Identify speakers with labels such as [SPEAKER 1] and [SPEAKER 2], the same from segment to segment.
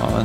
[SPEAKER 1] Ja,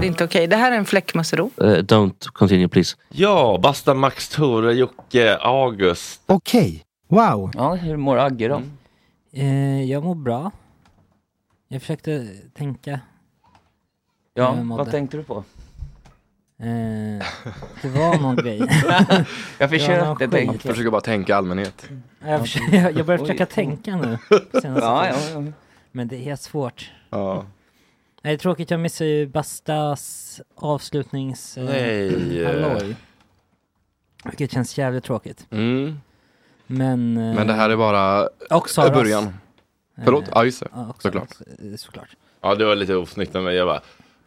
[SPEAKER 2] Det är inte okej. Det här är en fläckmussero.
[SPEAKER 3] Uh, don't continue please.
[SPEAKER 1] Ja, Basta, Max, Tore, Jocke, August.
[SPEAKER 4] Okej. Wow.
[SPEAKER 3] Ja, hur mår Agge då?
[SPEAKER 1] Mm.
[SPEAKER 5] Eh, jag mår bra. Jag försökte tänka.
[SPEAKER 3] Ja,
[SPEAKER 5] Jag mådde.
[SPEAKER 3] vad tänkte du på?
[SPEAKER 5] Eh, det var någon grej.
[SPEAKER 4] Jag
[SPEAKER 5] försökte Ja, skit. tänka.
[SPEAKER 4] Försöker bara tänka i allmänhet.
[SPEAKER 5] jag, försöker, jag, jag börjar försöka tänka nu. senaste
[SPEAKER 3] Ja, ja,
[SPEAKER 5] tiden. Men det är svårt.
[SPEAKER 4] Ja.
[SPEAKER 5] Nej, det är tråkigt, jag missar ju Bastas avslutnings... eh,
[SPEAKER 4] Nej.
[SPEAKER 5] halloj. Vilket känns jävligt tråkigt.
[SPEAKER 4] Mm.
[SPEAKER 5] Men... eh,
[SPEAKER 4] Men det här är bara
[SPEAKER 5] Och Saras. Eh,
[SPEAKER 4] början. Förlåt? Ja, just det.
[SPEAKER 5] Ja, också,
[SPEAKER 4] Såklart.
[SPEAKER 5] eh, Såklart.
[SPEAKER 1] Ja, det var lite osnyggt av mig. Jag bara,
[SPEAKER 4] Ja,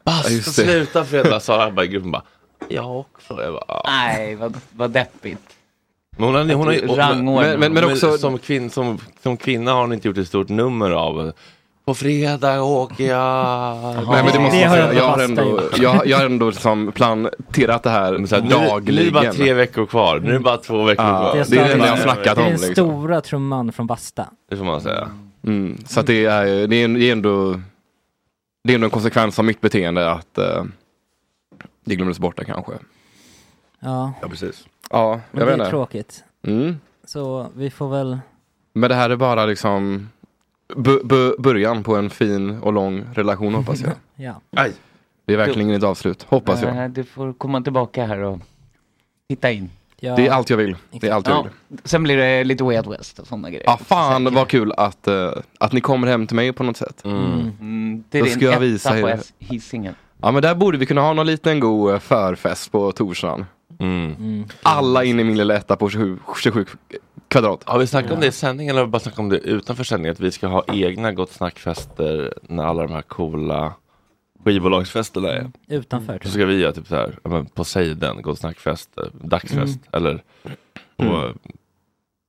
[SPEAKER 1] basta
[SPEAKER 4] just det.
[SPEAKER 1] sluta Freda, sa jag bara i gruppen. Bara, jag också. Jag bara, "Ja."
[SPEAKER 3] Nej, vad, vad deppigt.
[SPEAKER 1] men hon har, hon har, hon
[SPEAKER 3] Rangordning.
[SPEAKER 4] men- men- men också-
[SPEAKER 1] som, kvin, som, som kvinna har hon inte gjort ett stort nummer av. På fredag åker jag.
[SPEAKER 4] Nej, men det
[SPEAKER 5] det
[SPEAKER 4] måste
[SPEAKER 5] har
[SPEAKER 4] jag, säga.
[SPEAKER 5] jag
[SPEAKER 4] jag har
[SPEAKER 5] fasta
[SPEAKER 4] ändå,
[SPEAKER 5] gjort.
[SPEAKER 4] jag, jag har ändå liksom planterat det här
[SPEAKER 1] Men så här, nu, nu är det
[SPEAKER 4] dagligen.
[SPEAKER 1] bara tre veckor kvar. Nu är det bara två veckor
[SPEAKER 4] Ja,
[SPEAKER 1] kvar.
[SPEAKER 4] det är
[SPEAKER 5] det jag
[SPEAKER 1] bara-
[SPEAKER 5] har
[SPEAKER 4] snackat
[SPEAKER 5] Det är
[SPEAKER 4] om.
[SPEAKER 5] den
[SPEAKER 4] liksom.
[SPEAKER 5] stora trumman från Basta.
[SPEAKER 1] Det får man säga.
[SPEAKER 4] Mm. Så att det är, ju- det är, det är ändå det är ändå en konsekvens av mitt beteende att eh, det glömdes bort där kanske.
[SPEAKER 5] Ja,
[SPEAKER 1] Ja, precis.
[SPEAKER 4] Ja,
[SPEAKER 5] men
[SPEAKER 4] jag
[SPEAKER 5] det är
[SPEAKER 4] vet inte.
[SPEAKER 5] tråkigt.
[SPEAKER 4] Mm.
[SPEAKER 5] Så vi får väl...
[SPEAKER 4] Men det här är bara liksom bu- bu- början på en fin och lång relation hoppas jag.
[SPEAKER 5] Ja.
[SPEAKER 1] Aj.
[SPEAKER 4] Det är verkligen inget avslut, hoppas jag.
[SPEAKER 3] Eh, Du får komma tillbaka här och titta in.
[SPEAKER 5] ja.
[SPEAKER 4] Det är allt jag vill. Det är allt jag
[SPEAKER 3] Ja.
[SPEAKER 4] vill.
[SPEAKER 3] Sen blir det lite Wild West och sådana grejer.
[SPEAKER 4] Ja, fan vad kul att, eh, att ni kommer hem till mig på något sätt.
[SPEAKER 5] Mm.
[SPEAKER 3] Mm, det är
[SPEAKER 4] Då
[SPEAKER 3] din
[SPEAKER 4] ska jag
[SPEAKER 3] etta
[SPEAKER 4] visa
[SPEAKER 3] på
[SPEAKER 4] er.
[SPEAKER 3] S- Hisingen.
[SPEAKER 4] Ja men där borde vi kunna ha någon liten god eh, förfest på torsdagen.
[SPEAKER 1] Mm.
[SPEAKER 4] Alla in i min lilla etta på 27, 27 kvadrat.
[SPEAKER 1] Har vi snackat om det i sändning eller har vi bara snackat om det utanför sändning? Att vi ska ha egna Gott Snack-fester när alla de här coola skivbolagsfesterna är.
[SPEAKER 5] Utanför tror
[SPEAKER 1] Så
[SPEAKER 5] jag.
[SPEAKER 1] ska vi göra typ så här, ja, men Poseidon, Gott Snack-fest, eh, dagsfest eller på mm.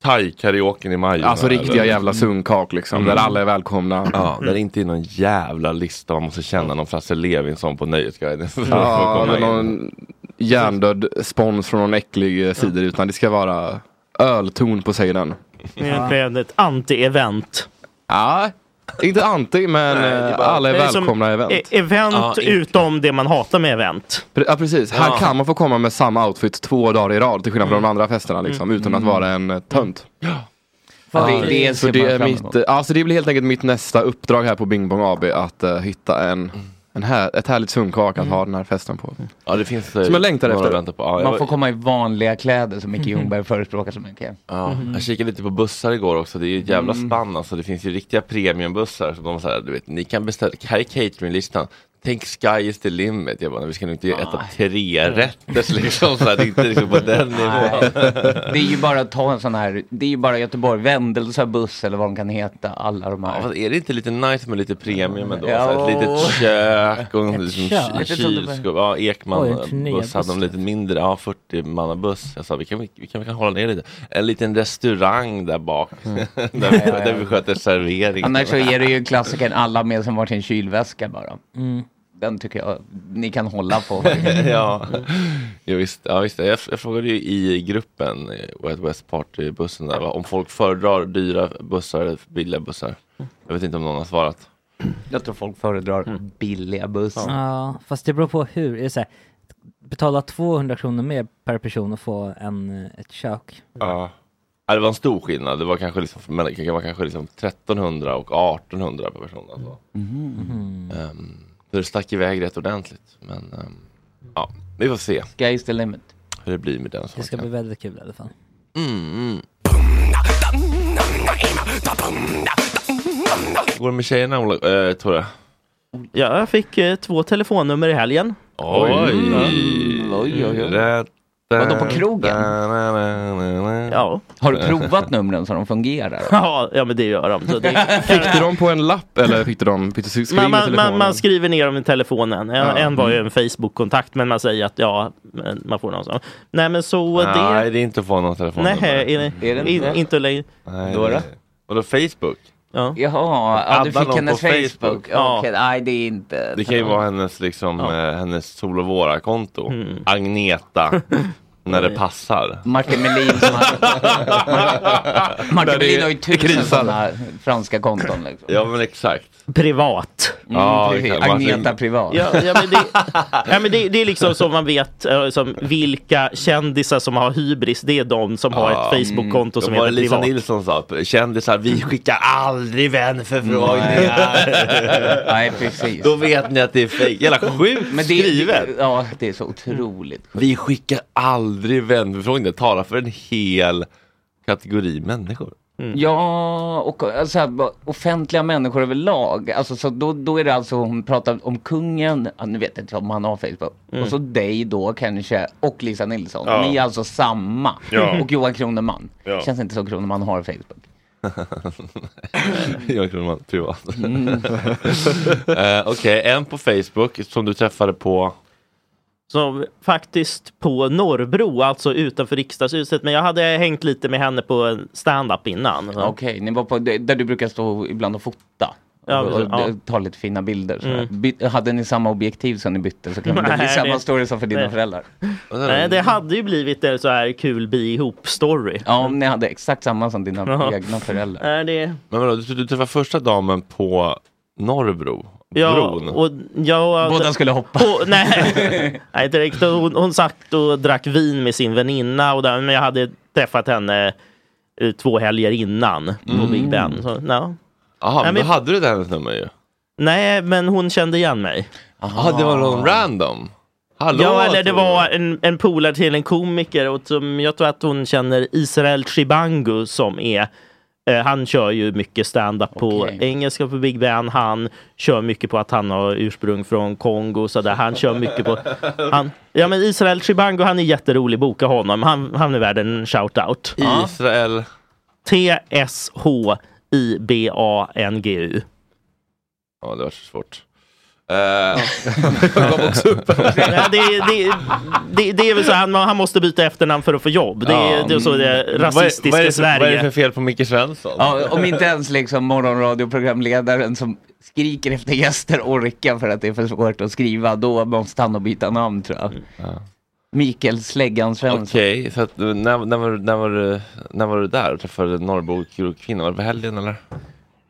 [SPEAKER 1] thai-karaoken i maj.
[SPEAKER 4] Alltså
[SPEAKER 1] eller-
[SPEAKER 4] riktiga jävla sunkak liksom,
[SPEAKER 1] Mm.
[SPEAKER 4] där alla är välkomna.
[SPEAKER 1] Ja, där det inte är någon jävla lista man måste känna någon Frasse Levinson på Nöjesguiden. för att få
[SPEAKER 4] Ja,
[SPEAKER 1] komma
[SPEAKER 4] eller
[SPEAKER 1] in.
[SPEAKER 4] någon hjärndöd spons från någon äcklig eh, cider, utan det ska vara ölton på sig den.
[SPEAKER 6] Egentligen ett anti-event.
[SPEAKER 4] Ja, inte anti, men eh, alla är
[SPEAKER 6] Det är som-
[SPEAKER 4] välkomna i event.
[SPEAKER 6] E- event
[SPEAKER 1] Ja, inte.
[SPEAKER 6] utom det man hatar med event.
[SPEAKER 4] Pre- Ja precis, här
[SPEAKER 1] Ja.
[SPEAKER 4] kan man få komma med samma outfit två dagar i rad till skillnad från de andra festerna liksom,
[SPEAKER 6] Mm.
[SPEAKER 4] utan att vara en eh, tönt.
[SPEAKER 5] Fan,
[SPEAKER 3] det, det
[SPEAKER 4] Så
[SPEAKER 3] ser
[SPEAKER 4] det,
[SPEAKER 3] man
[SPEAKER 4] är
[SPEAKER 3] fram
[SPEAKER 4] mitt,
[SPEAKER 3] emot.
[SPEAKER 4] eh, alltså det blir helt enkelt mitt nästa uppdrag här på Bing Bong AB att eh, hitta en, en här, ett härligt sunkak
[SPEAKER 6] Mm.
[SPEAKER 4] att ha den här festen på.
[SPEAKER 1] Ja, det finns eh,
[SPEAKER 4] Som jag längtar
[SPEAKER 1] några
[SPEAKER 4] efter.
[SPEAKER 1] att vänta På. Ja, jag, Mm.
[SPEAKER 3] Man får komma i vanliga kläder som Micke Ljungberg förespråkar så mycket. Mm.
[SPEAKER 1] Ja,
[SPEAKER 3] Mhm.
[SPEAKER 1] jag kikade lite på bussar igår också, det är ju ett jävla spann alltså. Det finns ju riktiga premiumbussar som de säger, du vet, ni kan beställa, här är cateringlistan. Tänk sky is the limit. Jag bara, vi ska nog inte äta tre rätter liksom, så här, det är inte liksom på den nivån.
[SPEAKER 3] Nej. Det är ju bara att ta en sån här, det är ju bara Göteborg, Vändelse buss eller vad de kan heta, alla de
[SPEAKER 1] Ja,
[SPEAKER 3] här.
[SPEAKER 1] fast är det inte lite nice med lite premium ändå?
[SPEAKER 3] Ja.
[SPEAKER 1] Så här, ett litet kök och en
[SPEAKER 5] Ett
[SPEAKER 1] liksom,
[SPEAKER 5] kök?
[SPEAKER 1] ky-
[SPEAKER 3] Jag trodde det var-
[SPEAKER 1] kylskåp. Ja,
[SPEAKER 5] Oj,
[SPEAKER 1] Ekman
[SPEAKER 5] en
[SPEAKER 1] buss hade
[SPEAKER 5] turnébuss.
[SPEAKER 1] de lite mindre, ja 40 manna buss. Jag sa vi kan, vi, kan, vi kan hålla ner lite. En liten restaurang där bak. där, vi,
[SPEAKER 3] Ja, ja, ja.
[SPEAKER 1] där vi sköter servering.
[SPEAKER 3] Mm. Annars så är det ju klassiken alla med sig varsin kylväska bara.
[SPEAKER 5] Mm.
[SPEAKER 3] Den tycker jag ni kan hålla på.
[SPEAKER 1] ja. Jo, visst, ja, visst. Jag, jag frågade ju i gruppen, eh, Wild West Party-bussen där, va, om folk föredrar dyra bussar eller billiga bussar. Jag vet inte om någon har svarat.
[SPEAKER 3] Jag tror folk föredrar billiga bussar.
[SPEAKER 5] Ja, fast det beror på hur. Är det så här, betala 200 kronor mer per person och få en, eh, ett kök.
[SPEAKER 1] Ja. Ja, det var en stor skillnad. Det var kanske, liksom, mellan- det var kanske liksom 1300 och 1800 per person. Alltså. Ehm, så det stack iväg rätt ordentligt. Men ehm, ja, vi får se
[SPEAKER 3] Sky is the limit.
[SPEAKER 1] hur det blir med den
[SPEAKER 5] Det ska
[SPEAKER 1] saken. Mm,
[SPEAKER 5] bli väldigt kul i alla fall.
[SPEAKER 1] Hur går det med tjejerna, Ola, eh, Tore?
[SPEAKER 6] Ja, jag fick eh, två telefonnummer i helgen.
[SPEAKER 1] Oj!
[SPEAKER 3] Oj, oj, oj.
[SPEAKER 1] Rätt-
[SPEAKER 3] Vadå, på krogen?
[SPEAKER 6] Ja,
[SPEAKER 3] Har du provat numren så de fungerar?
[SPEAKER 6] ja, ja men det gör de. Så det,
[SPEAKER 4] Fick du dem på en lapp eller fick du dem, fick du sk- skriva
[SPEAKER 6] man,
[SPEAKER 4] in
[SPEAKER 6] man,
[SPEAKER 4] i
[SPEAKER 6] man, man
[SPEAKER 4] telefonen?
[SPEAKER 6] skriver ner dem i telefonen. En,
[SPEAKER 4] Ja.
[SPEAKER 6] en var
[SPEAKER 3] Mm.
[SPEAKER 6] ju en Facebook-kontakt, men man säger att ja, men man får någon sån. Nej, men så
[SPEAKER 1] Nej,
[SPEAKER 6] det...
[SPEAKER 1] det är inte att få någon telefonnummer.
[SPEAKER 6] Nej, är det,
[SPEAKER 3] Är det inte
[SPEAKER 6] in,
[SPEAKER 3] det?
[SPEAKER 6] inte längre.
[SPEAKER 1] Nej,
[SPEAKER 3] Då
[SPEAKER 1] det-
[SPEAKER 3] då?
[SPEAKER 1] Vadå Facebook?
[SPEAKER 6] Ja.
[SPEAKER 3] Jaha, ja, du
[SPEAKER 1] Adda
[SPEAKER 3] fick
[SPEAKER 1] någon
[SPEAKER 3] hennes
[SPEAKER 1] på
[SPEAKER 3] Facebook.
[SPEAKER 1] Facebook.
[SPEAKER 6] Ja.
[SPEAKER 3] Okej, nej det är inte...
[SPEAKER 1] liksom, eh,
[SPEAKER 6] Mm.
[SPEAKER 1] Det kan ju vara hennes, liksom, eh, hennes Sol och Våra-konto. Agneta När det passar.
[SPEAKER 3] Martin Melin som har...
[SPEAKER 1] Där det
[SPEAKER 3] Martin Melin har ju
[SPEAKER 1] krisar.
[SPEAKER 3] tusen sådana franska konton liksom.
[SPEAKER 1] Ja men exakt.
[SPEAKER 6] Privat.
[SPEAKER 3] Mm,
[SPEAKER 1] Ja,
[SPEAKER 3] precis.
[SPEAKER 1] exakt. Martin-
[SPEAKER 3] Agneta Privat.
[SPEAKER 6] Ja, ja, men det, ja, men det, det är liksom som man vet eh, som vilka kändisar som har hybris. Det är de som har ett Facebook-konto som
[SPEAKER 1] Som mm. var
[SPEAKER 6] heter
[SPEAKER 1] det Lisa
[SPEAKER 6] privat.
[SPEAKER 1] Nilsson sa, kändisar, vi skickar aldrig vänförfrågningar.
[SPEAKER 3] Nej, precis.
[SPEAKER 1] Då vet ni att det är fejk. Jävla sjukt
[SPEAKER 3] Men det,
[SPEAKER 1] skrivet.
[SPEAKER 3] Ja, det är så otroligt sjukt.
[SPEAKER 1] Vi skickar aldrig vänförfrågningar, talar för en hel kategori människor.
[SPEAKER 3] Mm. Ja, och alltså, här, bara offentliga människor överlag. Alltså, så då, då är det alltså hon pratar om kungen, ja, nu vet jag inte om han har Facebook, och så dig då kanske, och Lisa Nilsson. Ni är alltså samma. Och Johan Kroneman. Känns inte så Kroneman har Facebook.
[SPEAKER 1] Jag tror man privat.
[SPEAKER 3] Mm.
[SPEAKER 1] Eh, Okej, en på Facebook som du träffade på.
[SPEAKER 6] Som faktiskt på Norrbro, alltså utanför riksdagshuset. Men jag hade hängt lite med henne på en stand-up innan.
[SPEAKER 3] Okej, ni var på, där du brukar stå ibland och fota.
[SPEAKER 6] Ja,
[SPEAKER 3] och, och
[SPEAKER 6] ja.
[SPEAKER 3] ta lite fina bilder. Så här. By, hade ni samma objektiv som ni bytte så kan det bli
[SPEAKER 6] Nej,
[SPEAKER 3] samma
[SPEAKER 6] det-
[SPEAKER 3] story som för dina
[SPEAKER 6] det-
[SPEAKER 3] föräldrar.
[SPEAKER 6] Nej, det hade ju blivit en så här kul bi ihop story.
[SPEAKER 3] Ja, om ni hade exakt samma som dina
[SPEAKER 6] Ja.
[SPEAKER 3] egna föräldrar.
[SPEAKER 6] Nej, det...
[SPEAKER 1] Men vadå, du, du träffade första damen på Norrbro?
[SPEAKER 6] Ja,
[SPEAKER 1] Bron?
[SPEAKER 6] och, ja,
[SPEAKER 3] Båda skulle hoppa.
[SPEAKER 6] Hon, nej, nej direkt. Hon, hon satt och drack vin med sin väninna. Och där, men jag hade träffat henne eh, två helger innan på Big Ben. Så, ja.
[SPEAKER 1] Jaha, Mm. men
[SPEAKER 6] Nej, men-
[SPEAKER 1] då hade du det hennes nummer ju.
[SPEAKER 6] Nej, men hon kände igen mig.
[SPEAKER 1] Jaha, det var
[SPEAKER 3] Ah.
[SPEAKER 1] någon random? Hallå?
[SPEAKER 6] Ja, eller det
[SPEAKER 1] tror jag.
[SPEAKER 6] var en, en polare till en komiker. Och som, jag tror att hon känner Israel Chibangu som är eh, han kör ju mycket stand-up på
[SPEAKER 3] Okej.
[SPEAKER 6] engelska på Big Ben. Han kör mycket på att han har ursprung från Kongo. Så där. Han kör mycket på... Han, ja, men Israel Chibangu, han är jätterolig. Boka honom. Han, han är värd en shout-out.
[SPEAKER 3] Eh.
[SPEAKER 1] Israel.
[SPEAKER 6] T-S-H-I-B-A-N-G-U.
[SPEAKER 1] Ja, det var så svårt. Eh,
[SPEAKER 6] Ja, det, det, det, det är väl så, han, han måste byta efternamn för att få jobb. Det, är- det är så det är rasistiska
[SPEAKER 1] Mm. vad, är, vad, är det för,
[SPEAKER 6] Sverige.
[SPEAKER 1] vad är det för fel på Micke Svensson?
[SPEAKER 3] Ja, om inte ens liksom morgonradioprogramledaren som skriker efter gäster orkar för att det är för svårt att skriva, då måste han nog byta namn tror jag. Mikael Släggan Svensson.
[SPEAKER 1] Okej, så att, eh, när, när, var, du- när, var, du- när var du där och träffade Norrbokvinnan? Var det på helgen eller?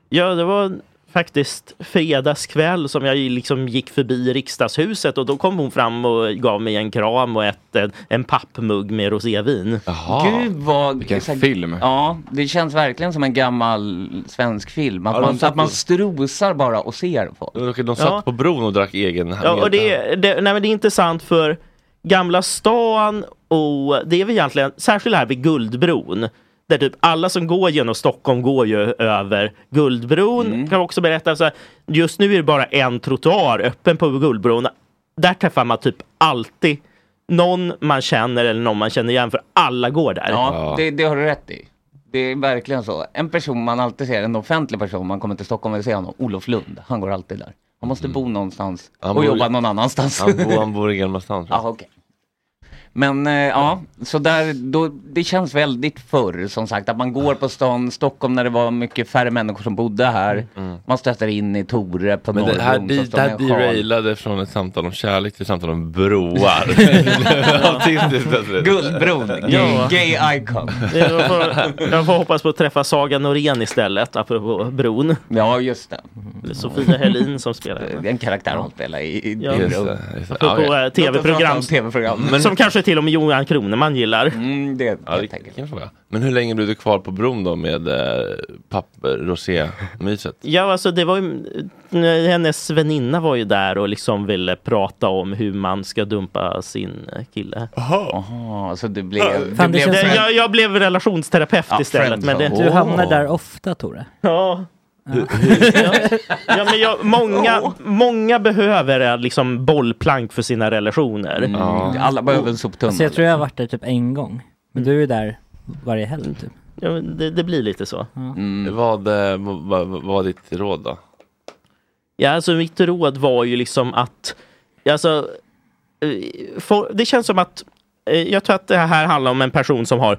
[SPEAKER 6] Ja, det var faktiskt fredagskväll som jag liksom gick förbi riksdagshuset och då kom hon fram och gav mig en kram och ett, en, en pappmugg med rosévin.
[SPEAKER 1] Jaha.
[SPEAKER 3] Gud vad...
[SPEAKER 4] Vilken film.
[SPEAKER 3] Ja, det känns verkligen som en gammal svensk film. Att,
[SPEAKER 1] Ja, de
[SPEAKER 3] man,
[SPEAKER 1] satt
[SPEAKER 3] att man
[SPEAKER 1] och-
[SPEAKER 3] strosar bara och ser på.
[SPEAKER 1] De, de satt
[SPEAKER 6] Ja.
[SPEAKER 1] på bron och drack egen
[SPEAKER 6] Ja, och det, det, nej, men det är intressant för Gamla stan och det är väl egentligen, särskilt här vid Guldbron, där typ alla som går genom Stockholm går ju över Guldbron. Kan också berätta så här, just nu är det bara en trottoar öppen på Guldbron. Där träffar man typ alltid någon man känner eller någon man känner igen för alla går där.
[SPEAKER 3] Ja,
[SPEAKER 1] Ja.
[SPEAKER 3] det, det har du rätt i. Det är verkligen så. En person man alltid ser, en offentlig person, man kommer till Stockholm och ser honom, Olof Lund, han går alltid där. Han måste bo någonstans
[SPEAKER 1] Mm. Han
[SPEAKER 3] och
[SPEAKER 1] bor-
[SPEAKER 3] jobba någon annanstans.
[SPEAKER 1] Han, bor, han bor i Gamla stan tror jag.
[SPEAKER 3] Ja, okej. Men eh, ja, så där, då, det känns väldigt förr som sagt att man går på stan, Stockholm när det var mycket färre människor som bodde här. Man stöter in i Tore på
[SPEAKER 1] Mm. Men
[SPEAKER 3] Norrbron.
[SPEAKER 1] det
[SPEAKER 3] så
[SPEAKER 1] här, de,
[SPEAKER 3] står
[SPEAKER 1] det
[SPEAKER 3] med
[SPEAKER 1] här
[SPEAKER 3] en sjal.
[SPEAKER 1] derailade från ett samtal om kärlek till ett samtal om broar. Autistiskt plötsligt.
[SPEAKER 3] Guldbron,
[SPEAKER 6] Ja.
[SPEAKER 3] gay, gay icon.
[SPEAKER 6] Jag, får, jag får hoppas på att träffa Saga Norén istället, apropå bron.
[SPEAKER 3] Ja, just det.
[SPEAKER 6] Sofia Helin som spelar henne.
[SPEAKER 3] Det är En karaktär hon spelar i, i
[SPEAKER 6] Ja.
[SPEAKER 3] i
[SPEAKER 1] Just
[SPEAKER 3] Bron.
[SPEAKER 1] det, just det.
[SPEAKER 6] Apropå
[SPEAKER 1] Ja, okej.
[SPEAKER 6] eh, tv-program.
[SPEAKER 3] TV-program.
[SPEAKER 6] Som kanske till och med Johan Kroneman gillar.
[SPEAKER 3] Mm, det
[SPEAKER 1] Ja, det
[SPEAKER 3] helt
[SPEAKER 1] kan
[SPEAKER 3] enkelt.
[SPEAKER 1] jag fråga. Men hur länge blev du kvar på bron då med eh, papper, rosé-myset?
[SPEAKER 6] Ja, alltså det var ju, eh, hennes väninna var ju där och liksom ville prata om hur man ska dumpa sin eh, kille.
[SPEAKER 3] Jaha, så det blev...
[SPEAKER 5] Fan, det känns
[SPEAKER 6] Det,
[SPEAKER 5] som-
[SPEAKER 6] jag, jag blev relationsterapeut
[SPEAKER 3] Ja,
[SPEAKER 6] istället.
[SPEAKER 3] friends
[SPEAKER 6] Men det,
[SPEAKER 3] zone.
[SPEAKER 5] Du hamnar där ofta Tore.
[SPEAKER 6] ja. ja, men jag, många, många behöver eh, liksom bollplank för sina relationer.
[SPEAKER 3] Mm, alla behöver en soptunna. Mm.
[SPEAKER 5] Så jag tror jag har varit där typ en gång. Men du är där varje helg typ.
[SPEAKER 6] Ja, men det, det blir lite så.
[SPEAKER 1] Vad, eh, vad, vad, vad var ditt råd då?
[SPEAKER 6] Ja, alltså mitt råd var ju liksom att... Alltså, eh, for, det känns som att... eh, Jag tror att det här handlar om en person som har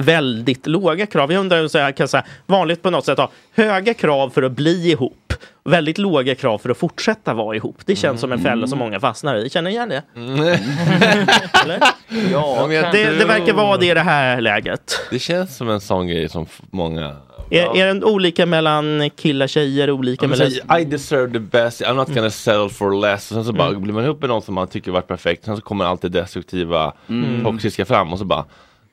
[SPEAKER 6] väldigt låga krav. Jag undrar om jag kan säga, vanligt på något sätt ha höga krav för att bli ihop. väldigt låga krav för att fortsätta vara ihop. Det känns som en fälla som många fastnar i. Känner ni igen det? Eller?
[SPEAKER 1] Mm. Ja, men jag
[SPEAKER 6] Det, det
[SPEAKER 1] tror-
[SPEAKER 6] verkar vara det i det här läget.
[SPEAKER 1] Det känns som en sån grej som f- många...
[SPEAKER 6] Är, är den olika mellan killar och tjejer? Olika
[SPEAKER 1] Ja, men
[SPEAKER 6] mellan...
[SPEAKER 1] säg, I deserve the best, I'm
[SPEAKER 3] Mm.
[SPEAKER 1] not gonna settle for less. Och sen så bara blir man ihop med någon som man tycker varit perfekt. Sen så kommer allt det destruktiva,
[SPEAKER 3] Mm.
[SPEAKER 1] toxiska fram och så bara...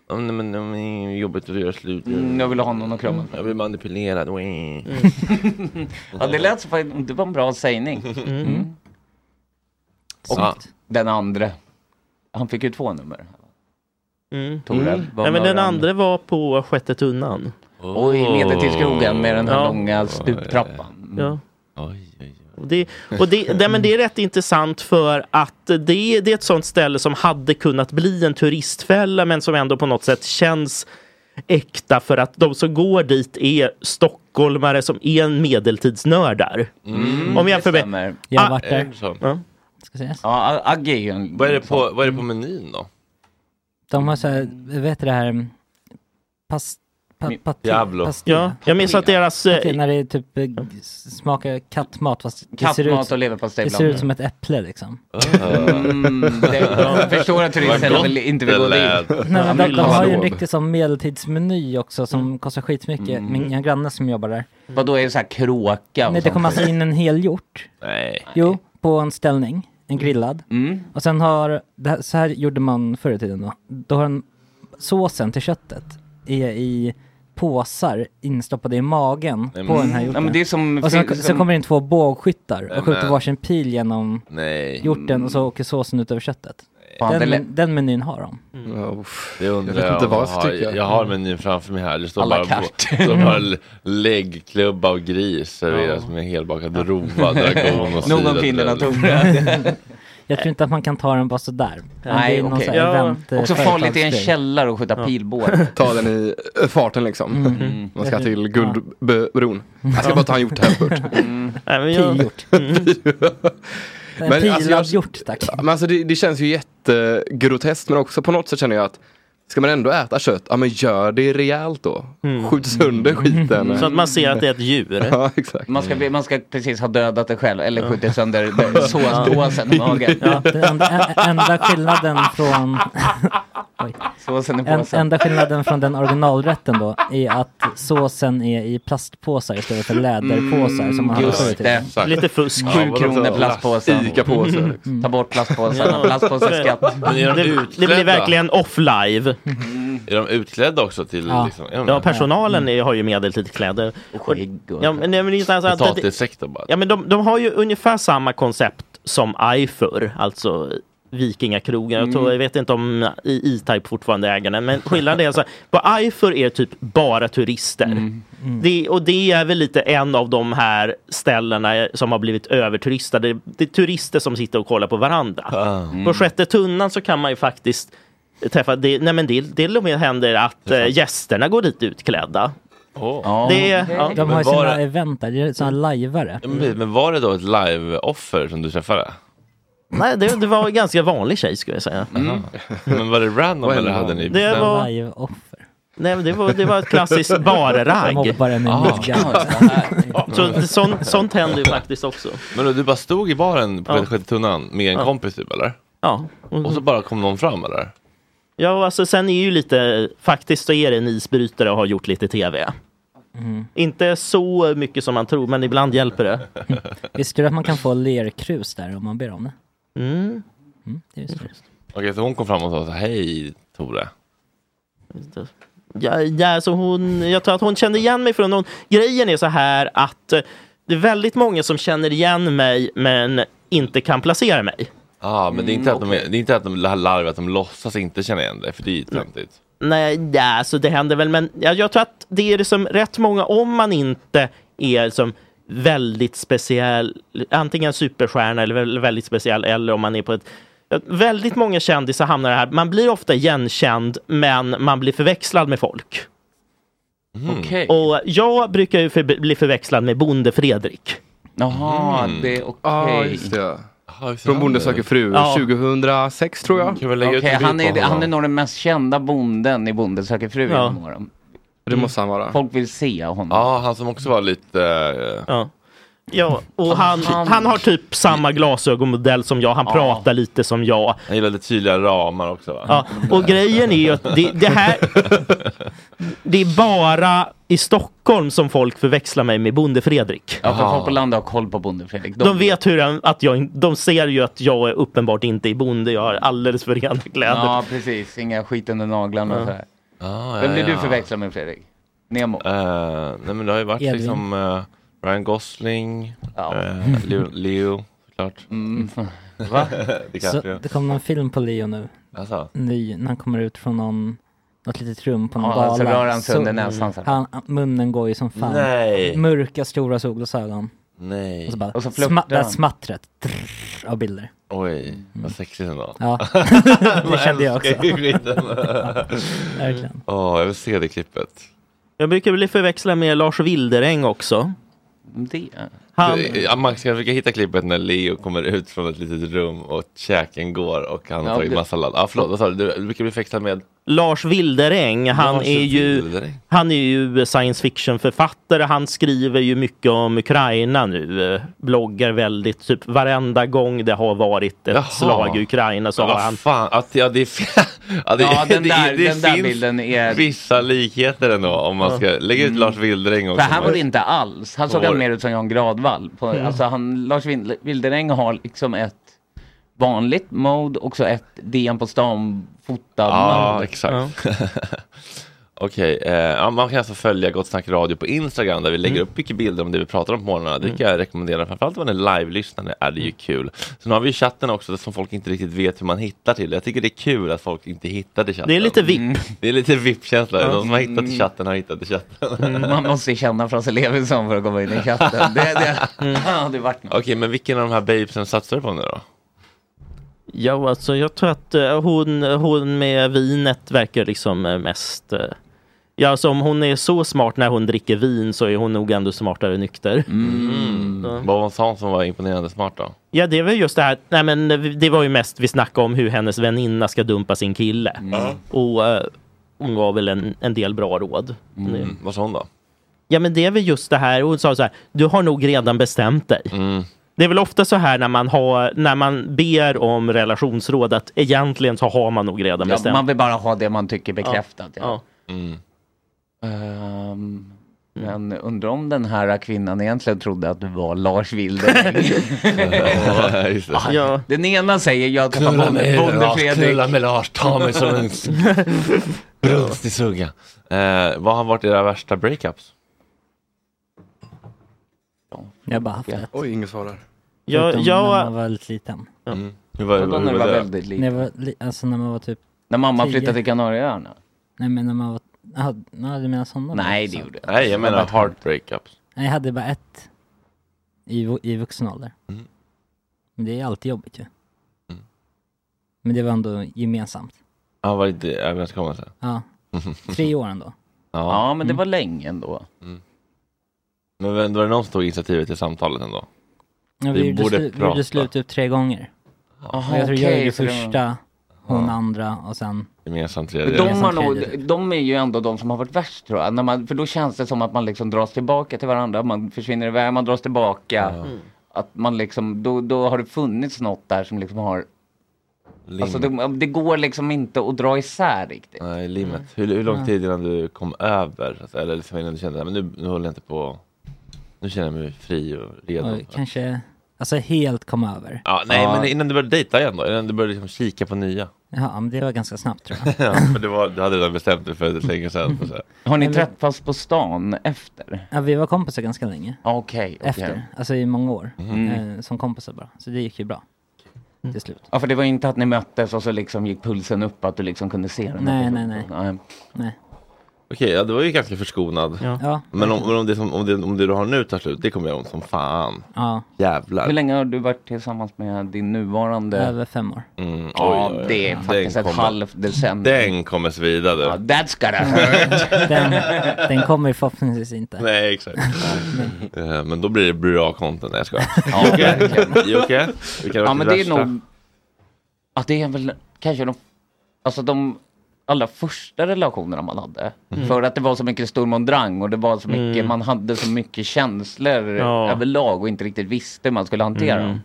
[SPEAKER 1] "Ja, nej, men, nej, men, jobbigt att göra slut.
[SPEAKER 3] Mm, jag vill ha någon att krama. Mm.
[SPEAKER 1] Jag blir manipulerad. Mm.
[SPEAKER 3] Ja, det lät så faktiskt, det var en bra sägning. Mm. Och
[SPEAKER 1] Ja.
[SPEAKER 3] den andra. Han fick ju två nummer.
[SPEAKER 6] Mm.
[SPEAKER 3] Torell.
[SPEAKER 6] Nej, men den andra var på sjätte tunnan.
[SPEAKER 3] Oj, nere till skogen med den här
[SPEAKER 6] Ja.
[SPEAKER 3] långa stuptrappan. Mm.
[SPEAKER 6] Ja.
[SPEAKER 1] Oj, oj, oj.
[SPEAKER 6] Och det, och det, det, men det är rätt intressant för att det, det är ett sånt ställe som hade kunnat bli en turistfälla men som ändå på något sätt känns äkta för att de som går dit är stockholmare som är en medeltidsnördar. Mm.
[SPEAKER 5] Mm.
[SPEAKER 6] Om vi jämför
[SPEAKER 3] Mm, Det
[SPEAKER 6] med...
[SPEAKER 3] stämmer.
[SPEAKER 5] Jag har
[SPEAKER 6] Ah,
[SPEAKER 5] varit
[SPEAKER 1] Är
[SPEAKER 5] där.
[SPEAKER 1] det så?
[SPEAKER 5] Ska sägas.
[SPEAKER 3] Ja, Agge är ju en...
[SPEAKER 1] Vad är det på, vad är det på menyn då?
[SPEAKER 5] De har så här, vet du det här, mm, pas, pa,
[SPEAKER 3] Mi-
[SPEAKER 5] pati,
[SPEAKER 1] Diablo.
[SPEAKER 6] Ja, jag minns att deras...
[SPEAKER 5] Det är
[SPEAKER 6] eh,
[SPEAKER 5] när det typ eh, g- smakar kattmat fast det ser,
[SPEAKER 3] Kattmat
[SPEAKER 5] ut,
[SPEAKER 3] och
[SPEAKER 5] det ser ut
[SPEAKER 3] leverpastej
[SPEAKER 5] som ett äpple liksom.
[SPEAKER 3] Mm, det- jag förstår att turisterna vill inte vill gå dit.
[SPEAKER 5] Nej, men de,
[SPEAKER 6] vill
[SPEAKER 5] de
[SPEAKER 6] ha
[SPEAKER 5] har ju en
[SPEAKER 4] råd.
[SPEAKER 5] riktig som medeltidsmeny också som kostar skitmycket.
[SPEAKER 3] Mm.
[SPEAKER 5] Mina grannar som jobbar där.
[SPEAKER 3] Vadå, är det så här kråka och
[SPEAKER 5] Nej, det
[SPEAKER 3] sånt?
[SPEAKER 5] kommer alltså in en hel hjort.
[SPEAKER 1] Nej.
[SPEAKER 5] Jo, på en ställning. En grillad. Och sen har, det här, så här gjorde man förr i tiden då. Då har den såsen till köttet i, i påsar instoppade i magen
[SPEAKER 1] Nej,
[SPEAKER 5] på
[SPEAKER 1] men-
[SPEAKER 5] den här hjorten.
[SPEAKER 3] Nej, men det är som...
[SPEAKER 5] Och sen, sen
[SPEAKER 3] som-
[SPEAKER 5] kommer det in två bågskyttar och skjuter
[SPEAKER 1] men-
[SPEAKER 5] varsin pil genom
[SPEAKER 1] Nej.
[SPEAKER 5] hjorten och så åker såsen ut över köttet.
[SPEAKER 3] Fan, det
[SPEAKER 5] Den,
[SPEAKER 3] lät-
[SPEAKER 5] men- den menyn har de.
[SPEAKER 4] Ja, uff.
[SPEAKER 1] Det undrar
[SPEAKER 4] Mm. Jag vet inte
[SPEAKER 1] om
[SPEAKER 4] vad jag ska
[SPEAKER 1] har.
[SPEAKER 4] tycka.
[SPEAKER 1] Jag har menyn framför mig här. Det står
[SPEAKER 3] À la
[SPEAKER 1] bara,
[SPEAKER 3] carte.
[SPEAKER 1] det står bara l- läggklubba och gris serveras med helbakad rova, dragon och
[SPEAKER 3] Någon
[SPEAKER 1] syrad
[SPEAKER 3] finner
[SPEAKER 1] lök.
[SPEAKER 3] något ordet.
[SPEAKER 5] Jag tror inte att man kan ta den bara sådär. Men
[SPEAKER 3] Nej,
[SPEAKER 5] det är någon
[SPEAKER 3] okej.
[SPEAKER 5] sån
[SPEAKER 6] Ja,
[SPEAKER 5] här event, eh,
[SPEAKER 3] Också farligt i en
[SPEAKER 5] företagsgrej.
[SPEAKER 3] källare och skjuta Mm. pilbåge.
[SPEAKER 4] Ta den i eh, farten liksom.
[SPEAKER 5] Mm.
[SPEAKER 4] Man ska till Guldbron. Jag ska bara ta en hjorthävspurt.
[SPEAKER 3] Mm.
[SPEAKER 6] nej, men jag-
[SPEAKER 5] Pilhjort. Mm. En
[SPEAKER 4] Men alltså,
[SPEAKER 5] pilad
[SPEAKER 4] jag-
[SPEAKER 5] hjort, tack.
[SPEAKER 4] Men alltså det, det känns ju jättegroteskt men också på något sätt känner jag att ska man ändå äta kött, ja men gör det rejält då.
[SPEAKER 5] Mm.
[SPEAKER 4] Skjut sönder skiten.
[SPEAKER 6] Så att man ser att det är ett djur.
[SPEAKER 4] Ja exakt.
[SPEAKER 3] Mm. Man ska, bli- man ska precis ha dödat det själv eller skjutit sönder den- såspåsen i magen.
[SPEAKER 5] Den enda, en- enda skillnaden från
[SPEAKER 3] Såsen i
[SPEAKER 5] en,
[SPEAKER 3] påsen.
[SPEAKER 5] enda skillnaden från den originalrätten då är att såsen är i plastpåsar istället för läderpåsar som man hade förr i
[SPEAKER 3] Just det.
[SPEAKER 5] tiden.
[SPEAKER 1] Exakt.
[SPEAKER 6] Lite fusk.
[SPEAKER 3] Sju kronor plastpåsen.
[SPEAKER 1] liksom.
[SPEAKER 4] Ica-påse.
[SPEAKER 3] liksom. Ta bort plastpåsarna. Plastpåseskatt.
[SPEAKER 1] Men
[SPEAKER 6] Mm. Det,
[SPEAKER 1] är de
[SPEAKER 6] det
[SPEAKER 1] utklädda?
[SPEAKER 6] blir
[SPEAKER 1] Mm.
[SPEAKER 6] verkligen off-live.
[SPEAKER 1] Är de utklädda också till
[SPEAKER 5] Ja.
[SPEAKER 1] liksom? Mm. Är de
[SPEAKER 6] Ja,
[SPEAKER 1] det?
[SPEAKER 6] personalen är- har ju medeltidskläder.
[SPEAKER 3] Och skägg och...
[SPEAKER 6] Ja, men, nej, men det är så här- så att-
[SPEAKER 1] Potatissektor bara.
[SPEAKER 6] Ja men de, de har ju ungefär samma koncept som Eifer, alltså Vikingakrogen. Jag,
[SPEAKER 1] Mm.
[SPEAKER 6] tror, jag vet inte om I- E-Type fortfarande äger den, men skillnaden är alltså på Eifer är det typ bara turister.
[SPEAKER 1] Mm.
[SPEAKER 5] Mm.
[SPEAKER 6] Det, och det är väl lite en av de här ställena som har blivit överturistade. Det är turister som sitter och kollar på varandra.
[SPEAKER 1] Ah.
[SPEAKER 6] På sjätte tunnan så kan man ju faktiskt träffa, det, nej men det, det till och med händer att eh, gästerna går dit utklädda.
[SPEAKER 3] Ja.
[SPEAKER 6] Det är, ja.
[SPEAKER 5] De har ju
[SPEAKER 1] Men var
[SPEAKER 5] sina
[SPEAKER 1] det-
[SPEAKER 5] event där, det är såna lajvare.
[SPEAKER 1] Ja, men precis. Men var det då ett live-offer som du träffade?
[SPEAKER 6] Nej, det, det var en ganska vanlig tjej skulle jag säga.
[SPEAKER 1] Men var det random eller hade ni
[SPEAKER 6] Det
[SPEAKER 1] bestämt?
[SPEAKER 6] var-
[SPEAKER 5] Live-offer.
[SPEAKER 6] Nej, men det var, det var ett klassiskt
[SPEAKER 5] De
[SPEAKER 6] barragg.
[SPEAKER 5] hoppar en i
[SPEAKER 1] Ah.
[SPEAKER 5] midjan.
[SPEAKER 6] Så, sånt, sånt händer ju faktiskt också.
[SPEAKER 1] Men då, du bara stod i baren på
[SPEAKER 6] Ja.
[SPEAKER 1] ja. tunnan med en kompis typ eller?
[SPEAKER 6] Ja.
[SPEAKER 1] Och så bara kom någon fram eller?
[SPEAKER 6] ja, alltså sen är ju lite, faktiskt så är det en isbrytare och har gjort lite tv.
[SPEAKER 5] mm.
[SPEAKER 6] Inte så mycket som man tror, men ibland hjälper det.
[SPEAKER 5] Visste du att man kan få lerkrus där om man ber om det?
[SPEAKER 6] Mm.
[SPEAKER 5] Mm, det visste jag.
[SPEAKER 1] Okej, så hon kom fram och sa så här, hej Tore.
[SPEAKER 6] Ja, ja, så hon, jag tror att hon kände igen mig från någon. Grejen är så här att eh, det är väldigt många som känner igen mig, men inte kan placera mig.
[SPEAKER 1] Ja, ah, men det är inte att de, är, det är inte att de det här larvet, att de låtsas inte känna igen dig, för det är ju töntigt.
[SPEAKER 6] Nej, ja, så det händer väl, men jag, jag tror att det är liksom rätt många, om man inte är liksom väldigt speciell, antingen superstjärna eller väl- väldigt speciell, eller om man är på ett... ja, Väldigt många kändisar hamnar i det här, man blir ofta igenkänd, men man blir förväxlad med folk.
[SPEAKER 3] Okej.
[SPEAKER 6] Och jag brukar ju för, bli förväxlad med Bonde Fredrik.
[SPEAKER 3] Jaha, det är
[SPEAKER 4] Ja
[SPEAKER 3] okej.
[SPEAKER 4] Ah, just det.
[SPEAKER 1] Jaha, hur ser
[SPEAKER 4] Från
[SPEAKER 1] han
[SPEAKER 4] Bonde
[SPEAKER 1] ut?
[SPEAKER 4] söker fru
[SPEAKER 6] Ja.
[SPEAKER 4] 2006 tror jag.
[SPEAKER 1] Kan vi lägga ut
[SPEAKER 3] Okej,
[SPEAKER 1] en bild
[SPEAKER 3] han,
[SPEAKER 1] på
[SPEAKER 3] är,
[SPEAKER 1] honom?
[SPEAKER 3] han är nog den mest kända bonden i Bonde söker fru
[SPEAKER 6] Ja.
[SPEAKER 3] genom
[SPEAKER 1] Mm.
[SPEAKER 3] åren.
[SPEAKER 4] Det måste han vara.
[SPEAKER 3] Folk vill se honom.
[SPEAKER 1] Ja, han som också var lite... eh,
[SPEAKER 6] Ja. Ja, och han, han har typ samma glasögonmodell som jag. Han pratar lite som jag.
[SPEAKER 1] Han gillade tydliga ramar också va?
[SPEAKER 6] Ja, och grejen är ju att det, det här... Det är bara i Stockholm som folk förväxlar mig med Bonde Fredrik.
[SPEAKER 3] Ja, för folk på landet har koll på Bonde Fredrik.
[SPEAKER 6] De vet hur en, att jag, in- de ser ju att jag är uppenbart inte är bonde, jag har alldeles för rena kläder.
[SPEAKER 3] Ja, precis. Inga skit under naglarna och sådär.
[SPEAKER 1] Ah,
[SPEAKER 3] Vem
[SPEAKER 1] ja,
[SPEAKER 3] blir du
[SPEAKER 1] ja.
[SPEAKER 3] förväxlad med Fredrik? Nemo?
[SPEAKER 1] Eh, nej men det har ju varit
[SPEAKER 5] Edvin.
[SPEAKER 1] liksom eh, Ryan Gosling,
[SPEAKER 3] Ja.
[SPEAKER 1] eh, Leo, Leo såklart.
[SPEAKER 3] Mm.
[SPEAKER 5] Så
[SPEAKER 1] DiCaprio.
[SPEAKER 5] det kom någon film på Leo nu,
[SPEAKER 1] Alltså,
[SPEAKER 5] ny, när han kommer ut från någon, något litet rum på någon
[SPEAKER 3] Ja, så
[SPEAKER 5] gala.
[SPEAKER 3] rör han sig under näsan så här.
[SPEAKER 5] han, munnen går ju som fan.
[SPEAKER 1] Nej.
[SPEAKER 5] Mörka stora solglasögon.
[SPEAKER 1] nej.
[SPEAKER 5] Och så bara,
[SPEAKER 3] Och så flörtar
[SPEAKER 5] sma- det här
[SPEAKER 3] han.
[SPEAKER 5] smattret drrr, av bilder. Mm.
[SPEAKER 1] Oj, vad sexigt ändå.
[SPEAKER 5] Ja, det kände jag också.
[SPEAKER 1] Älskar ju skiten.
[SPEAKER 5] Verkligen.
[SPEAKER 1] Åh, jag vill se det klippet.
[SPEAKER 6] Jag brukar bli förväxlad med Lars Wildereng också.
[SPEAKER 3] Det.
[SPEAKER 6] Han,
[SPEAKER 1] Ja, Max kan försöka hitta klippet när Leo kommer ut från ett litet rum och käken går och han har
[SPEAKER 3] Ja,
[SPEAKER 1] tagit
[SPEAKER 3] det-
[SPEAKER 1] massa ladd. Ah, förlåt, vad sa du? Du du brukar bli förväxlad med
[SPEAKER 6] Lars Wildereng, han
[SPEAKER 1] Lars
[SPEAKER 6] är ju,
[SPEAKER 1] Wildereng.
[SPEAKER 6] han är ju science fiction författare. Han skriver ju mycket om Ukraina nu. eh, Bloggar väldigt, typ varenda gång det har varit ett
[SPEAKER 1] Jaha.
[SPEAKER 6] slag i Ukraina så
[SPEAKER 1] Ja,
[SPEAKER 6] har
[SPEAKER 1] vad
[SPEAKER 6] han
[SPEAKER 1] fan. Att, ja, det, är- ja, det,
[SPEAKER 3] Ja, den
[SPEAKER 1] det-
[SPEAKER 3] där,
[SPEAKER 1] det
[SPEAKER 3] den där
[SPEAKER 1] finns
[SPEAKER 3] bilden är... Mm.
[SPEAKER 1] vissa likheter ändå om man ska lägga ut Lars Wildereng
[SPEAKER 3] För
[SPEAKER 1] också.
[SPEAKER 3] han var det inte alls. Han såg
[SPEAKER 1] Var-
[SPEAKER 3] han mer ut som Jan Gradvall. På,
[SPEAKER 4] Mm.
[SPEAKER 3] Alltså han, Lars Wild- Wildereng har liksom ett vanligt mode och så ett DN på stan fotad
[SPEAKER 1] Ja,
[SPEAKER 3] mode.
[SPEAKER 1] exakt. Okej, eh, ja, man kan alltså följa Gott Snack Radio på Instagram där vi lägger
[SPEAKER 3] Mm.
[SPEAKER 1] upp mycket bilder om det vi pratar om på morgnarna. Det kan jag rekommendera, framförallt om man är live-lyssnande är det
[SPEAKER 3] Mm.
[SPEAKER 1] ju kul. Sen har vi ju chatten också som folk inte riktigt vet hur man hittar till. Jag tycker det är kul att folk inte hittar till chatten. Mm.
[SPEAKER 6] Det är lite VIP.
[SPEAKER 1] Det är lite VIP-känsla. De som har hittat till chatten har hittat till chatten.
[SPEAKER 3] Mm. Man måste känna Frasse Levinson för att komma in i chatten. Det, det,
[SPEAKER 5] Mm.
[SPEAKER 3] ja, det vart något.
[SPEAKER 1] Okej, men vilken av de här babesen satsar du på nu då?
[SPEAKER 6] Ja, alltså jag tror att eh, hon, hon med vinet verkar liksom eh, mest... eh, Ja, alltså om hon är så smart när hon dricker vin så är hon nog ändå smartare nykter.
[SPEAKER 1] Mm.
[SPEAKER 3] Mm.
[SPEAKER 1] Vad var hon som var imponerande smart då?
[SPEAKER 6] Ja, det var just det här. Nej, men det var ju mest vi snackade om hur hennes väninna ska dumpa sin kille.
[SPEAKER 1] Mm.
[SPEAKER 6] Och eh, hon gav väl en, en del bra råd.
[SPEAKER 1] Mm. Vad sa hon då?
[SPEAKER 6] Ja, men det är väl just det här. Hon sa så här, du har nog redan bestämt dig.
[SPEAKER 1] Mm.
[SPEAKER 6] Det är väl ofta så här när man, har, när man ber om relationsråd att egentligen så har man nog redan
[SPEAKER 3] Ja,
[SPEAKER 6] bestämt
[SPEAKER 3] man vill bara ha det man tycker bekräftat. Ja.
[SPEAKER 6] Ja.
[SPEAKER 1] Mm.
[SPEAKER 3] Ehm, men undrar om den här kvinnan egentligen trodde att du var Lars Wildereng.
[SPEAKER 1] Just det.
[SPEAKER 6] Ja.
[SPEAKER 3] Den ena säger jag tappar
[SPEAKER 1] Knulla
[SPEAKER 3] bonde,
[SPEAKER 1] med
[SPEAKER 3] bonde
[SPEAKER 1] Lars,
[SPEAKER 3] Fredrik.
[SPEAKER 1] knulla med Lars, ta mig som en s- brunst i sugga. Eh, vad har varit era värsta breakups?
[SPEAKER 5] Jag har bara haft det.
[SPEAKER 4] Oj, ingen svarar.
[SPEAKER 6] Jag,
[SPEAKER 5] Utom när man var
[SPEAKER 6] jag,
[SPEAKER 5] väldigt liten.
[SPEAKER 1] Hur Mm. var,
[SPEAKER 3] Det var när du var
[SPEAKER 1] det?
[SPEAKER 3] väldigt
[SPEAKER 5] När, jag
[SPEAKER 3] liten.
[SPEAKER 5] var, li- alltså när man var typ,
[SPEAKER 3] När mamma
[SPEAKER 5] tio.
[SPEAKER 3] flyttade till Kanarieöarna.
[SPEAKER 5] nej men när man var, jaha, ja, du menar sådana?
[SPEAKER 3] Nej,
[SPEAKER 5] barn,
[SPEAKER 3] det
[SPEAKER 5] så.
[SPEAKER 3] gjorde jag
[SPEAKER 1] Nej, jag menar
[SPEAKER 3] Vad var det?
[SPEAKER 1] hard breakups.
[SPEAKER 5] Nej, jag hade bara ett i, vu- i vuxen ålder.
[SPEAKER 1] Mm.
[SPEAKER 5] Men det är alltid jobbigt ju. Men det var ändå gemensamt.
[SPEAKER 1] Ja, ah, var det överenskommelsen?
[SPEAKER 5] Ja. Tre år ändå. Mm.
[SPEAKER 1] Ja. Mm.
[SPEAKER 3] Ja, men det var länge ändå.
[SPEAKER 1] Men vem- var det någon som tog initiativet till samtalet ändå?
[SPEAKER 5] Ja,
[SPEAKER 1] Vi
[SPEAKER 5] vi, gjorde
[SPEAKER 1] borde
[SPEAKER 5] slu- vi gjorde
[SPEAKER 1] prata.
[SPEAKER 5] slut typ tre gånger.
[SPEAKER 3] Aha,
[SPEAKER 5] Och jag tror jag gjorde
[SPEAKER 3] så det var-
[SPEAKER 5] första, hon andra och sen,
[SPEAKER 1] Gemensamt
[SPEAKER 3] Men
[SPEAKER 1] tredje?
[SPEAKER 3] De, har
[SPEAKER 5] Gemensamt
[SPEAKER 3] nog,
[SPEAKER 5] tredje.
[SPEAKER 3] de är ju ändå de som har varit värst tror jag. När man, för då känns det som att man liksom dras tillbaka till varandra. Man försvinner iväg, man dras tillbaka.
[SPEAKER 5] Mm.
[SPEAKER 3] Att man liksom, då, då har det funnits något där som liksom har...
[SPEAKER 1] Lim.
[SPEAKER 3] Alltså det, det går liksom inte att dra isär riktigt.
[SPEAKER 1] Nej, limmet. Hur, hur lång tid innan du kom över? Alltså, Eller liksom innan du kände att nu, nu håller jag inte på. Nu känner jag mig fri och redo.
[SPEAKER 5] och kanske, alltså helt kom över.
[SPEAKER 1] Ja, nej,
[SPEAKER 3] Ja.
[SPEAKER 1] men innan du började dejta igen då? Innan du började liksom kika på nya?
[SPEAKER 5] Ja, men det var ganska snabbt tror jag.
[SPEAKER 1] Ja, för det var, du hade redan bestämt dig för ett länge sedan. och så här.
[SPEAKER 3] Har ni träffats på stan efter?
[SPEAKER 5] Ja, vi var kompisar ganska länge.
[SPEAKER 3] Ja, Okej, okej.
[SPEAKER 5] Efter, alltså i många år.
[SPEAKER 1] Mm.
[SPEAKER 5] Eh, som kompisar bara. Så det gick ju bra. Till slut.
[SPEAKER 3] Ja, för det var ju inte att ni möttes och så liksom gick pulsen upp att du liksom kunde se den.
[SPEAKER 5] Nej, nej, nej. Nej.
[SPEAKER 1] Okej, ja, det var ju ganska förskonad.
[SPEAKER 5] Ja,
[SPEAKER 1] Men om, men om, det som, om, det, om det du har nu tar slut, det kommer jag om som fan.
[SPEAKER 5] ja.
[SPEAKER 1] Jävlar.
[SPEAKER 3] Hur länge har du varit tillsammans med din nuvarande?
[SPEAKER 5] Över fem år.
[SPEAKER 1] Mm,
[SPEAKER 3] ja,
[SPEAKER 1] oj, oj, oj.
[SPEAKER 3] det är
[SPEAKER 1] Den
[SPEAKER 3] faktiskt ett
[SPEAKER 1] kommer-
[SPEAKER 3] halvt decennium.
[SPEAKER 1] Den kommer svida du.
[SPEAKER 3] Ja, that's gotta hurt.
[SPEAKER 5] Den, den kommer förhoppningsvis inte.
[SPEAKER 1] Nej, exakt. Eh, men då blir det bra content. Nej, jag skojar.
[SPEAKER 3] ja, verkligen.
[SPEAKER 1] Jocke? Vilka har
[SPEAKER 3] ja,
[SPEAKER 1] varit
[SPEAKER 3] men
[SPEAKER 1] ditt
[SPEAKER 3] det är
[SPEAKER 1] värsta?
[SPEAKER 3] nog... Ja, det är väl kanske de... Alltså de... allra första relationerna man hade. För att det var så mycket stormondrang och det var så mycket, man hade så mycket känslor
[SPEAKER 6] Ja.
[SPEAKER 3] överlag och inte riktigt visste hur man skulle hantera dem.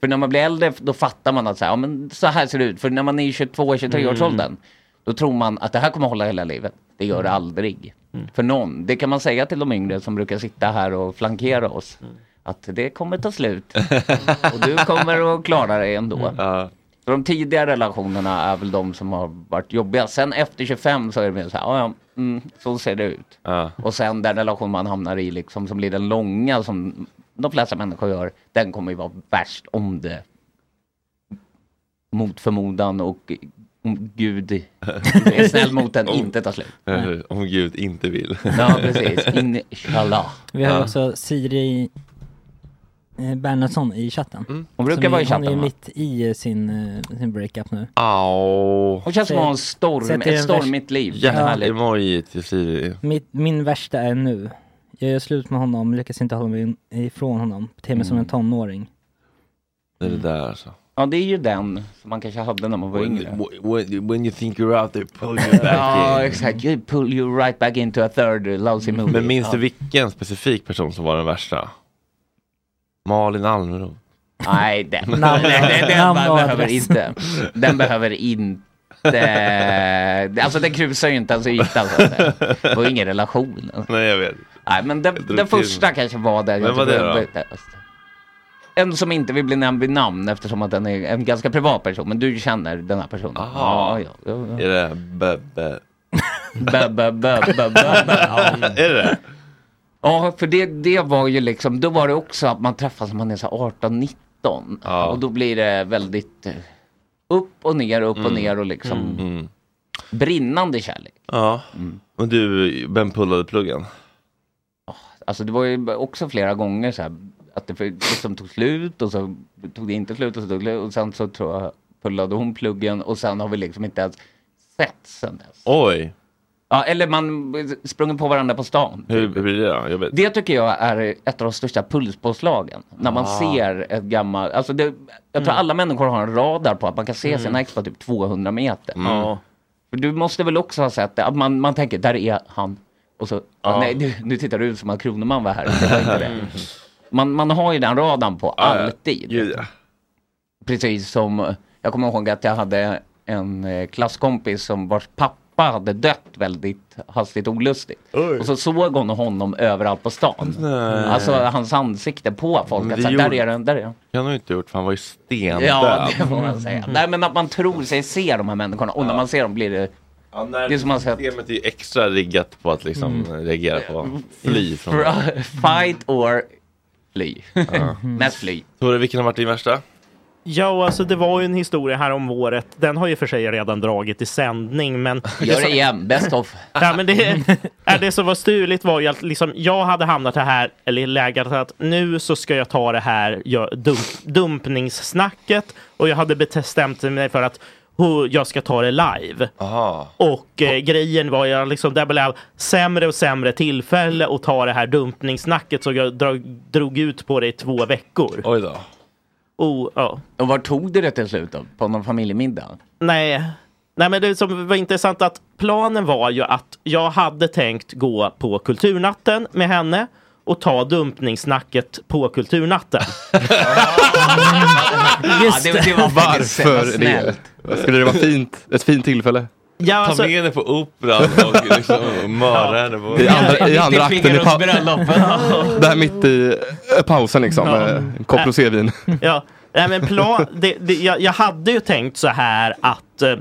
[SPEAKER 3] För när man blir äldre då fattar man att så här, ja, men så här ser det ut. För när man är i 22-23-årsåldern då tror man att det här kommer hålla hela livet. Det gör
[SPEAKER 1] Mm.
[SPEAKER 3] det aldrig. För någon. Det kan man säga till de yngre som brukar sitta här och flankera oss.
[SPEAKER 1] Mm.
[SPEAKER 3] Att det kommer ta slut. och du kommer att klara dig ändå.
[SPEAKER 1] Mm. Ja.
[SPEAKER 3] Så de tidiga relationerna är väl de som har varit jobbiga. Sen efter 25 så är det mer så här, "Ja, ja, mm, så ser det ut.
[SPEAKER 1] Ja.
[SPEAKER 3] Och sen den relation man hamnar i liksom som blir den långa som de flesta människor gör, den kommer ju vara värst om det mot förmodan och om Gud är snäll mot den inte tar slut.
[SPEAKER 1] Eh, Om Gud inte vill.
[SPEAKER 3] Ja, precis. Inshallah.
[SPEAKER 5] Vi har
[SPEAKER 1] Ja.
[SPEAKER 5] också Siri eh, Bernhardsson i chatten.
[SPEAKER 1] Mm.
[SPEAKER 3] Hon brukar
[SPEAKER 5] Som
[SPEAKER 3] vara
[SPEAKER 5] är-
[SPEAKER 3] i chatten,
[SPEAKER 5] Hon är
[SPEAKER 3] va?
[SPEAKER 5] mitt i eh, sin, eh, sin breakup nu.
[SPEAKER 1] Au.
[SPEAKER 3] Hon känns som att hon har en storm,
[SPEAKER 5] Sätt i den
[SPEAKER 3] ett stormigt liv. Härligt.
[SPEAKER 1] Hjärtemoji till Siri.
[SPEAKER 5] Mitt, min värsta är nu. Jag gör slut med honom, lyckas inte hålla mig in- ifrån honom. Beter mig
[SPEAKER 3] Mm.
[SPEAKER 5] som en tonåring.
[SPEAKER 1] Det är det där alltså.
[SPEAKER 3] Ja, det är ju den som man kanske hade när man var yngre.
[SPEAKER 1] When, when, when you think you're out there, pull you
[SPEAKER 3] Ja,
[SPEAKER 1] back in.
[SPEAKER 3] exakt. You pull you right back into a third lousy movie.
[SPEAKER 1] Men minns
[SPEAKER 3] ja.
[SPEAKER 1] du vilken specifik person som var den värsta? Malin Almroth.
[SPEAKER 3] Nej, den, den,
[SPEAKER 5] Namn-
[SPEAKER 3] den, den,
[SPEAKER 5] namn och
[SPEAKER 3] behöver
[SPEAKER 5] adress.
[SPEAKER 3] inte. Den behöver inte. Alltså den krusar ju inte ens ytan. så att säga. Det var ju ingen relation.
[SPEAKER 1] Nej jag vet.
[SPEAKER 3] Nej, men den,
[SPEAKER 1] drog
[SPEAKER 3] den
[SPEAKER 1] till.
[SPEAKER 3] första kanske var den.
[SPEAKER 1] Vem var det då?
[SPEAKER 3] En som inte vill bli nämnd vid namn eftersom att den är en ganska privat person. Men du känner den här personen.
[SPEAKER 1] Aha.
[SPEAKER 3] Ja, ja, ja.
[SPEAKER 1] Är det bö, bö.
[SPEAKER 3] Bö, bö, bö, bö, bö, bö. Ja.
[SPEAKER 1] Är det det?
[SPEAKER 3] Ja, för det, det var ju liksom, då var det också att man träffas när man är så 18-19.
[SPEAKER 1] Ja.
[SPEAKER 3] Och då blir det väldigt eh, upp och ner, upp och ner och liksom
[SPEAKER 1] Mm.
[SPEAKER 3] brinnande kärlek.
[SPEAKER 1] Ja.
[SPEAKER 3] Mm.
[SPEAKER 1] Och du, vem pullade pluggen?
[SPEAKER 3] Alltså det var ju också flera gånger så här, att det för- liksom tog slut och så tog det inte slut och så tog det slut och sen så tror jag pullade hon pluggen och sen har vi liksom inte ens sett sen dess.
[SPEAKER 1] Oj,
[SPEAKER 3] Ja, eller man sprungit på varandå på stan.
[SPEAKER 1] hur, hur blir det då? Jag vet.
[SPEAKER 3] Det tycker jag är ett av de största pulspåslagen. När man
[SPEAKER 1] Ah.
[SPEAKER 3] ser ett gammalt, alltså det, jag
[SPEAKER 1] Mm.
[SPEAKER 3] tror alla människor har en radar på att man kan se sina ex på typ 200 meter.
[SPEAKER 1] Mm.
[SPEAKER 6] Ja.
[SPEAKER 3] För Du måste väl också ha sett det, att man, man tänker där är han. Och så, "Ah, nej nu, nu tittar du ut som att Kroneman var här. Det var inte det. Man, man har ju den radarn på
[SPEAKER 1] ja.
[SPEAKER 3] alltid.
[SPEAKER 1] Gud ja.
[SPEAKER 3] Precis som, jag kommer ihåg att jag hade en eh, klasskompis som vars pappa hade dött väldigt hastigt och olustigt. Och så såg hon honom överallt på stan. Alltså hans ansikte på folk.
[SPEAKER 1] Men
[SPEAKER 3] Att,
[SPEAKER 1] det
[SPEAKER 3] så här,
[SPEAKER 1] Mm, gjorde-
[SPEAKER 3] där är den, där är den.
[SPEAKER 1] Jag har nog inte gjort för han var ju stendöd.
[SPEAKER 3] Ja, det får man säga. Nej men att man tror sig se de här människorna och när man ser dem blir det
[SPEAKER 1] Ja, när
[SPEAKER 3] Det är som man ska-
[SPEAKER 1] systemet är ju extra riggat på att liksom reagera på fly från
[SPEAKER 3] fr- fight or fly. Mest fly.
[SPEAKER 1] Tore, vilken har varit din värsta?
[SPEAKER 6] Ja, alltså det var ju en historia här om året. Den har ju för sig redan dragit i sändning, men
[SPEAKER 3] Gör det igen, best of.
[SPEAKER 6] Ja, men det, ja, det som var stuligt var ju att liksom, jag hade hamnat det här, eller i läget att nu så ska jag ta det här jag, dump, dumpningssnacket och jag hade bestämt mig för att "Ho, jag ska ta det live.
[SPEAKER 1] Aha.
[SPEAKER 6] Och eh, grejen var jag liksom, det blev sämre och sämre tillfälle att ta det här dumpningssnacket så jag drog, drog ut på det i två veckor.
[SPEAKER 1] Oj då.
[SPEAKER 6] Och, ja.
[SPEAKER 3] Och var tog du det till slut då? På någon familjemiddag?
[SPEAKER 6] Nej. Nej, men det som var intressant att planen var ju att jag hade tänkt gå på kulturnatten med henne och ta dumpningssnacket på kulturnatten.
[SPEAKER 3] Just ja, det, det var faktiskt
[SPEAKER 4] Varför det?
[SPEAKER 3] snällt.
[SPEAKER 4] Skulle det vara fint? Ett fint tillfälle?
[SPEAKER 6] Ja,
[SPEAKER 1] Ta
[SPEAKER 6] alltså,
[SPEAKER 1] med henne på operan och liksom mörda henne på...
[SPEAKER 4] I andra, i andra
[SPEAKER 3] Mitt i
[SPEAKER 4] akten, i pa-
[SPEAKER 3] bröllop.
[SPEAKER 4] där mitt i eh, pausen liksom.
[SPEAKER 6] Ja.
[SPEAKER 4] med En kopp rosévin.
[SPEAKER 6] ja, nej, men plan, det, det, jag, jag hade ju tänkt så här att eh,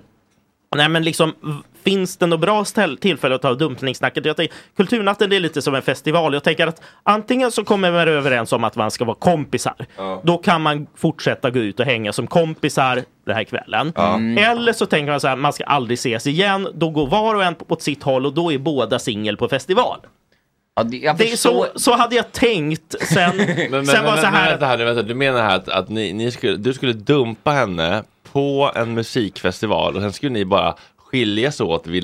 [SPEAKER 6] Nej men liksom, v- finns det något bra ställ- tillfälle att ta dumpningssnacket? Jag tänker, kulturnatten det är lite som en festival. Jag tänker att antingen så kommer man överens om att man ska vara kompisar. Då kan man fortsätta gå ut och hänga som kompisar den här kvällen.
[SPEAKER 3] Mm.
[SPEAKER 6] Eller så tänker man så här, man ska aldrig ses igen. Då går var och en på- åt sitt håll och då är båda singel på festival.
[SPEAKER 3] Ja, det, jag
[SPEAKER 6] Det är så,
[SPEAKER 3] förstår.
[SPEAKER 6] så hade jag tänkt sen,
[SPEAKER 1] Men, men,
[SPEAKER 6] sen
[SPEAKER 1] men,
[SPEAKER 6] var
[SPEAKER 1] men,
[SPEAKER 6] så här.
[SPEAKER 1] vänta här nu, vänta. Du menar här att, att ni, ni skulle, du skulle dumpa henne på en musikfestival och sen skulle ni bara skiljas åt vid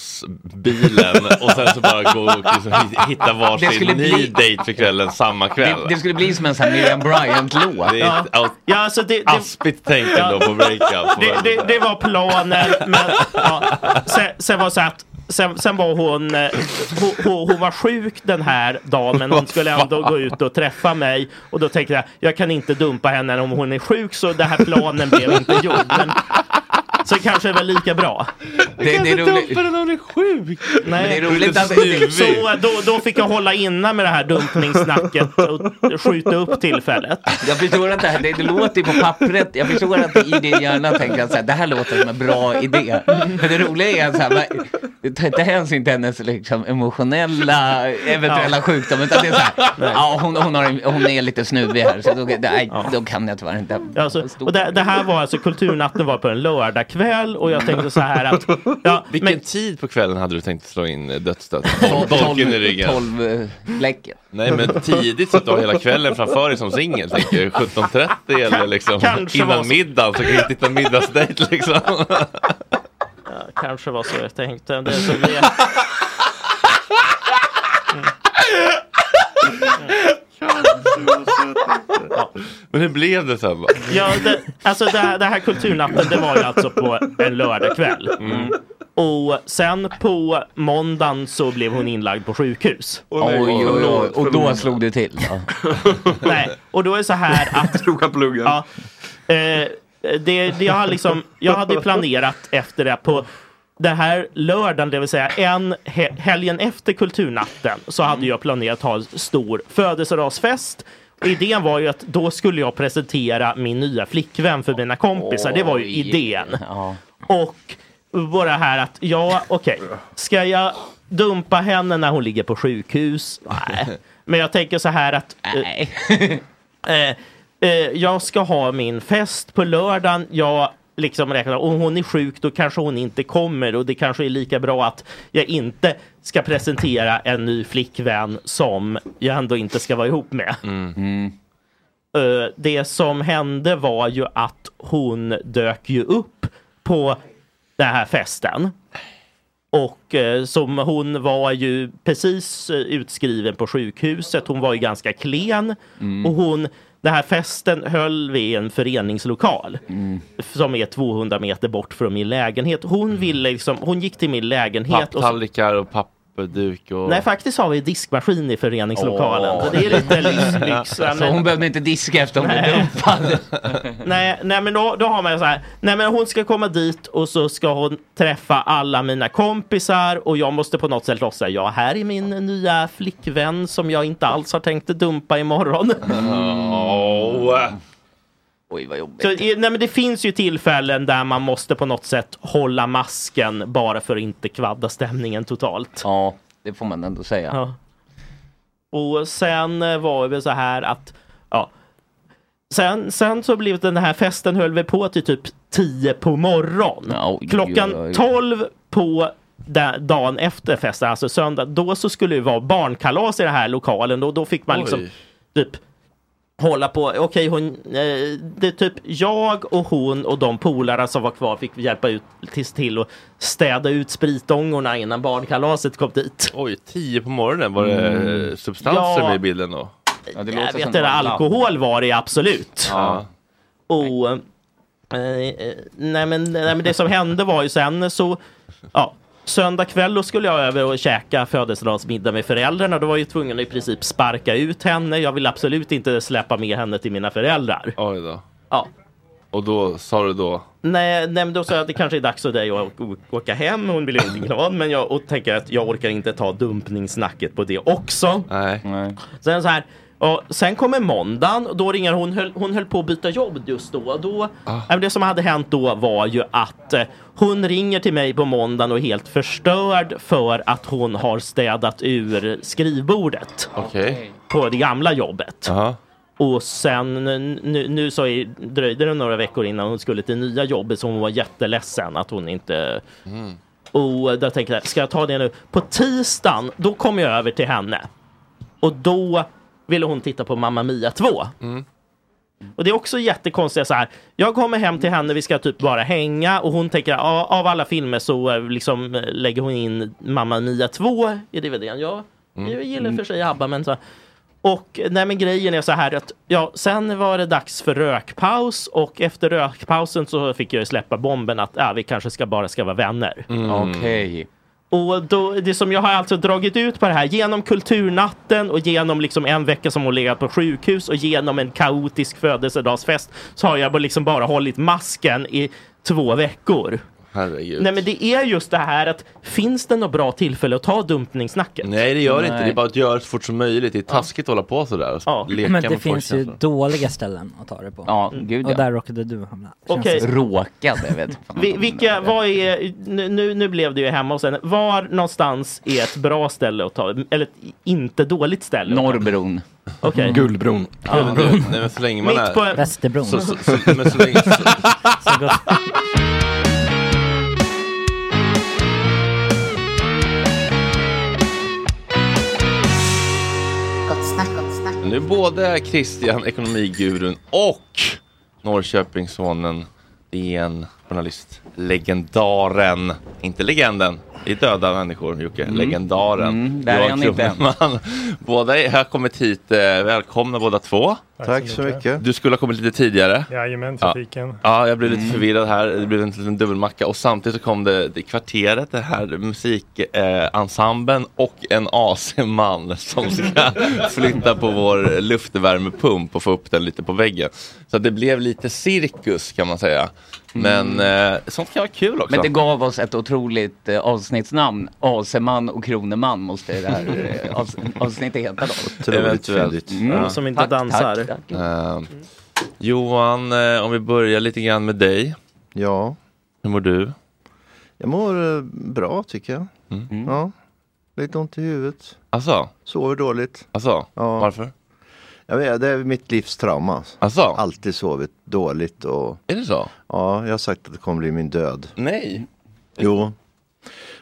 [SPEAKER 1] Langos-bilen och sen så bara gå och liksom hi- hitta
[SPEAKER 3] Det
[SPEAKER 1] varsin
[SPEAKER 3] skulle
[SPEAKER 1] ny
[SPEAKER 3] bli-
[SPEAKER 1] date för kvällen samma kväll.
[SPEAKER 3] Det, det skulle bli som en sån här Miriam Bryant-låt.
[SPEAKER 1] Det är ett out-
[SPEAKER 6] Ja, alltså det, det,
[SPEAKER 1] aspigt tänk ändå på breakup.
[SPEAKER 6] det, det, det var planen, men ja. sen, sen var så att Sen, sen var hon, eh, hon, hon, hon var sjuk den här dagen men hon skulle ändå gå ut och träffa mig och då tänkte jag jag kan inte dumpa henne om hon är sjuk så den här planen blev inte gjord. Men, så kanske det var lika bra.
[SPEAKER 3] Det, det är roligt.
[SPEAKER 1] hon är sjuk.
[SPEAKER 6] Nej.
[SPEAKER 3] Men det är roligt att
[SPEAKER 6] Så eh, då, då fick jag hålla inne med det här dumpningssnacket och skjuta upp tillfället.
[SPEAKER 3] Jag förstår att det här, det, det låter ju på pappret, jag förstår att i din hjärna tänker jag så här, det här låter som en bra idé. Men det roliga är så här, man- ta inte hänsyn till hennes liksom, emotionella eventuella sjukdom, utan det är så här, ja, hon, hon, har, en- hon är lite snuvig här, så då, nej, då kan jag tyvärr inte.
[SPEAKER 6] Ja, Alltså, och det, det här var alltså, kulturnatten var på en lördagkväll och jag tänkte så här att... Ja,
[SPEAKER 1] Vilken
[SPEAKER 6] men,
[SPEAKER 1] tid på kvällen hade du tänkt slå in eh, dödsstöten?
[SPEAKER 3] Tolv-
[SPEAKER 1] Dolken i ryggen.
[SPEAKER 3] Tolv eh, fläck.
[SPEAKER 1] Nej men tidigt så att du har hela kvällen framför dig som singel tänker jag. 17.30 eller liksom
[SPEAKER 6] kanske var
[SPEAKER 1] innan
[SPEAKER 6] så.
[SPEAKER 1] middagen så kan du inte hitta en middagsdejt liksom.
[SPEAKER 6] kanske var så jag tänkte. Det är så vi-
[SPEAKER 1] Men hur blev det sen då?
[SPEAKER 6] ja, det, alltså det, här- det här kulturnatten det var ju alltså på en lördagkväll.
[SPEAKER 1] Mm.
[SPEAKER 6] Och sen på måndagen så blev hon inlagd på sjukhus.
[SPEAKER 3] Oj, oj, oj, och då slog det till. Ja.
[SPEAKER 6] Nej, och då är det så här att
[SPEAKER 4] Drog han pluggen?
[SPEAKER 6] Ja. Eh, det, det jag, har liksom, jag hade ju planerat efter det på den här lördagen, det vill säga en he- helgen efter kulturnatten, så hade jag planerat ha en stor födelsedagsfest. Idén var ju att då skulle jag presentera min nya flickvän för mina kompisar. Det var ju
[SPEAKER 3] Oj.
[SPEAKER 6] idén.
[SPEAKER 3] Ja.
[SPEAKER 6] Och bara här att, ja okej, ska jag dumpa henne när hon ligger på sjukhus? Nej. Men jag tänker så här att eh,
[SPEAKER 3] Nej.
[SPEAKER 6] eh, eh, jag ska ha min fest på lördagen. Jag liksom räknar, om hon är sjuk då kanske hon inte kommer och det kanske är lika bra att jag inte ska presentera en ny flickvän som jag ändå inte ska vara ihop med.
[SPEAKER 3] Mm.
[SPEAKER 6] Eh, det som hände var ju att hon dök ju upp på den här festen. Och eh, som hon var ju precis eh, utskriven på sjukhuset. Hon var ju ganska klen. Och hon, den här festen höll vi i en föreningslokal. Som är 200 meter bort från min lägenhet. Hon ville liksom, hon gick till min lägenhet. Och så,
[SPEAKER 1] Papptallrikar och pappduk och...
[SPEAKER 6] nej faktiskt har vi diskmaskin i föreningslokalen. Så det är lite lyx. lyx
[SPEAKER 3] Så hon behövde inte diska efter hon blev dumpad.
[SPEAKER 6] Nej, nej men då, då har man ju så här. Nej men hon ska komma dit och så ska hon träffa alla mina kompisar och jag måste på något sätt låtsas. Ja, här är min nya flickvän som jag inte alls har tänkt att dumpa imorgon.
[SPEAKER 1] Åh.
[SPEAKER 3] Oj, vad jobbigt.
[SPEAKER 6] Så, eh, nej men det finns ju tillfällen där man måste på något sätt hålla masken bara för att inte kvadda stämningen totalt.
[SPEAKER 3] Ja, det får man ändå säga.
[SPEAKER 6] Ja. Och sen eh, var det så här att, ja. Sen, sen så blev den här festen höll vi på till typ 10 på morgon.
[SPEAKER 3] Ja, oj,
[SPEAKER 6] Klockan
[SPEAKER 3] oj, oj.
[SPEAKER 6] 12 på da- dagen efter festen, alltså söndag, då så skulle det vara barnkalas i den här lokalen. Då, då fick man liksom
[SPEAKER 1] Oj.
[SPEAKER 6] typ hålla på. Okej, hon, eh, det är typ jag och hon och de polarna som var kvar fick hjälpa ut till, till och städa ut spritångorna innan barnkalaset kom dit. Mm.
[SPEAKER 1] Oj, tio på morgonen, var det eh, substanser
[SPEAKER 6] Ja.
[SPEAKER 1] med i bilden då?
[SPEAKER 3] Ja, det
[SPEAKER 6] Jag
[SPEAKER 3] låter
[SPEAKER 6] vet
[SPEAKER 3] som
[SPEAKER 6] inte,
[SPEAKER 3] någon lapp.
[SPEAKER 6] alkohol var det absolut.
[SPEAKER 1] Ja.
[SPEAKER 6] Och, eh, eh, nej, men, nej men det som hände var ju sen så, ja, söndag kväll då skulle jag över och käka födelsedagsmiddag med föräldrarna. Då var jag ju tvungen att i princip sparka ut henne. Jag vill absolut inte släppa med henne till mina föräldrar.
[SPEAKER 1] Oj då.
[SPEAKER 6] Ja.
[SPEAKER 1] Och då sa du då?
[SPEAKER 6] Nej, nej men då sa jag att det kanske är dags för dig att å- åka hem. Hon blev inte glad, men jag och tänker att jag orkar inte ta dumpningssnacket på det också.
[SPEAKER 1] Nej.
[SPEAKER 3] Nej.
[SPEAKER 6] Sen så här, och sen kommer måndagen och då ringer hon, höll, hon höll på att byta jobb just då. Och
[SPEAKER 1] Ah.
[SPEAKER 6] då nej, men Det som hade hänt då var ju att eh, hon ringer till mig på måndagen och är helt förstörd för att hon har städat ur skrivbordet
[SPEAKER 1] Okej.
[SPEAKER 6] på det gamla jobbet.
[SPEAKER 1] Jaha.
[SPEAKER 6] Och sen nu, nu så är, dröjde det några veckor innan hon skulle till nya jobbet så hon var jätteledsen att hon inte... Och då tänkte jag, ska jag ta det nu? På tisdagen, då kom jag över till henne. Och då ville hon titta på Mamma Mia 2. Och det är också jättekonstiga så här. Jag kommer hem till henne, vi ska typ bara hänga och hon tänker "Ja, av alla filmer så eh, liksom eh, lägger hon in Mamma Mia 2 i DVDn. Ja, jag gillar för sig ABBA men så här. Och eh, nej men grejen är så här att ja, sen var det dags för rökpaus och efter rökpausen så fick jag ju släppa bomben att ja, vi kanske ska bara ska vara vänner.
[SPEAKER 3] Okej.
[SPEAKER 6] Och då, det som jag har alltså dragit ut på det här genom kulturnatten och genom liksom en vecka som hon legat på sjukhus och genom en kaotisk födelsedagsfest så har jag bara liksom bara hållit masken i två veckor.
[SPEAKER 1] Herregud.
[SPEAKER 6] Nej men det är just det här att finns det något bra tillfälle att ta dumpningssnacket?
[SPEAKER 1] Nej, det gör det inte.
[SPEAKER 3] Nej.
[SPEAKER 1] Det är bara att göra det så fort som möjligt. Det är taskigt att hålla på sådär. Och
[SPEAKER 6] Ja.
[SPEAKER 1] leka
[SPEAKER 5] Men det
[SPEAKER 1] med
[SPEAKER 5] finns ju
[SPEAKER 1] folks känslor.
[SPEAKER 5] dåliga ställen att ta det på.
[SPEAKER 3] Ja, gud
[SPEAKER 5] Och
[SPEAKER 3] ja.
[SPEAKER 5] där råkade du hamna. känns
[SPEAKER 6] Okej.
[SPEAKER 5] det som.
[SPEAKER 3] Råkade, vet jag fan
[SPEAKER 6] Vi,
[SPEAKER 3] om-
[SPEAKER 6] vilka, vad är, nu- nu, nu blev det ju hemma och sen, var någonstans är ett bra ställe att ta, eller ett inte dåligt ställe? att ta?
[SPEAKER 3] Norrbron.
[SPEAKER 6] Okej.
[SPEAKER 4] Guldbron.
[SPEAKER 1] Ja, men du, Mm. nej, men så länge man
[SPEAKER 6] Mitt
[SPEAKER 1] är...
[SPEAKER 6] på
[SPEAKER 5] Västerbron.
[SPEAKER 1] Så, så, så, men så länge, så,
[SPEAKER 5] Så gott.
[SPEAKER 1] nu både Christian, ekonomigurun och Norrköpingssonen, DN, journalist, legendaren, inte legenden, det är döda människor Jocke, legendaren.
[SPEAKER 3] Mm, där är
[SPEAKER 1] Johan
[SPEAKER 3] han inte än.
[SPEAKER 1] Kronemann. Båda är- har kommit hit, eh, välkomna båda två.
[SPEAKER 7] Tack så mycket.
[SPEAKER 1] Du skulle ha kommit lite tidigare.
[SPEAKER 7] Jajamän, trafiken. Mm.
[SPEAKER 1] Ja, jag blev lite förvirrad här. Det blev en liten dubbelmacka och samtidigt så kom det, det kvarteret, det här musikensemblen eh, ensemblen och en AC-man som ska flytta på vår luftvärmepump och få upp den lite på väggen. Så att det blev lite cirkus kan man säga. Men
[SPEAKER 7] Mm.
[SPEAKER 1] eh, sånt kan vara kul också.
[SPEAKER 3] Men det gav oss ett otroligt eh, avsnittsnamn. Aseman och Kroneman måste det här eh, avs- avsnittet heta då. Mm.
[SPEAKER 1] Eventuellt.
[SPEAKER 7] Mm,
[SPEAKER 1] Ja.
[SPEAKER 6] som inte dansar.
[SPEAKER 3] Tack, tack.
[SPEAKER 1] Eh, Johan, eh, om vi börjar lite grann med dig.
[SPEAKER 7] Ja,
[SPEAKER 1] Hur mår du? Mm.
[SPEAKER 7] jag mår eh, bra tycker jag. Ja, lite ont i huvudet.
[SPEAKER 1] Alltså,
[SPEAKER 7] Sover dåligt.
[SPEAKER 1] alltså,
[SPEAKER 7] Ja.
[SPEAKER 1] varför?
[SPEAKER 7] Jag vet, det är mitt livs trauma.
[SPEAKER 1] Alltså,
[SPEAKER 7] Alltid sovit dåligt och
[SPEAKER 1] är det så?
[SPEAKER 7] ja, jag har sagt att det kommer bli min död.
[SPEAKER 1] Nej.
[SPEAKER 7] Jo.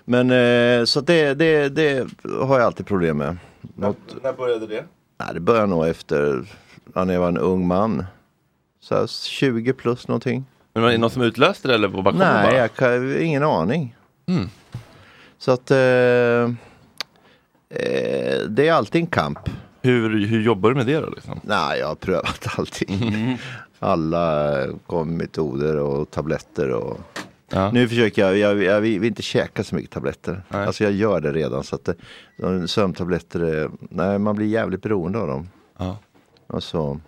[SPEAKER 7] Men eh, så att det, det, det har jag alltid problem med. Något,
[SPEAKER 1] När började det?
[SPEAKER 7] nej, det började nog efter ja, när jag var en ung man. Så här 20 plus någonting.
[SPEAKER 1] Men var det någon som utlöste det eller bara kom det
[SPEAKER 7] Nej,
[SPEAKER 1] bara? Mm.
[SPEAKER 7] jag kan, ingen aning. Så att eh, eh, det är alltid en kamp.
[SPEAKER 1] Hur, hur jobbar du med det då? Liksom? Mm.
[SPEAKER 7] Nej, jag har prövat allting. Alla eh, kom metoder och tabletter. Och...
[SPEAKER 1] Ja.
[SPEAKER 7] Nu försöker jag, jag, jag vill vill inte käka så mycket tabletter.
[SPEAKER 1] Nej.
[SPEAKER 7] Alltså jag gör det redan. Så att det, sömntabletter, är- nej man blir jävligt beroende av dem.
[SPEAKER 1] Ja.
[SPEAKER 7] Alltså,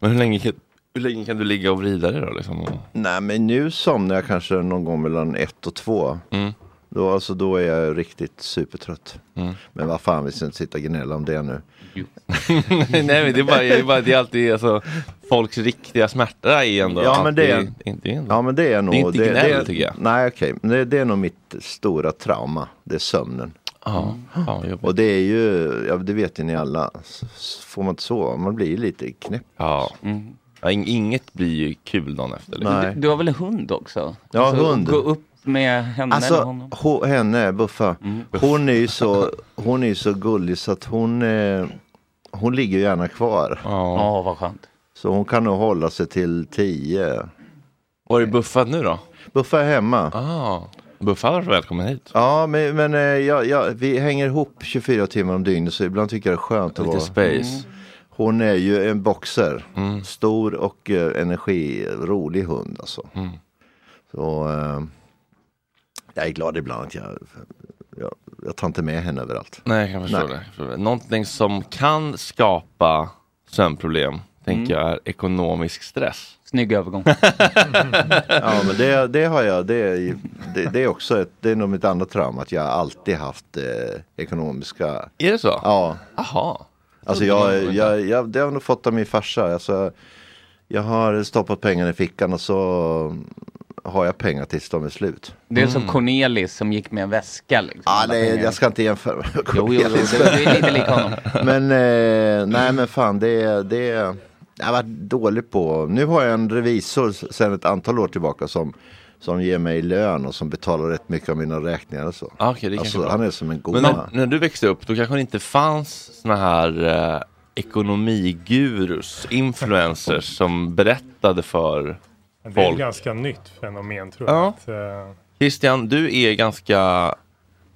[SPEAKER 1] Men hur länge, kan- hur länge kan du ligga och vrida dig då? Liksom? Och-
[SPEAKER 7] nej men nu somnar jag kanske någon gång mellan ett och två.
[SPEAKER 1] Mm.
[SPEAKER 7] Då, alltså, då är jag riktigt supertrött.
[SPEAKER 1] Mm.
[SPEAKER 7] Men vad fan, vi ska inte sitta och gnälla om det nu.
[SPEAKER 1] Nej, men det är bara, det är, bara, det är alltid alltså, folks riktiga smärta är ändå
[SPEAKER 7] Ja, men det är-
[SPEAKER 1] alltid- inte ändå.
[SPEAKER 7] Ja men det är nog...
[SPEAKER 1] Det är inte gnäll, tycker jag.
[SPEAKER 7] Nej okej, Men det, det är nog mitt stora trauma. Det är sömnen. Mm.
[SPEAKER 1] Ja, ja, jobbigt.
[SPEAKER 7] Och det är ju, ja, det vet ju ni alla, S- s- får man inte sova, man blir ju lite knäpp.
[SPEAKER 1] ja. Ja, in- inget blir ju kul dagen efter. Liksom.
[SPEAKER 7] Nej.
[SPEAKER 3] Mm. Du har väl en hund också? Alltså,
[SPEAKER 7] Ja, hund.
[SPEAKER 3] Gå upp med henne eller
[SPEAKER 7] Alltså,
[SPEAKER 3] honom. Mm.
[SPEAKER 7] ho, henne, Buffa, hon är ju så, hon är ju så gullig så att hon, eh, hon ligger ju gärna kvar.
[SPEAKER 1] Ja.
[SPEAKER 3] Ja, vad skönt.
[SPEAKER 7] Så hon kan nog hålla sig till tio.
[SPEAKER 1] Var är buffad nu då?
[SPEAKER 7] Buffa är hemma.
[SPEAKER 1] Ah, buffad var välkommen hit.
[SPEAKER 7] Ja, men, men eh, ja, ja, vi hänger ihop 24 timmar om dygnet så ibland tycker jag det är skönt att
[SPEAKER 1] Lite
[SPEAKER 7] vara.
[SPEAKER 1] space.
[SPEAKER 3] Mm.
[SPEAKER 1] Mm.
[SPEAKER 7] Hon är ju en boxer. Stor och eh, energirolig hund alltså.
[SPEAKER 1] Mm.
[SPEAKER 7] Så eh, jag är glad ibland att jag, jag, jag tar inte med henne överallt.
[SPEAKER 1] Nej, jag kan förstå
[SPEAKER 7] Nej.
[SPEAKER 1] det. Jag förstår det. Någonting som kan skapa sömnproblem, tänker
[SPEAKER 7] Mm.
[SPEAKER 1] jag, är ekonomisk stress.
[SPEAKER 3] Snygg övergång.
[SPEAKER 7] Ja men det, det har jag, det, är ju- det, det är också ett, det är nog mitt andra trauma att jag alltid haft eh, ekonomiska,
[SPEAKER 1] Är det så?
[SPEAKER 7] ja
[SPEAKER 1] Aha.
[SPEAKER 7] Alltså jag, jag, jag, det har jag nog fått av min farsa. Alltså, jag har stoppat pengarna i fickan och så har jag pengar tills de är slut.
[SPEAKER 3] Det är som
[SPEAKER 7] mm.
[SPEAKER 3] Cornelis som gick med en väska. Liksom.
[SPEAKER 7] Ah,
[SPEAKER 3] Alla
[SPEAKER 7] nej,
[SPEAKER 3] pengar.
[SPEAKER 7] jag ska inte jämföra med
[SPEAKER 3] Jo, jo, jo,
[SPEAKER 7] Cornelis.
[SPEAKER 3] det det är lite lik honom.
[SPEAKER 7] Men eh, nej men fan det, det jag har varit dålig på. Nu har jag en revisor s- sedan ett antal år tillbaka som, som ger mig lön och som betalar rätt mycket av mina räkningar och så.
[SPEAKER 1] Ah, okej, det kanske
[SPEAKER 7] alltså,
[SPEAKER 1] är bra.
[SPEAKER 7] han är som en
[SPEAKER 1] Men
[SPEAKER 7] gomma.
[SPEAKER 1] när, när du växte upp, då kanske det inte fanns såna här eh, ekonomigurus, influencers som berättade för
[SPEAKER 8] Det är ett
[SPEAKER 1] folk.
[SPEAKER 8] ganska nytt fenomen tror jag.
[SPEAKER 1] Ja.
[SPEAKER 8] Att, eh,
[SPEAKER 1] Christian, du är ganska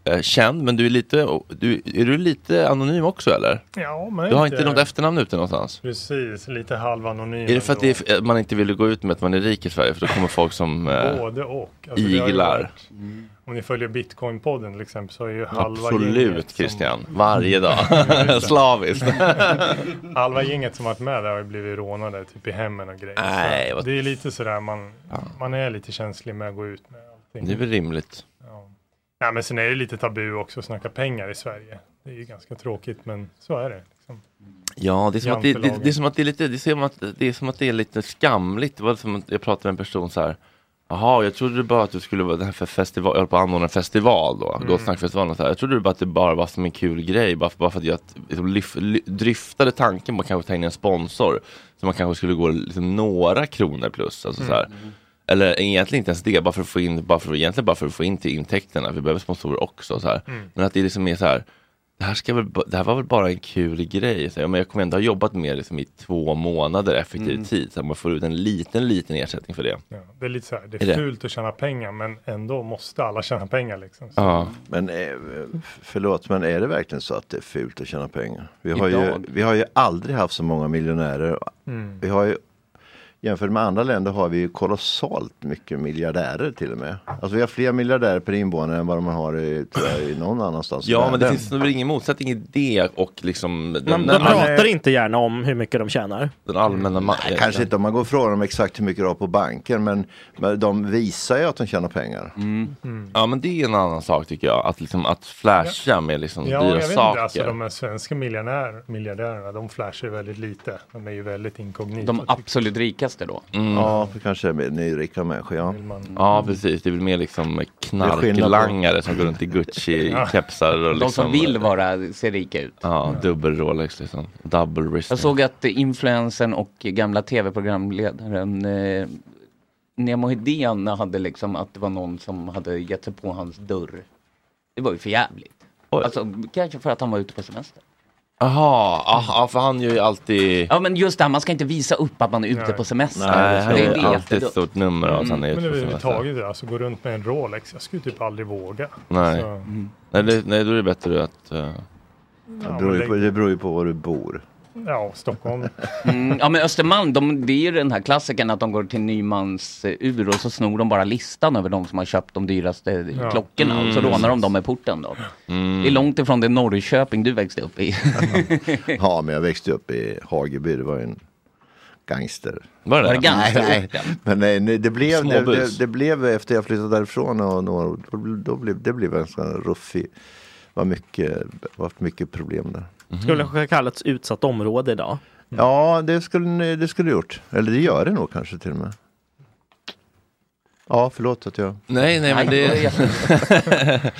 [SPEAKER 1] eh, känd, men du är lite, du, är du lite anonym också eller?
[SPEAKER 8] ja, men
[SPEAKER 1] Du har inte något efternamn ute någonstans?
[SPEAKER 8] Precis, lite halvanonym.
[SPEAKER 1] Är det för att
[SPEAKER 8] ändå.
[SPEAKER 1] det är, f- man inte ville gå ut med att man är rik i Sverige? För då kommer folk som eh,
[SPEAKER 8] Både och. Alltså, det har ju
[SPEAKER 1] iglar.
[SPEAKER 8] varit- Om ni följer Bitcoinpodden till exempel så är ju halva gänget
[SPEAKER 1] Absolut
[SPEAKER 8] som-
[SPEAKER 1] Christian, varje dag.
[SPEAKER 8] Just det.
[SPEAKER 1] Slaviskt.
[SPEAKER 8] halva gänget som varit med där har ju blivit rånade typ i hemmen och grejer.
[SPEAKER 1] Nej,
[SPEAKER 8] så
[SPEAKER 1] vad-
[SPEAKER 8] det är lite sådär man, man är lite känslig med att gå ut med allting.
[SPEAKER 1] det är väl rimligt.
[SPEAKER 8] Nej, men sen är det lite tabu också att snacka pengar i Sverige. Det är ju ganska tråkigt men så är det. Liksom.
[SPEAKER 1] Ja, det är som att det, det,
[SPEAKER 8] Jantelagen.
[SPEAKER 1] det är som att det är lite, det är som att det är som att det är lite skamligt. Det var som att jag pratade med en person så här. Jaha, jag trodde bara att du skulle vara den här för festival, jag höll på att anordna en festival då, mm. Gotsnackfestivalen och så här. Jag trodde bara att det bara var som en kul grej, bara för, bara för att jag liksom, lyf, ly, dryftade tanken på att kanske ta in en sponsor. Så man kanske skulle gå liksom, några kronor plus, alltså så här. Eller egentligen inte ens det, bara för att få in, bara för, egentligen bara för att få in till intäkterna, vi behöver sponsorer också så här.
[SPEAKER 8] Mm.
[SPEAKER 1] Men att det liksom är så här, det här, ska väl, ba- det här var väl bara en kul grej. Så jag, men jag kommer ändå ha jobbat med det liksom i två månader effektiv tid. Så att man får ut en liten, liten ersättning för det.
[SPEAKER 8] Mm. Ja, det är lite så här, det
[SPEAKER 1] Är
[SPEAKER 8] är,
[SPEAKER 1] det?
[SPEAKER 8] fult att tjäna pengar men ändå måste alla tjäna pengar liksom. Så.
[SPEAKER 1] Ja.
[SPEAKER 7] Men eh, förlåt, men är det verkligen så att det är fult att tjäna pengar? Vi har, ju,
[SPEAKER 1] Idag?
[SPEAKER 7] vi har ju aldrig haft så många miljonärer. Vi har ju, jämfört med andra länder har vi ju kolossalt mycket miljardärer till och med. Alltså vi har fler miljardärer per invånare än vad man har i, tror jag, i någon annanstans i
[SPEAKER 1] Ja, men det
[SPEAKER 7] världen.
[SPEAKER 1] finns väl ingen motsättning i det och liksom den,
[SPEAKER 6] Man,
[SPEAKER 1] den,
[SPEAKER 6] de
[SPEAKER 1] all,
[SPEAKER 6] pratar inte gärna om hur mycket de tjänar.
[SPEAKER 1] den allmänna ma-
[SPEAKER 7] Nej, kanske inte om man går och frågar dem exakt hur mycket de har på banken, men, men de visar ju att de tjänar pengar.
[SPEAKER 1] Ja, men det är en annan sak tycker jag. Att, liksom, att flasha med liksom
[SPEAKER 8] Mm. Ja, jag
[SPEAKER 1] dyra
[SPEAKER 8] vet
[SPEAKER 1] saker.
[SPEAKER 8] inte, alltså de här svenska miljonär, miljardärerna, de flashar ju väldigt lite. De är ju väldigt inkognita.
[SPEAKER 3] De absolut rikaste då.
[SPEAKER 7] Ja, för kanske är nyrika människor, ja.
[SPEAKER 1] Mm. Ja, precis. Det är väl mer liksom knarklangare som går runt i Gucci-kepsar. och
[SPEAKER 3] De
[SPEAKER 1] liksom,
[SPEAKER 3] som vill vara, se rika ut.
[SPEAKER 1] Ja, dubbel Rolex liksom. Double wrist.
[SPEAKER 3] Jag såg att eh, influensen och gamla tv-programledaren eh, Nemo Hedén hade liksom att det var någon som hade gett sig på hans dörr. Det var ju för jävligt.
[SPEAKER 1] Oj.
[SPEAKER 3] Alltså kanske för att han var ute på semester.
[SPEAKER 1] Jaha, aha, för han gör ju alltid...
[SPEAKER 3] Ja men just det, här, man ska inte visa upp att man är ute på semester.
[SPEAKER 1] Nej, han
[SPEAKER 3] det
[SPEAKER 1] gör
[SPEAKER 3] är
[SPEAKER 1] ju alltid ett
[SPEAKER 3] jättedumt.
[SPEAKER 1] stort nummer av att han är
[SPEAKER 8] Mm. Men
[SPEAKER 1] ute på semester.
[SPEAKER 8] överhuvudtaget, alltså gå runt med en Rolex, jag skulle typ aldrig våga.
[SPEAKER 1] Nej.
[SPEAKER 8] Så,
[SPEAKER 3] Mm.
[SPEAKER 1] Nej, det, nej, då är det bättre att... eh,
[SPEAKER 7] Det beror ju på, det beror ju på var du bor.
[SPEAKER 8] ja, Stockholm.
[SPEAKER 3] Mm, ja men Östermalm, de, det är ju den här klassikern att de går till Nymans eh, ur och så snor de bara listan över de som har köpt de dyraste
[SPEAKER 8] Ja.
[SPEAKER 3] klockorna och så
[SPEAKER 1] Mm.
[SPEAKER 3] rånar de dem med porten då. Det är långt ifrån det Norrköping du växte upp i.
[SPEAKER 7] Ja, men jag växte upp i Hageby, det var ju en gangster.
[SPEAKER 1] Var det
[SPEAKER 3] Var det
[SPEAKER 1] det?
[SPEAKER 3] ganska
[SPEAKER 7] Nej, Men nej, nej, det, blev, det,
[SPEAKER 1] Småbus.
[SPEAKER 7] det, det blev efter jag flyttade därifrån och några, år, då, då blev, det blev en sån här ruffig, var mycket, var mycket problem där.
[SPEAKER 1] Mm.
[SPEAKER 6] Skulle ha kallats utsatt område idag.
[SPEAKER 7] Ja, det skulle ni- det skulle gjort. Eller det gör det nog kanske till och med. Ja, förlåt att jag...
[SPEAKER 1] Nej, nej, men
[SPEAKER 3] Nej,
[SPEAKER 1] det...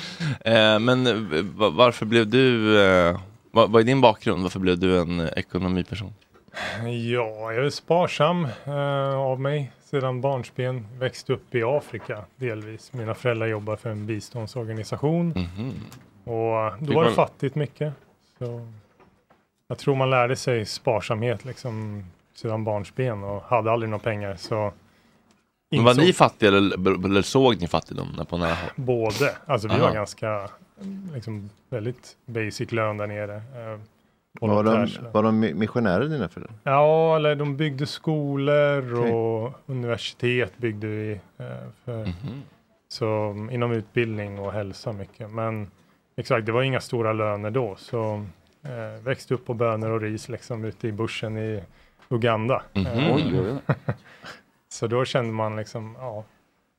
[SPEAKER 1] Eh, men eh, va- varför blev du... eh, Vad vad är din bakgrund? Varför blev du en eh, ekonomiperson?
[SPEAKER 8] Ja, jag är sparsam eh, av mig sedan barnsben. Växte upp i Afrika delvis. Mina föräldrar jobbar för en biståndsorganisation. Och då
[SPEAKER 1] Mhm. Fick
[SPEAKER 8] var det
[SPEAKER 1] man-
[SPEAKER 8] fattigt mycket. Så jag tror man lärde sig sparsamhet liksom sedan barnsben och hade aldrig några pengar. Så
[SPEAKER 1] Men var
[SPEAKER 8] insåg-
[SPEAKER 1] ni fattiga eller, b- eller såg ni fattigdom när- på nära håll?
[SPEAKER 8] Både. Alltså vi
[SPEAKER 1] Aha.
[SPEAKER 8] var ganska, liksom väldigt basic lön där nere. Eh,
[SPEAKER 7] Var de,
[SPEAKER 8] volontärslön.
[SPEAKER 7] var de mi- missionärer dina föräldrar?
[SPEAKER 8] Ja, eller de byggde skolor och universitet byggde vi. eh, För,
[SPEAKER 3] Mhm.
[SPEAKER 8] Så mm, inom utbildning och hälsa mycket. Men exakt, det var inga stora löner då. Så eh, växte upp på bönor och ris liksom ute i bushen i Uganda. Eh,
[SPEAKER 3] Mhm. Oj, oj, oj.
[SPEAKER 8] så då kände man liksom, ja,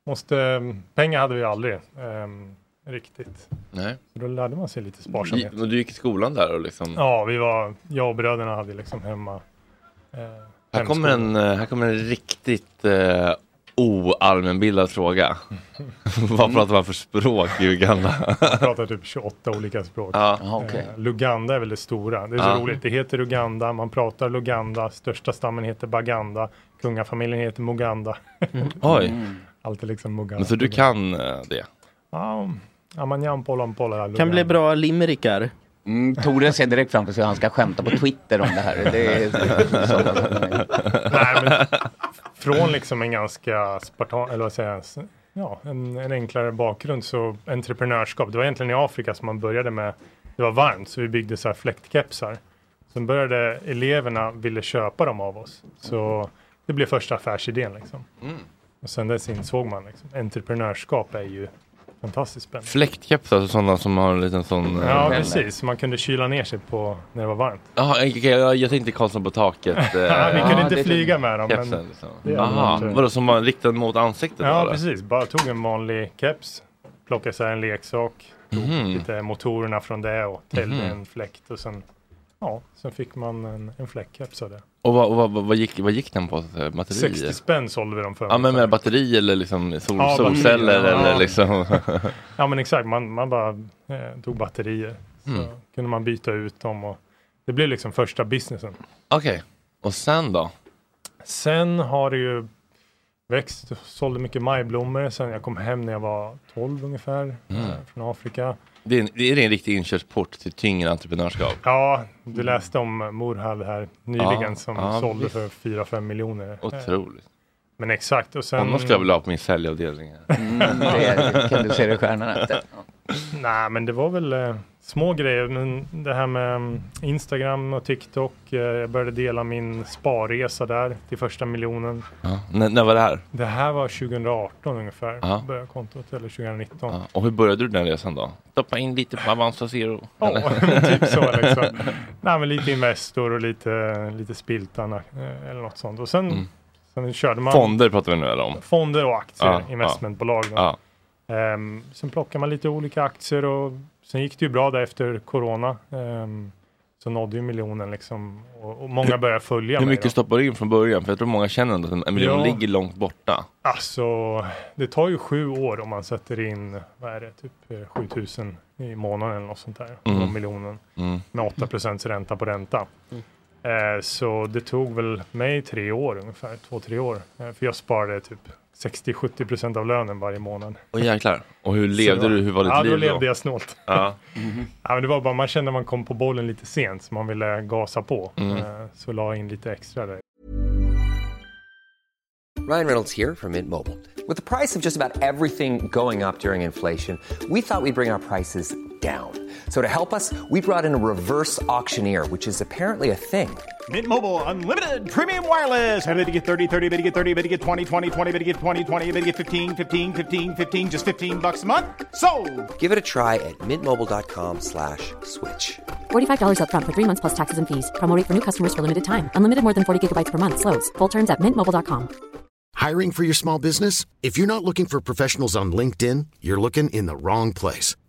[SPEAKER 8] måste, mm, pengar hade vi aldrig ehm, riktigt.
[SPEAKER 1] Nej.
[SPEAKER 8] Så då lärde man sig lite
[SPEAKER 1] Du,
[SPEAKER 8] sparsamhet.
[SPEAKER 1] men du gick i skolan där och liksom...
[SPEAKER 8] Ja, vi var, jag och bröderna hade liksom hemma. Eh,
[SPEAKER 1] Här kommer,
[SPEAKER 8] hemskola.
[SPEAKER 1] en, eh, här kommer en riktigt eh, oallmänbildad fråga. Vad pratar man för språk i Uganda?
[SPEAKER 8] pratar typ 28 olika språk.
[SPEAKER 1] ja.
[SPEAKER 3] Jaha, okej.
[SPEAKER 8] Eh, Luganda är väl det stora. Det är så
[SPEAKER 1] Ja.
[SPEAKER 8] roligt. Det heter Uganda, man pratar Luganda, största stammen heter Baganda, kungafamiljen heter Muganda.
[SPEAKER 1] Oj,
[SPEAKER 8] Allt är liksom Muganda.
[SPEAKER 1] men så du kan eh, det?
[SPEAKER 8] Ja, Amanyan Polan Pola.
[SPEAKER 6] Kan bli
[SPEAKER 8] Luganda.
[SPEAKER 6] bra limerickar.
[SPEAKER 3] Mm, Tore ser direkt framför sig hur han ska skämta på Twitter om det här. Det är,
[SPEAKER 8] Nej, men från liksom en ganska spartan, eller vad säger jag, s- ja, en, en enklare bakgrund så entreprenörskap, det var egentligen i Afrika som man började med, det var varmt så vi byggde så här fläktkepsar. Sen började eleverna ville köpa dem av oss, så det blev första affärsidén liksom.
[SPEAKER 1] Mm.
[SPEAKER 8] Och sen dess insåg man liksom, entreprenörskap är ju fantastiskt spännande.
[SPEAKER 1] Fläktkepsar, alltså sådana som har en liten sån... eh,
[SPEAKER 8] Ja, precis. Man kunde kyla ner sig på när det var varmt.
[SPEAKER 1] Jaha, okej, okej, jag- jag tänkte Karlsson på taket. eh,
[SPEAKER 8] vi kunde
[SPEAKER 1] ja,
[SPEAKER 8] inte
[SPEAKER 1] det- typ
[SPEAKER 8] flyga med dem.
[SPEAKER 1] Kepsen,
[SPEAKER 8] men
[SPEAKER 1] liksom.
[SPEAKER 8] det är
[SPEAKER 1] Aha,
[SPEAKER 8] något, eh,
[SPEAKER 1] vadå som var riktad mot ansiktet?
[SPEAKER 8] Ja,
[SPEAKER 1] bara?
[SPEAKER 8] precis. Bara tog en vanlig keps, plockade så här en leksak, tog
[SPEAKER 1] Mhm.
[SPEAKER 8] lite motorerna från det och täljde
[SPEAKER 1] Mhm.
[SPEAKER 8] en fläkt och sen, ja, sen fick man en, en fläckkeps av det.
[SPEAKER 1] Och vad, och vad, vad, vad, gick, vad gick den på? Så här, Batteri?
[SPEAKER 8] 60 spänn sålde vi dem för.
[SPEAKER 1] Ja, men med batteri eller liksom sol,
[SPEAKER 8] Ja, batteri,
[SPEAKER 1] solceller
[SPEAKER 8] ja.
[SPEAKER 1] eller liksom...
[SPEAKER 8] Ja, men exakt. Man, man bara eh, tog batterier. Så
[SPEAKER 1] Mm.
[SPEAKER 8] kunde man byta ut dem och det blev liksom första businessen.
[SPEAKER 1] Okej, och sen då?
[SPEAKER 8] Sen har det ju växt, sålde mycket majblommor sen jag kom hem när jag var 12 ungefär
[SPEAKER 1] Mm.
[SPEAKER 8] eh, från Afrika.
[SPEAKER 1] Det är, en- det är en riktig inkörsport till tyngre entreprenörskap.
[SPEAKER 8] Ja, du läste om Morhall här nyligen
[SPEAKER 1] Ja,
[SPEAKER 8] som
[SPEAKER 1] ja,
[SPEAKER 8] sålde
[SPEAKER 1] visst.
[SPEAKER 8] för 4-5 miljoner.
[SPEAKER 1] Otroligt.
[SPEAKER 8] Men exakt Eh. och sen...
[SPEAKER 1] Honom skulle jag vilja ha på min säljavdelning. här.
[SPEAKER 8] Mm,
[SPEAKER 3] det kan du se det i stjärnorna efter.
[SPEAKER 8] Nej, men det var väl eh, små grejer. Men det här med mm, Instagram och TikTok. Eh, jag började dela min sparresa där till första miljonen.
[SPEAKER 1] Ja. När, när var det här?
[SPEAKER 8] Det här var 2018 ungefär.
[SPEAKER 1] Ja.
[SPEAKER 8] Började kontot, eller 2019.
[SPEAKER 1] Ja. Och hur började du den resan då? Stoppa in lite på Avanza Zero?
[SPEAKER 8] Ja,
[SPEAKER 1] eller?
[SPEAKER 8] typ så liksom. Nej, men lite Investor och lite, lite Spiltan eh, eller något sånt. Och sen,
[SPEAKER 1] Mm.
[SPEAKER 8] sen körde man
[SPEAKER 1] Fonder pratar vi nu eller om?
[SPEAKER 8] fonder och aktier,
[SPEAKER 1] Ja,
[SPEAKER 8] investmentbolag. Då.
[SPEAKER 1] Ja.
[SPEAKER 8] Ehm, sen plockade man lite olika aktier och sen gick det ju bra där efter corona. Ehm, så nådde ju miljonen liksom och, och många började följa
[SPEAKER 1] Hur
[SPEAKER 8] mig.
[SPEAKER 1] mycket
[SPEAKER 8] då.
[SPEAKER 1] stoppar du in från början? För jag tror många känner ändå att en miljon
[SPEAKER 8] Ja.
[SPEAKER 1] ligger långt borta.
[SPEAKER 8] Alltså, det tar ju sju år om man sätter in, vad är det, typ 7000 i månaden eller något sånt där.
[SPEAKER 1] Mm.
[SPEAKER 8] Mm. miljonen
[SPEAKER 1] Mm.
[SPEAKER 8] med 8 ränta på ränta. Eh, så det tog väl mig tre år ungefär, två, tre år. Eh, för jag sparade typ 60-70 procent av lönen varje månad.
[SPEAKER 1] Och jäklar. Och hur
[SPEAKER 8] Så
[SPEAKER 1] levde
[SPEAKER 8] det var-
[SPEAKER 1] du? Hur var ditt
[SPEAKER 8] ja,
[SPEAKER 1] liv
[SPEAKER 8] då? levde jag snålt.
[SPEAKER 1] Ja.
[SPEAKER 8] Ja, men det var bara, man kände att man kom på bollen lite sent, så man ville gasa på.
[SPEAKER 9] Mm.
[SPEAKER 8] Eh, Så la jag in lite extra där.
[SPEAKER 9] Ryan Reynolds here from Mint Mobile. With the price of just about everything going up during inflation, we thought we'd bring our prices down. So to help us, we brought in a reverse auctioneer, which is apparently a thing.
[SPEAKER 10] Mint Mobile unlimited premium wireless. Ready to get 30, 30, bit to get 30, bit to get 20, 20, 20, bit to get 20, 20, bit to get 15, 15, 15, 15 just 15 bucks a month. So,
[SPEAKER 9] Give it a try at mintmobile.com slash switch.
[SPEAKER 11] $45 up front for three months plus taxes and fees. Promo rate for new customers for limited time. Unlimited more than 40 gigabytes per month. Slows. Full terms at mintmobile.com.
[SPEAKER 12] Hiring for your small business? If you're not looking for professionals on LinkedIn, you're looking in the wrong place.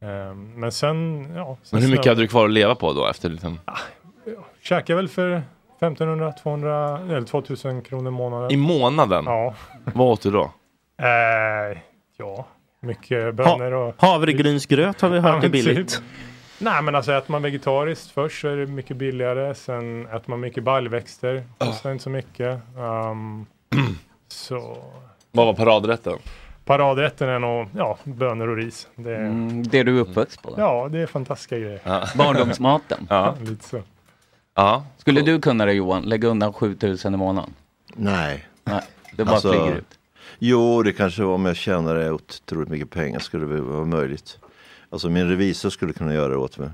[SPEAKER 8] Eh, Men sen, ja. Sen
[SPEAKER 1] Men hur mycket
[SPEAKER 8] snö-
[SPEAKER 1] hade du kvar att leva på då? Efter liksom...
[SPEAKER 8] Käkade väl för 1500, 200 eller 2000 kronor i månaden.
[SPEAKER 1] I månaden?
[SPEAKER 8] Ja.
[SPEAKER 1] Vad åt du då?
[SPEAKER 8] Eh, ja, mycket bönor och...
[SPEAKER 6] Havregrynsgröt har vi
[SPEAKER 8] Ja,
[SPEAKER 6] hört är
[SPEAKER 8] men typ.
[SPEAKER 6] billigt.
[SPEAKER 8] Nej men alltså äter man vegetariskt först så är det mycket billigare. Sen äter man mycket baljväxter. Kostar inte så mycket. Ehm, så
[SPEAKER 1] Vad var paradrätten?
[SPEAKER 8] paradrätten är nog ja, bönor och ris. Det är,
[SPEAKER 3] Mm, det du är uppväxt på.
[SPEAKER 8] Ja, det är fantastiska grejer.
[SPEAKER 1] Ja.
[SPEAKER 3] Barndomsmaten.
[SPEAKER 1] Ja.
[SPEAKER 8] Lite så.
[SPEAKER 3] Skulle du kunna det Johan? Lägga undan 7000 i månaden?
[SPEAKER 7] Nej.
[SPEAKER 3] Nej, det bara flyger ut.
[SPEAKER 7] Alltså, Jo, det kanske var om jag tjänade otroligt mycket pengar skulle det vara möjligt. Alltså min revisor skulle kunna göra det åt mig.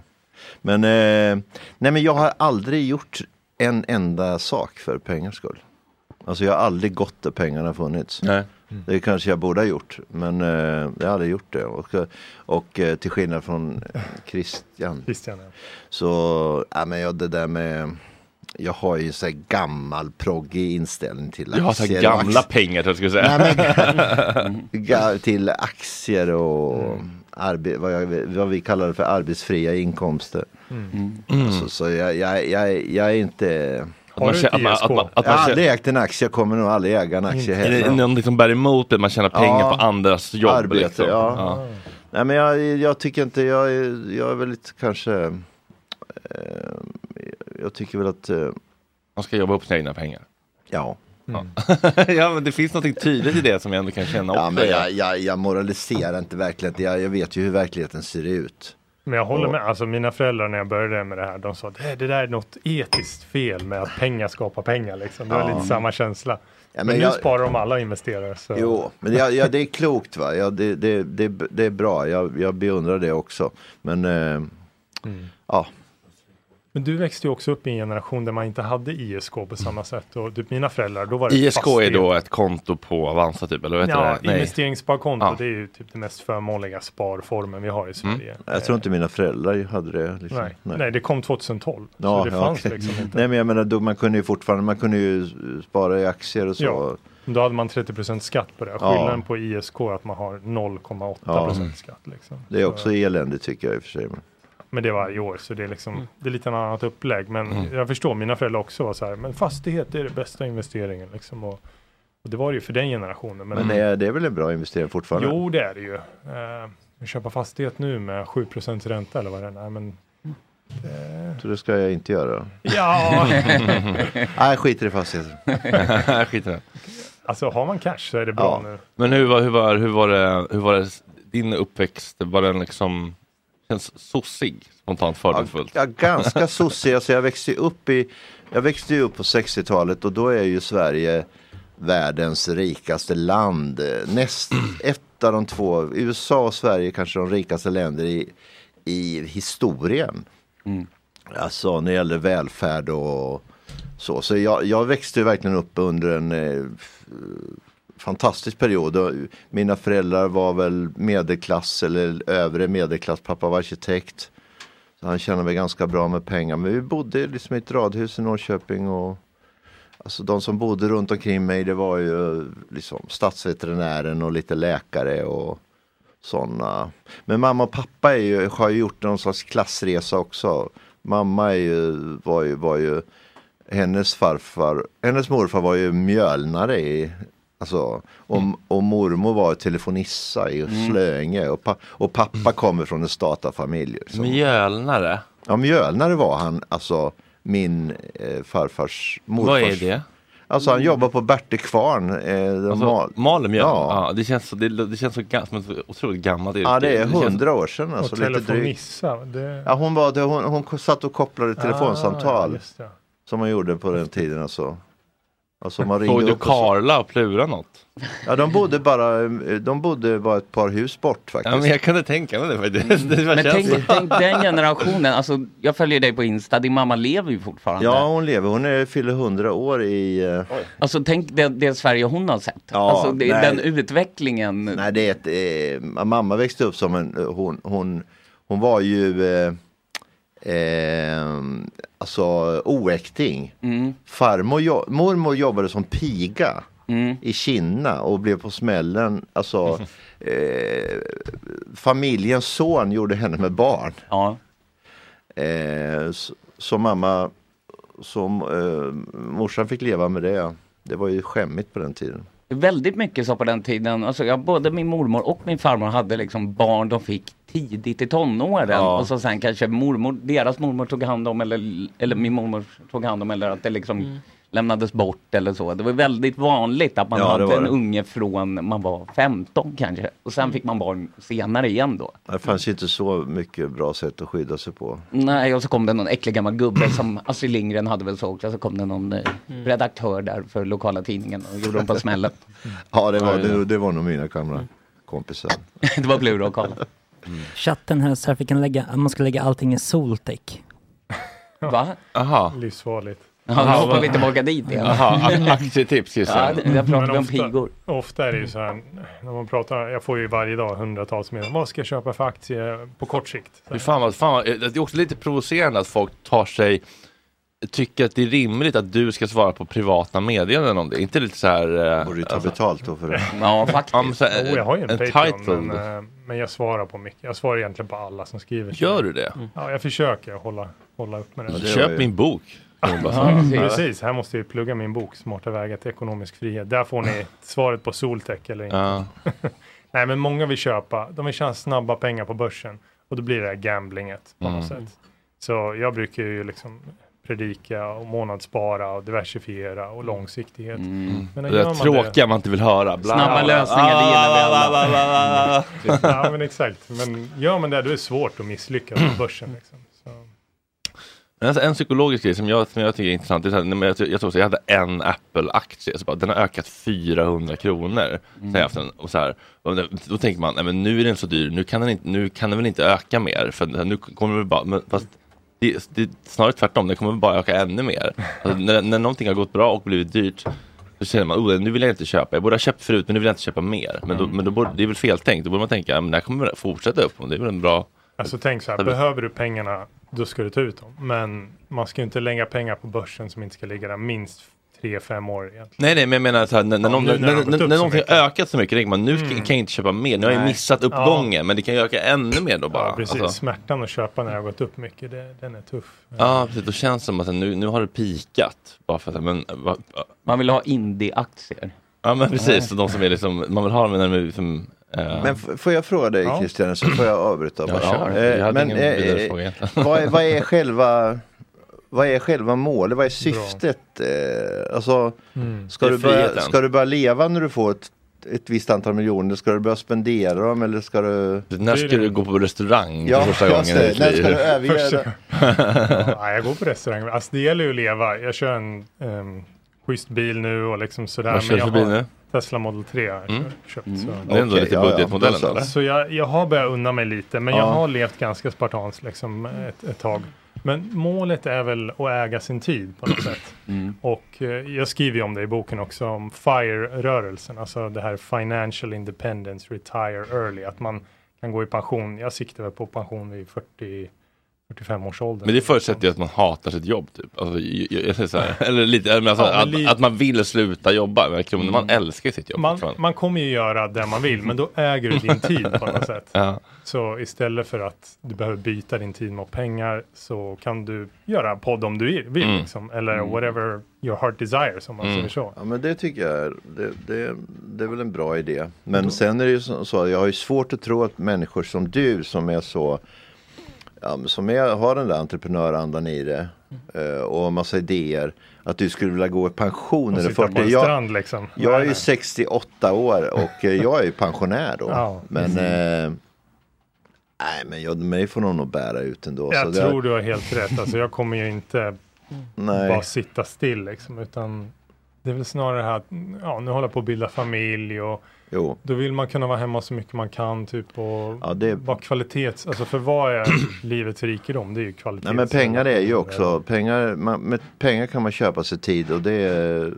[SPEAKER 7] Men, eh, nej, men jag har aldrig gjort en enda sak för pengars skull. Alltså jag har aldrig gått där pengarna funnits.
[SPEAKER 1] Nej.
[SPEAKER 7] Det kanske jag borde ha gjort, men eh, jag har aldrig gjort det. Och, och eh, till skillnad från eh, Christian.
[SPEAKER 8] Christian, ja.
[SPEAKER 7] Så, ja men jag, det där med, jag har ju så här gammal proggig inställning till
[SPEAKER 1] Jag har så här
[SPEAKER 7] aktier och
[SPEAKER 1] gamla
[SPEAKER 7] aktie-
[SPEAKER 1] pengar, tror jag skulle säga.
[SPEAKER 7] Nej, men, ga- till aktier och arbe, vad, jag, vad vi kallar det för arbetsfria inkomster. Alltså, så jag, jag, jag, jag är inte...
[SPEAKER 1] Har man du E kä- ett Mm. att man- att man- att man
[SPEAKER 7] jag har
[SPEAKER 1] kä-
[SPEAKER 7] aldrig ägt en aktie, jag kommer nog aldrig äga en aktie
[SPEAKER 1] Är
[SPEAKER 7] heller.
[SPEAKER 1] det någon liksom bär emot det, man tjänar pengar
[SPEAKER 7] Ja.
[SPEAKER 1] på andras jobb?
[SPEAKER 7] Arbete,
[SPEAKER 1] liksom.
[SPEAKER 7] ja. Nej men jag, jag tycker inte, jag, är- jag är väl lite kanske, eh, jag tycker väl att... Eh,
[SPEAKER 1] Man ska jobba upp sina egna pengar.
[SPEAKER 7] Ja.
[SPEAKER 1] ja, men det finns något tydligt i det som jag ändå kan känna
[SPEAKER 7] Ja,
[SPEAKER 1] också.
[SPEAKER 7] men jag, jag, jag moraliserar inte verkligheten, jag, jag vet ju hur verkligheten ser ut.
[SPEAKER 8] Men jag håller
[SPEAKER 7] Och-
[SPEAKER 8] med, alltså mina föräldrar när jag började med det här, de sa att det där är något etiskt fel med att pengar skapar pengar liksom. Det var
[SPEAKER 7] Ja.
[SPEAKER 8] lite samma känsla.
[SPEAKER 7] men
[SPEAKER 8] men nu
[SPEAKER 7] jag-
[SPEAKER 8] sparar de alla och investerar. Så.
[SPEAKER 7] Jo, men ja, ja, det är klokt va, ja, det, det, det, det är bra, jag, jag beundrar det också. Men eh,
[SPEAKER 8] Mm.
[SPEAKER 7] ja,
[SPEAKER 8] Men du växte ju också upp i en generation där man inte hade ISK på samma sätt. Och typ mina föräldrar, då var det
[SPEAKER 1] ISK är
[SPEAKER 8] fastighet.
[SPEAKER 1] då ett konto på Avanza typ, eller vad heter
[SPEAKER 8] Ja,
[SPEAKER 1] det? Nej.
[SPEAKER 8] investeringssparkonto,
[SPEAKER 1] Ja.
[SPEAKER 8] det är ju typ den mest förmånliga sparformen vi har i
[SPEAKER 7] Mm.
[SPEAKER 1] Mm.
[SPEAKER 8] Sverige.
[SPEAKER 7] jag tror inte mina föräldrar hade det. Liksom.
[SPEAKER 8] eh, Nej. Nej. det kom 2012.
[SPEAKER 7] Ja,
[SPEAKER 8] så det
[SPEAKER 7] ja,
[SPEAKER 8] fanns
[SPEAKER 7] okej.
[SPEAKER 8] liksom inte.
[SPEAKER 7] Nej men jag menar, då, man kunde ju fortfarande, man kunde ju spara i aktier och så.
[SPEAKER 8] Ja, då hade man 30 skatt på det.
[SPEAKER 7] Ja.
[SPEAKER 8] Skillnaden på ISK är att man har 0,8
[SPEAKER 7] Mm.
[SPEAKER 8] skatt. Liksom.
[SPEAKER 7] Det är
[SPEAKER 8] Så-
[SPEAKER 7] också elände tycker jag i och för sig. men-
[SPEAKER 8] Men det var i år, så det är liksom det är lite en annat upplägg. Men jag förstår, mina föräldrar också var så här, men fastighet är det bästa investeringen liksom. Och, och det var det ju för den generationen. Men,
[SPEAKER 7] Men det är, det är väl en bra investering fortfarande?
[SPEAKER 8] jo, det är det ju. Eh, att köpa fastighet nu med 7 ränta eller vad det är. Nej, men,
[SPEAKER 7] Så det ska jag inte göra.
[SPEAKER 8] Ja.
[SPEAKER 7] Nej, skiter i fastigheter.
[SPEAKER 1] Skit i det.
[SPEAKER 8] alltså har man cash så är det bra nu.
[SPEAKER 1] Men hur var, hur, var, hur, var det, hur var det, din uppväxt, var den liksom, känns sossig spontant fördomsfullt?
[SPEAKER 7] Ja, ganska sossig. Alltså jag växte ju upp i, jag växte ju upp på 60-talet och då är ju Sverige världens rikaste land. Näst, ett av de två, USA och Sverige är kanske de rikaste länder i, i historien. Alltså när det gäller välfärd och så. Så jag, jag växte ju verkligen upp under en eh, f- fantastisk period. Och Mina föräldrar var väl medelklass eller övre medelklass. Pappa var arkitekt. Så han tjänade väl ganska bra med pengar. Men vi bodde liksom i ett radhus i Norrköping. Och, alltså de som bodde runt omkring mig det var ju liksom statsveterinären och lite läkare och sådana. Men mamma och pappa är ju, har ju gjort någon slags klassresa också. Mamma är ju, var ju, var ju hennes farfar, hennes morfar var ju mjölnare i Alltså, och, och mormor var telefonissa i Slöinge och, pa, och pappa kommer från en statarfamilj. liksom.
[SPEAKER 1] Mjölnare?
[SPEAKER 7] Ja, mjölnare var han, alltså min eh, farfars morfars.
[SPEAKER 1] Vad är det?
[SPEAKER 7] Alltså han jobbar på Berte Kvarn. Eh, de
[SPEAKER 1] Alltså,
[SPEAKER 7] mal-
[SPEAKER 1] maler mjöl?
[SPEAKER 7] Ja.
[SPEAKER 1] Ja. det känns, så, det, det känns så, gam- som ett otroligt gammalt yrke.
[SPEAKER 7] Ja, det är
[SPEAKER 1] känns-
[SPEAKER 7] hundra år sedan. Alltså,
[SPEAKER 8] och
[SPEAKER 7] lite drygt.
[SPEAKER 8] telefonissa. Det...
[SPEAKER 7] Ja, hon, var, det- hon, hon satt och kopplade
[SPEAKER 8] Ah,
[SPEAKER 7] telefonsamtal
[SPEAKER 8] just det.
[SPEAKER 7] som man gjorde på den tiden. Alltså. Alltså man ringde
[SPEAKER 1] Såg du
[SPEAKER 7] upp och så-
[SPEAKER 1] Karla och Plura något?
[SPEAKER 7] Ja, de bodde bara, eh, de bodde bara ett par hus bort faktiskt.
[SPEAKER 1] Ja, men jag kunde tänka mig det faktiskt. Det var
[SPEAKER 3] Mm. Men
[SPEAKER 1] känns-
[SPEAKER 3] tänk, tänk den generationen, alltså jag följer dig på Insta, din mamma lever ju fortfarande.
[SPEAKER 7] Ja, hon lever. Hon är, fyller 100 år i... eh,
[SPEAKER 3] Alltså tänk det, det Sverige hon har sett.
[SPEAKER 7] Ja,
[SPEAKER 3] alltså det,
[SPEAKER 7] nej.
[SPEAKER 3] den utvecklingen.
[SPEAKER 7] Nej, det är ett, eh, mamma växte upp som en, eh, hon, hon, hon var ju eh, eh, alltså oäkting.
[SPEAKER 3] Mm.
[SPEAKER 7] Farmor, jo, mormor jobbade som piga
[SPEAKER 3] Mm.
[SPEAKER 7] i Kina och blev på smällen, alltså eh, familjens son gjorde henne med barn. Eh, så, så mamma, som eh, morsan fick leva med det. Det var ju skämmigt på den tiden.
[SPEAKER 3] Väldigt mycket så på den tiden, alltså jag, både min mormor och min farmor hade liksom barn de fick tidigt i tonåren.
[SPEAKER 7] Ja.
[SPEAKER 3] Och så sen kanske mormor, deras mormor tog hand om eller, eller min mormor tog hand om eller att det liksom
[SPEAKER 7] Mm.
[SPEAKER 3] lämnades bort eller så. Det var väldigt vanligt att man
[SPEAKER 7] Ja, det
[SPEAKER 3] hade
[SPEAKER 7] var
[SPEAKER 3] en
[SPEAKER 7] det. Mm.
[SPEAKER 3] unge från man var 15 kanske. Och sen fick man barn senare igen då.
[SPEAKER 7] Det fanns ju inte så mycket bra sätt att skydda sig på.
[SPEAKER 3] Nej, och så kom det någon äcklig gammal gubbe som Astrid Lindgren hade väl så också. Så kom det någon eh,
[SPEAKER 7] Mm.
[SPEAKER 3] redaktör där för lokala tidningen och gjorde dem på smällen.
[SPEAKER 7] Ja, det var,
[SPEAKER 3] Ja, ja.
[SPEAKER 1] Mm.
[SPEAKER 7] det, det var nog mina gamla kompisar.
[SPEAKER 3] det var Plura och Karla.
[SPEAKER 5] Chatten hälsar att vi kan lägga, att man ska lägga allting i Soltech.
[SPEAKER 3] Va?
[SPEAKER 1] Aha.
[SPEAKER 8] Livsfarligt.
[SPEAKER 3] Ja, då hoppar vi tillbaka dit igen. Aha, ak- aktietips, just det. Ja, det- där pratar
[SPEAKER 8] Men
[SPEAKER 3] vi om
[SPEAKER 8] ofta-
[SPEAKER 3] pigor.
[SPEAKER 8] Ofta är det ju så här, när man pratar, jag får ju varje dag hundratals meddelanden, vad ska jag köpa för aktie på kort sikt?
[SPEAKER 1] Fy Fan vad, fan vad, det är också lite provocerande att folk tar sig tycker att det är rimligt att du ska svara på privata meddelanden om det. Inte lite så här... Eh, Borde du ta
[SPEAKER 7] betalt då för det.
[SPEAKER 1] Ja, eh, faktiskt.
[SPEAKER 8] Jo, jag har ju en Patreon, men, eh, men jag svarar på mycket. Jag svarar egentligen på alla som skriver. till
[SPEAKER 1] Gör
[SPEAKER 8] mig.
[SPEAKER 1] du det? Mm.
[SPEAKER 8] Ja, jag försöker hålla, hålla upp med det.
[SPEAKER 1] Ja, det Köp var ju- min bok. Kan man bara
[SPEAKER 8] Ja,
[SPEAKER 1] säga.
[SPEAKER 8] precis, här måste jag ju plugga min bok Smarta vägar till ekonomisk frihet. Där får ni svaret på Soltech eller inte.
[SPEAKER 1] Ja.
[SPEAKER 8] Nej, men många vill köpa, de vill tjäna snabba pengar på börsen och då blir det här gamblinget på något
[SPEAKER 1] Mm.
[SPEAKER 8] sätt. Så jag brukar ju liksom predika och månadsspara och diversifiera och långsiktighet.
[SPEAKER 1] Mm.
[SPEAKER 8] Men
[SPEAKER 1] Det
[SPEAKER 8] gör
[SPEAKER 1] där
[SPEAKER 8] man
[SPEAKER 1] tråkiga man inte vill höra. Bla,
[SPEAKER 8] Snabba
[SPEAKER 1] bla, Ah, bla.
[SPEAKER 8] lösningar, det gillar vi alla.
[SPEAKER 1] Bla, bla, bla, bla, bla.
[SPEAKER 8] ja, men exakt. Men gör man det, då är det svårt att misslyckas på börsen. Liksom.
[SPEAKER 1] Men alltså, en psykologisk grej som jag, som jag tycker är intressant, det är så här, nej, men jag, jag, tror så, jag hade en Apple-aktie, så bara, den har ökat 400 kronor.
[SPEAKER 13] Mm.
[SPEAKER 1] Så här, efter den, och så här, och då, då tänker man, nej, men nu är den så dyr, nu kan den, inte, nu kan den väl inte öka mer, för den- nu kommer den bara, men, fast, det, det, är snarare tvärtom, den kommer väl bara öka ännu mer. Alltså, när, när någonting har gått bra och blivit dyrt, så känner man, oh, nu vill jag inte köpa, jag borde ha köpt förut, men nu vill jag inte köpa mer. Men,
[SPEAKER 8] Mm.
[SPEAKER 1] då, men då borde, det är väl feltänkt, då borde man tänka, men det här kommer fortsätta upp, och det är väl en bra...
[SPEAKER 8] Alltså tänk så här,
[SPEAKER 1] Eller-
[SPEAKER 8] behöver du pengarna, då ska du ta ut dem. Men man ska ju inte lägga pengar på börsen som inte ska ligga där minst 3-5 år egentligen.
[SPEAKER 1] Nej, nej, men jag menar så här, när, när,
[SPEAKER 8] Ja,
[SPEAKER 1] någon, när,
[SPEAKER 8] nu när det
[SPEAKER 1] när,
[SPEAKER 8] har gått upp så
[SPEAKER 1] när någonting
[SPEAKER 8] mycket. Mm.
[SPEAKER 1] har ökat så mycket, tänker man nu ska, kan jag inte köpa mer, nu har jag
[SPEAKER 8] Nej.
[SPEAKER 1] missat uppgången, men det kan ju öka ännu mer då bara.
[SPEAKER 8] Ja, precis.
[SPEAKER 1] Alltså,
[SPEAKER 8] Smärtan att köpa när det har gått upp mycket, det, den är tuff.
[SPEAKER 1] ja, precis, då känns det som att nu, nu har det pikat. Bara för att, men,
[SPEAKER 3] man vill ha indie-aktier.
[SPEAKER 1] Ja, men precis, så de som är liksom, man vill ha dem när de är liksom, eh,
[SPEAKER 7] Men f- får jag fråga dig
[SPEAKER 1] Ja.
[SPEAKER 7] Christian, så får jag avbryta.
[SPEAKER 1] Ja,
[SPEAKER 7] bara.
[SPEAKER 1] kör.
[SPEAKER 7] Eh,
[SPEAKER 1] Vi hade
[SPEAKER 7] men
[SPEAKER 1] ingen
[SPEAKER 7] eh,
[SPEAKER 1] vidare
[SPEAKER 7] eh,
[SPEAKER 1] fråga egentligen.
[SPEAKER 7] vad, är, vad är själva vad är själva målet? Vad är syftet? Eh, alltså,
[SPEAKER 1] Mm.
[SPEAKER 7] ska,
[SPEAKER 1] Det är
[SPEAKER 7] du börja,
[SPEAKER 1] friheten.
[SPEAKER 7] ska du börja leva när du får ett, ett visst antal miljoner? Ska du börja spendera dem eller ska du?
[SPEAKER 1] när ska du gå på restaurang
[SPEAKER 7] Ja,
[SPEAKER 1] för första
[SPEAKER 7] just
[SPEAKER 1] gången
[SPEAKER 7] det.
[SPEAKER 1] i ditt
[SPEAKER 7] När
[SPEAKER 1] liv?
[SPEAKER 7] ska du överge Första-
[SPEAKER 8] ja, jag går på restaurang. Alltså det gäller ju att leva. Jag kör en um, schysst bil nu och liksom sådär.
[SPEAKER 1] Vad kör du
[SPEAKER 8] jag
[SPEAKER 1] för bil nu?
[SPEAKER 8] Tesla Model 3 har jag
[SPEAKER 1] Mm.
[SPEAKER 8] köpt.
[SPEAKER 1] Mm.
[SPEAKER 8] Så.
[SPEAKER 1] Det är ändå Okej, lite ja, ja. budgetmodellen, Då så. eller?
[SPEAKER 8] Så jag, jag har börjat unna mig lite, men jag
[SPEAKER 1] Ja.
[SPEAKER 8] har levt ganska spartanskt liksom ett, ett tag. Men målet är väl att äga sin tid på något sätt.
[SPEAKER 1] Mm.
[SPEAKER 8] Och eh, jag skriver ju om det i boken också, om FIRE-rörelsen, alltså det här Financial Independence Retire Early, att man kan gå i pension. Jag siktar väl på pension vid 40 45 års ålder.
[SPEAKER 1] Men det förutsätter ju att man hatar sitt jobb typ. Alltså, jag, jag, jag, säger så här, eller lite, men alltså,
[SPEAKER 8] Ja, men
[SPEAKER 1] att,
[SPEAKER 8] lite-
[SPEAKER 1] att man vill sluta jobba, men kronor, man älskar ju sitt jobb.
[SPEAKER 8] man,
[SPEAKER 1] fortfarande.
[SPEAKER 8] man kommer ju göra det man vill, men då äger du din tid på något sätt.
[SPEAKER 1] Ja.
[SPEAKER 8] Så istället för att du behöver byta din tid mot pengar så kan du göra en podd om du vill,
[SPEAKER 7] Mm.
[SPEAKER 8] liksom, eller
[SPEAKER 7] Mm.
[SPEAKER 8] whatever your heart desires, om man
[SPEAKER 1] Mm.
[SPEAKER 8] säger så.
[SPEAKER 7] Ja, men det tycker jag är, det, det, det är väl en bra idé. Men sen är det ju så, så, jag har ju svårt att tro att människor som du som är så, ja, men som är, har den där entreprenörandan i det eh, och en massa idéer, att du skulle vilja gå i pension
[SPEAKER 8] Och
[SPEAKER 7] när du är
[SPEAKER 8] sitta på
[SPEAKER 7] 40.
[SPEAKER 8] en
[SPEAKER 7] Jag,
[SPEAKER 8] strand, liksom.
[SPEAKER 7] jag är
[SPEAKER 8] Nej,
[SPEAKER 7] ju 68 år och eh, jag är ju pensionär då.
[SPEAKER 8] Ja,
[SPEAKER 7] men
[SPEAKER 8] precis.
[SPEAKER 7] eh, nej, men jag, mig får de nog bära ut ändå. så
[SPEAKER 8] Jag
[SPEAKER 7] det-
[SPEAKER 8] tror du har helt rätt, alltså jag kommer ju inte
[SPEAKER 7] Nej.
[SPEAKER 8] bara sitta still liksom, utan det är väl snarare det här att, ja, nu håller jag på att bilda familj och
[SPEAKER 7] Jo.
[SPEAKER 8] då vill man kunna vara hemma så mycket man kan typ och
[SPEAKER 7] Ja, det-
[SPEAKER 8] bara kvalitets, alltså för vad är livets rikedom? Det är ju kvalitet.
[SPEAKER 7] Nej men pengar är ju också, pengar, man, med pengar kan man köpa sig tid och det är,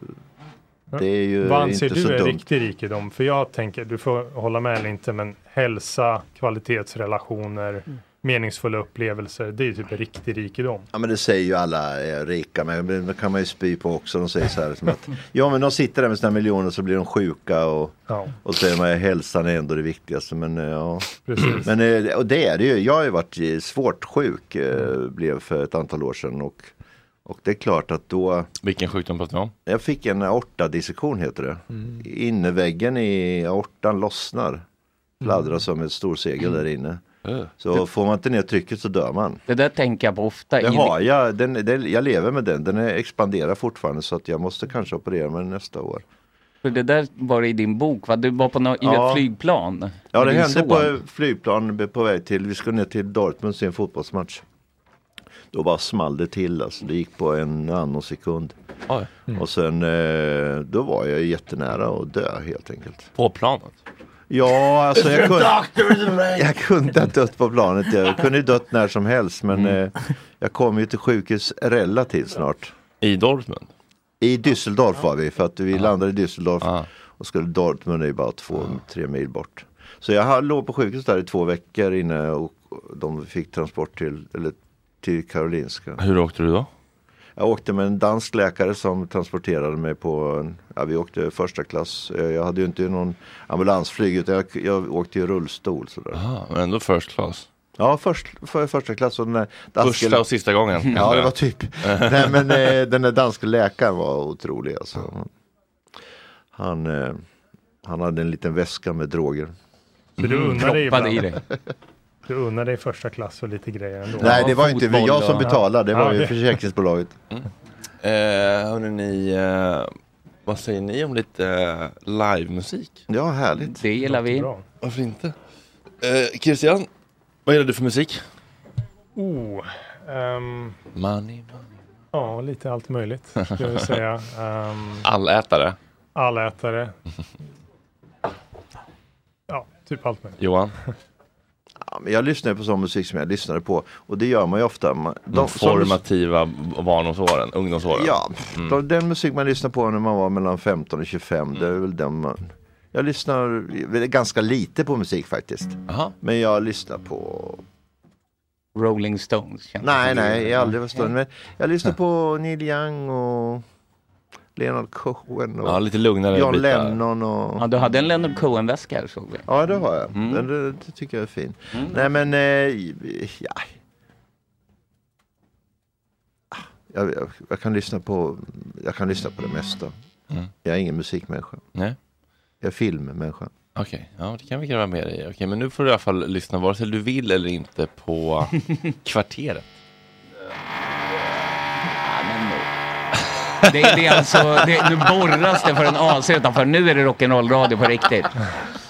[SPEAKER 7] det är ju
[SPEAKER 8] Vad anser
[SPEAKER 7] inte
[SPEAKER 8] du
[SPEAKER 7] så
[SPEAKER 8] är
[SPEAKER 7] dumt.
[SPEAKER 8] riktig rikedom? För jag tänker, du får hålla med eller inte, men hälsa, kvalitetsrelationer, meningsfulla upplevelser, det är ju typ riktig rikedom.
[SPEAKER 7] Ja men det säger ju alla eh, rika, men men det kan man ju spy på också. De säger så här som att, ja men de sitter där med sina miljoner så blir de sjuka och,
[SPEAKER 8] Ja.
[SPEAKER 7] och säger man hälsan är ändå det viktigaste. Men, eh, ja.
[SPEAKER 8] Precis.
[SPEAKER 7] men eh, och det är det ju, jag har ju varit eh, svårt sjuk, eh, blev för ett antal år sedan. Och, och det är klart att då
[SPEAKER 1] Vilken sjukdom pratar vi om?
[SPEAKER 7] Jag fick en aortadissektion heter det.
[SPEAKER 1] Mm.
[SPEAKER 7] Innerväggen i aortan lossnar.
[SPEAKER 8] Mm.
[SPEAKER 7] Fladdrar som ett storsegel där inne. Så får man inte ner trycket så dör man.
[SPEAKER 3] Det där tänker jag på ofta.
[SPEAKER 7] Det
[SPEAKER 3] Inge-
[SPEAKER 7] har jag, den, den, jag lever med den. Den är- expanderar fortfarande så att jag måste kanske operera mig nästa år.
[SPEAKER 3] För det där var det i din bok, va? Du var på nå- i
[SPEAKER 7] Ja.
[SPEAKER 3] ett flygplan.
[SPEAKER 7] Ja,
[SPEAKER 3] med
[SPEAKER 7] det
[SPEAKER 3] din
[SPEAKER 7] hände
[SPEAKER 3] son.
[SPEAKER 7] på flygplan på väg till, vi skulle ner till Dortmund se en fotbollsmatch. Då bara small det till, alltså det gick på en nanosekund.
[SPEAKER 1] Mm.
[SPEAKER 7] Och sen eh, då var jag jättenära att dö helt enkelt.
[SPEAKER 1] På planet?
[SPEAKER 7] Ja, alltså
[SPEAKER 10] The
[SPEAKER 7] jag kunde,
[SPEAKER 10] doctor is away.
[SPEAKER 7] jag kunde ha dött på planet. Jag kunde ju dött när som helst men eh, jag kom ju till sjukhus relativt snart.
[SPEAKER 1] I Dortmund? Ah.
[SPEAKER 7] I Düsseldorf var vi för att vi landade i Düsseldorf och skulle Dortmund är ju bara två, tre mil bort. Så jag ha- låg på sjukhus där i två veckor innan jag, och de fick transport till, eller, till Karolinska.
[SPEAKER 1] Hur åkte du då?
[SPEAKER 7] Jag åkte med en dansk läkare som transporterade mig på, en- ja, vi åkte första klass. Eh, Jag hade ju inte någon ambulansflyg utan jag, jag åkte i rullstol. Sådär.
[SPEAKER 1] Ah, men ändå first class.
[SPEAKER 7] Ja, först, för, första klass. Och den där danske-
[SPEAKER 1] Första och sista gången, kan jag
[SPEAKER 7] Ja, det
[SPEAKER 1] säga.
[SPEAKER 7] var typ. Nej, men eh, den där danske läkaren var otrolig alltså. Han, eh, han hade en liten väska med droger.
[SPEAKER 8] Så
[SPEAKER 1] Mm.
[SPEAKER 8] du unnar dig ibland.
[SPEAKER 7] Mm. i
[SPEAKER 8] Du unnar dig första klass och lite grejer ändå.
[SPEAKER 7] Nej, det var inte vi- jag som betalade. Det var ju försäkringsbolaget.
[SPEAKER 1] Eh, hörni, ni, eh, vad säger ni om lite eh, livemusik?
[SPEAKER 7] Ja, härligt.
[SPEAKER 3] Det gillar vi.
[SPEAKER 1] Varför inte? Eh, Christian, vad gillar du för musik?
[SPEAKER 8] Oh, ehm,
[SPEAKER 1] Money.
[SPEAKER 8] ja, lite allt möjligt skulle jag säga. Ehm,
[SPEAKER 1] Allätare.
[SPEAKER 8] allätare. Ja, typ allt möjligt.
[SPEAKER 1] Johan?
[SPEAKER 7] Ja, men jag lyssnar ju på sån musik som jag lyssnade på. Och det gör man ju ofta. Man,
[SPEAKER 1] De
[SPEAKER 7] sån mus-
[SPEAKER 1] formativa barndomsåren, ungdomsåren.
[SPEAKER 7] Ja,
[SPEAKER 1] Mm.
[SPEAKER 7] de, den musik man lyssnar på när man var mellan 15 och 25, det
[SPEAKER 1] Mm.
[SPEAKER 7] är väl den man... Jag lyssnar ganska lite på musik faktiskt. Men jag lyssnar på...
[SPEAKER 3] Rolling Stones? känns
[SPEAKER 7] Nej,
[SPEAKER 3] det som.
[SPEAKER 7] nej, jag har aldrig varit stor. Men jag lyssnar på Neil Young och Leonard Cohen och
[SPEAKER 1] Ja, lite lugnare
[SPEAKER 7] John
[SPEAKER 1] bitar.
[SPEAKER 7] Lennon och...
[SPEAKER 3] Ja, du hade en Leonard Cohen-väska här såg vi.
[SPEAKER 7] Ja, det har jag.
[SPEAKER 1] Mm.
[SPEAKER 7] Den, det, det tycker jag är fin. Nej, men... Eh, ja. Ah, Jag, jag, jag, kan lyssna på, jag kan lyssna på det mesta.
[SPEAKER 1] Mm.
[SPEAKER 7] Jag är ingen musikmänniska.
[SPEAKER 1] Nej.
[SPEAKER 7] Jag är filmmänniska.
[SPEAKER 1] Okej, ja, det kan vi gräva mer i. Okej, men nu får du i alla fall lyssna vare sig du vill eller inte på Kvarteret.
[SPEAKER 3] Det, det är alltså, det, nu borras det för en AC utanför. Nu är det rock'n'roll-radio på riktigt.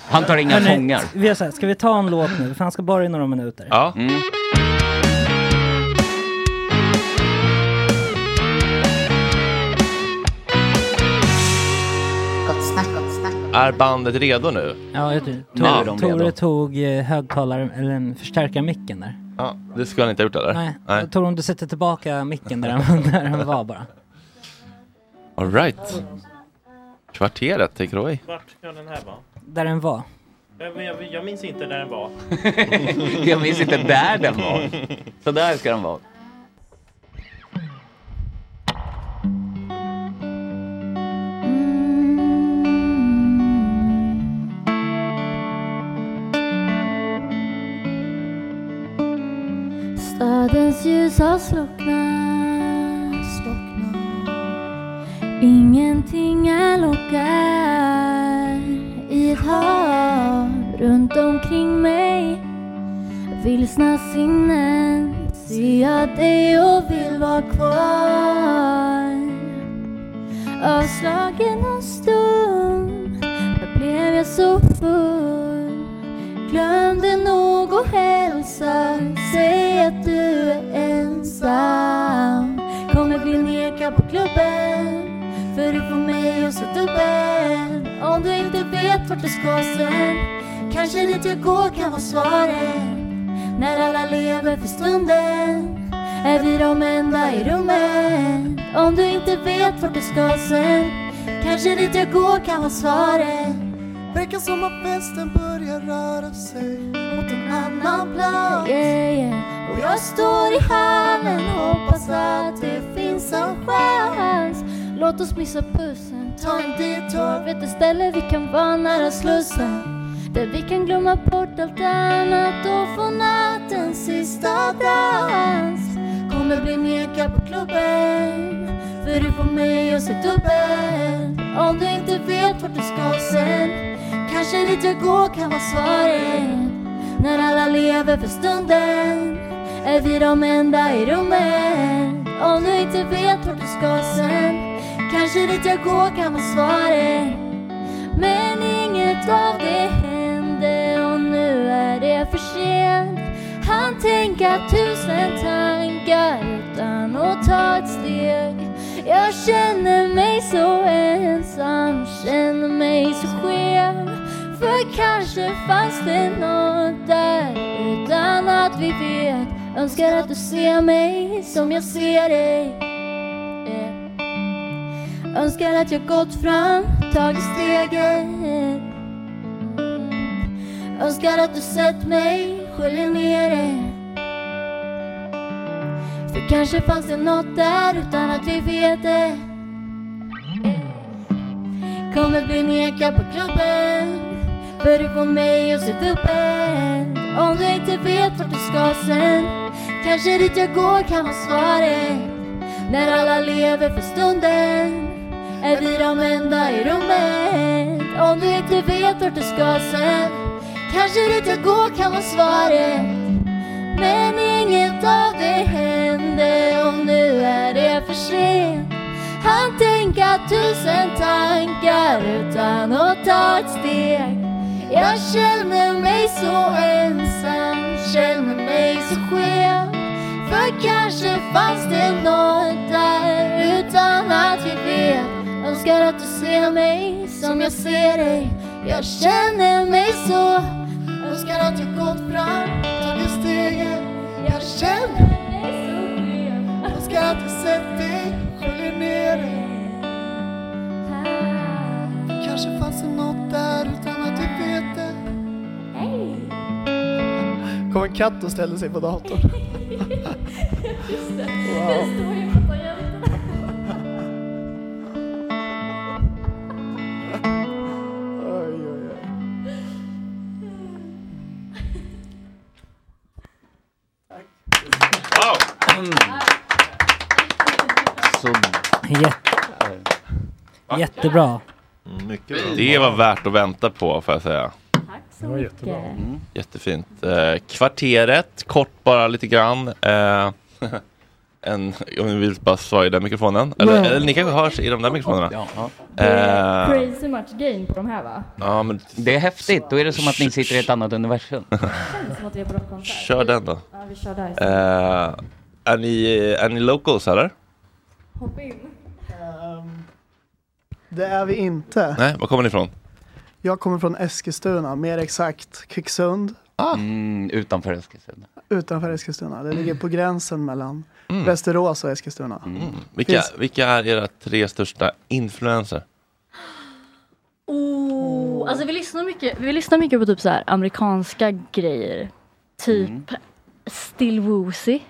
[SPEAKER 3] Han tar inga
[SPEAKER 5] Hörni,
[SPEAKER 3] fångar.
[SPEAKER 5] Vi gör så här, ska vi ta en låt nu? För han ska bara i några minuter.
[SPEAKER 1] Ja.
[SPEAKER 3] Mm.
[SPEAKER 13] Gott snack, gott snack.
[SPEAKER 1] Är bandet redo nu?
[SPEAKER 5] Ja, jag tror-
[SPEAKER 1] Nu är
[SPEAKER 5] Tor,
[SPEAKER 1] de
[SPEAKER 5] Tore
[SPEAKER 1] redo.
[SPEAKER 5] tog eh, högtalaren, eller en förstärkarmicken där.
[SPEAKER 1] Ja, det skulle han inte ha gjort eller?
[SPEAKER 5] Nej, Nej. Tore om du sätter tillbaka micken där han, där han var bara.
[SPEAKER 1] All right. Kvarteret, take it away.
[SPEAKER 6] Vart kan den här vara?
[SPEAKER 5] Där den var.
[SPEAKER 6] Jag, jag, jag minns inte där den var.
[SPEAKER 3] Jag minns inte där den var. Så där ska den vara.
[SPEAKER 13] Stadens ljus har slocknat, slocknat. Ingenting är lockar i ett hav runt omkring mig. Vilsna sinnen ser jag dig och vill vara kvar. Avslagen och stum, där blev jag så full. Glömde nog att hälsa, säg att du är ensam. Kommer bli nekad på klubben, för du får mig att så dubbel. Om du inte vet vart du ska sen, kanske dit jag går kan vara svaret. När alla lever för stunden, är vi de enda i rummet. Om du inte vet vart du ska sen, kanske dit jag går kan vara svaret. Verkar som att festen börjar röra sig mot en annan plats. Yeah, yeah. Och jag står i hallen och hoppas att det finns en chans. Låt oss missa bussen, ta en detour. Vet ett ställe vi kan vara nära Slussen. Där vi kan glömma bort allt annat och få nattens sista dans. Kommer bli nekad på klubben, för du får mig att se dubbel. Om du inte vet vart du ska sen, kanske dit jag går kan vara svaret. När alla lever för stunden, är vi de enda i rummet. Om du inte vet vart du ska sen, kanske dit jag går kan vara svaret. Men inget av det hände och nu är det för sent. Han tänka tusen tankar utan att ta ett steg. Jag känner mig så ensam, känner mig så skev. För För kanske fanns det något där utan att vi vet Önskar att du ser mig som jag ser dig Eh. Önskar att jag gått fram, tagit steget Önskar att du sett mig, sköljer ner dig För kanske fanns det något där utan att vi vet det Kommer bli nekad på klubben För du får mig att se dubbelt Om du inte vet vart du ska sen Kanske dit jag går kan vara svaret När alla lever för stunden Är vi de enda i rummet Om du inte vet vart du ska sen Kanske dit jag går kan vara svaret Men inget av det hände Och nu är det för sent han tänka tusen tankar utan att ta ett steg Jag känner mig så ensam, känner mig så skev För kanske fanns det något där utan att vi vet Önskar att du ser mig som jag ser dig Jag känner mig så Önskar att jag gått fram, tagit steget Jag känner mig så skev Önskar att du sett dig, sköljer ner dig
[SPEAKER 14] Kanske fanns det något där utan att vi vet det. Kom en katt och ställde sig på datorn.
[SPEAKER 13] Just det,
[SPEAKER 14] Wow.
[SPEAKER 13] det står ju på varianterna.
[SPEAKER 14] Oj, oj, oj.
[SPEAKER 5] Jätte... Jättebra.
[SPEAKER 7] Mm, Mycket bra.
[SPEAKER 1] Det var värt att vänta på får jag säga.
[SPEAKER 8] Det var jättebra. Mm.
[SPEAKER 1] Jättefint. Eh, kvarteret, kort bara lite grann. Eh, en, om ni vill bara svara i den mikrofonen. Eller,
[SPEAKER 15] Ja.
[SPEAKER 1] eller ni kanske hörs i de där mikrofonerna.
[SPEAKER 3] Ja. Ah.
[SPEAKER 1] Eh,
[SPEAKER 15] Crazy much game på de här va?
[SPEAKER 1] ja, men
[SPEAKER 3] Det är häftigt, då är det som att ni sitter i ett annat universum.
[SPEAKER 15] Känns som att vi är på rockkonsert.
[SPEAKER 1] kör den då.
[SPEAKER 15] Ja, vi kör där istället.
[SPEAKER 1] Eh, är, ni, är ni locals eller?
[SPEAKER 15] Hoppa in.
[SPEAKER 14] Ehm, Det är vi inte.
[SPEAKER 1] Nej, var kommer ni ifrån?
[SPEAKER 14] Jag kommer från Eskilstuna, mer exakt Kvicksund
[SPEAKER 3] Mm, utanför Eskilstuna.
[SPEAKER 14] utanför Eskilstuna. Det ligger på gränsen mellan Västerås och Eskilstuna.
[SPEAKER 1] Mm. Vilka,
[SPEAKER 14] Finns-
[SPEAKER 1] vilka är era tre största influenser?
[SPEAKER 15] Oh, alltså vi lyssnar, mycket, vi lyssnar mycket på typ så här amerikanska grejer. Typ Still Woozy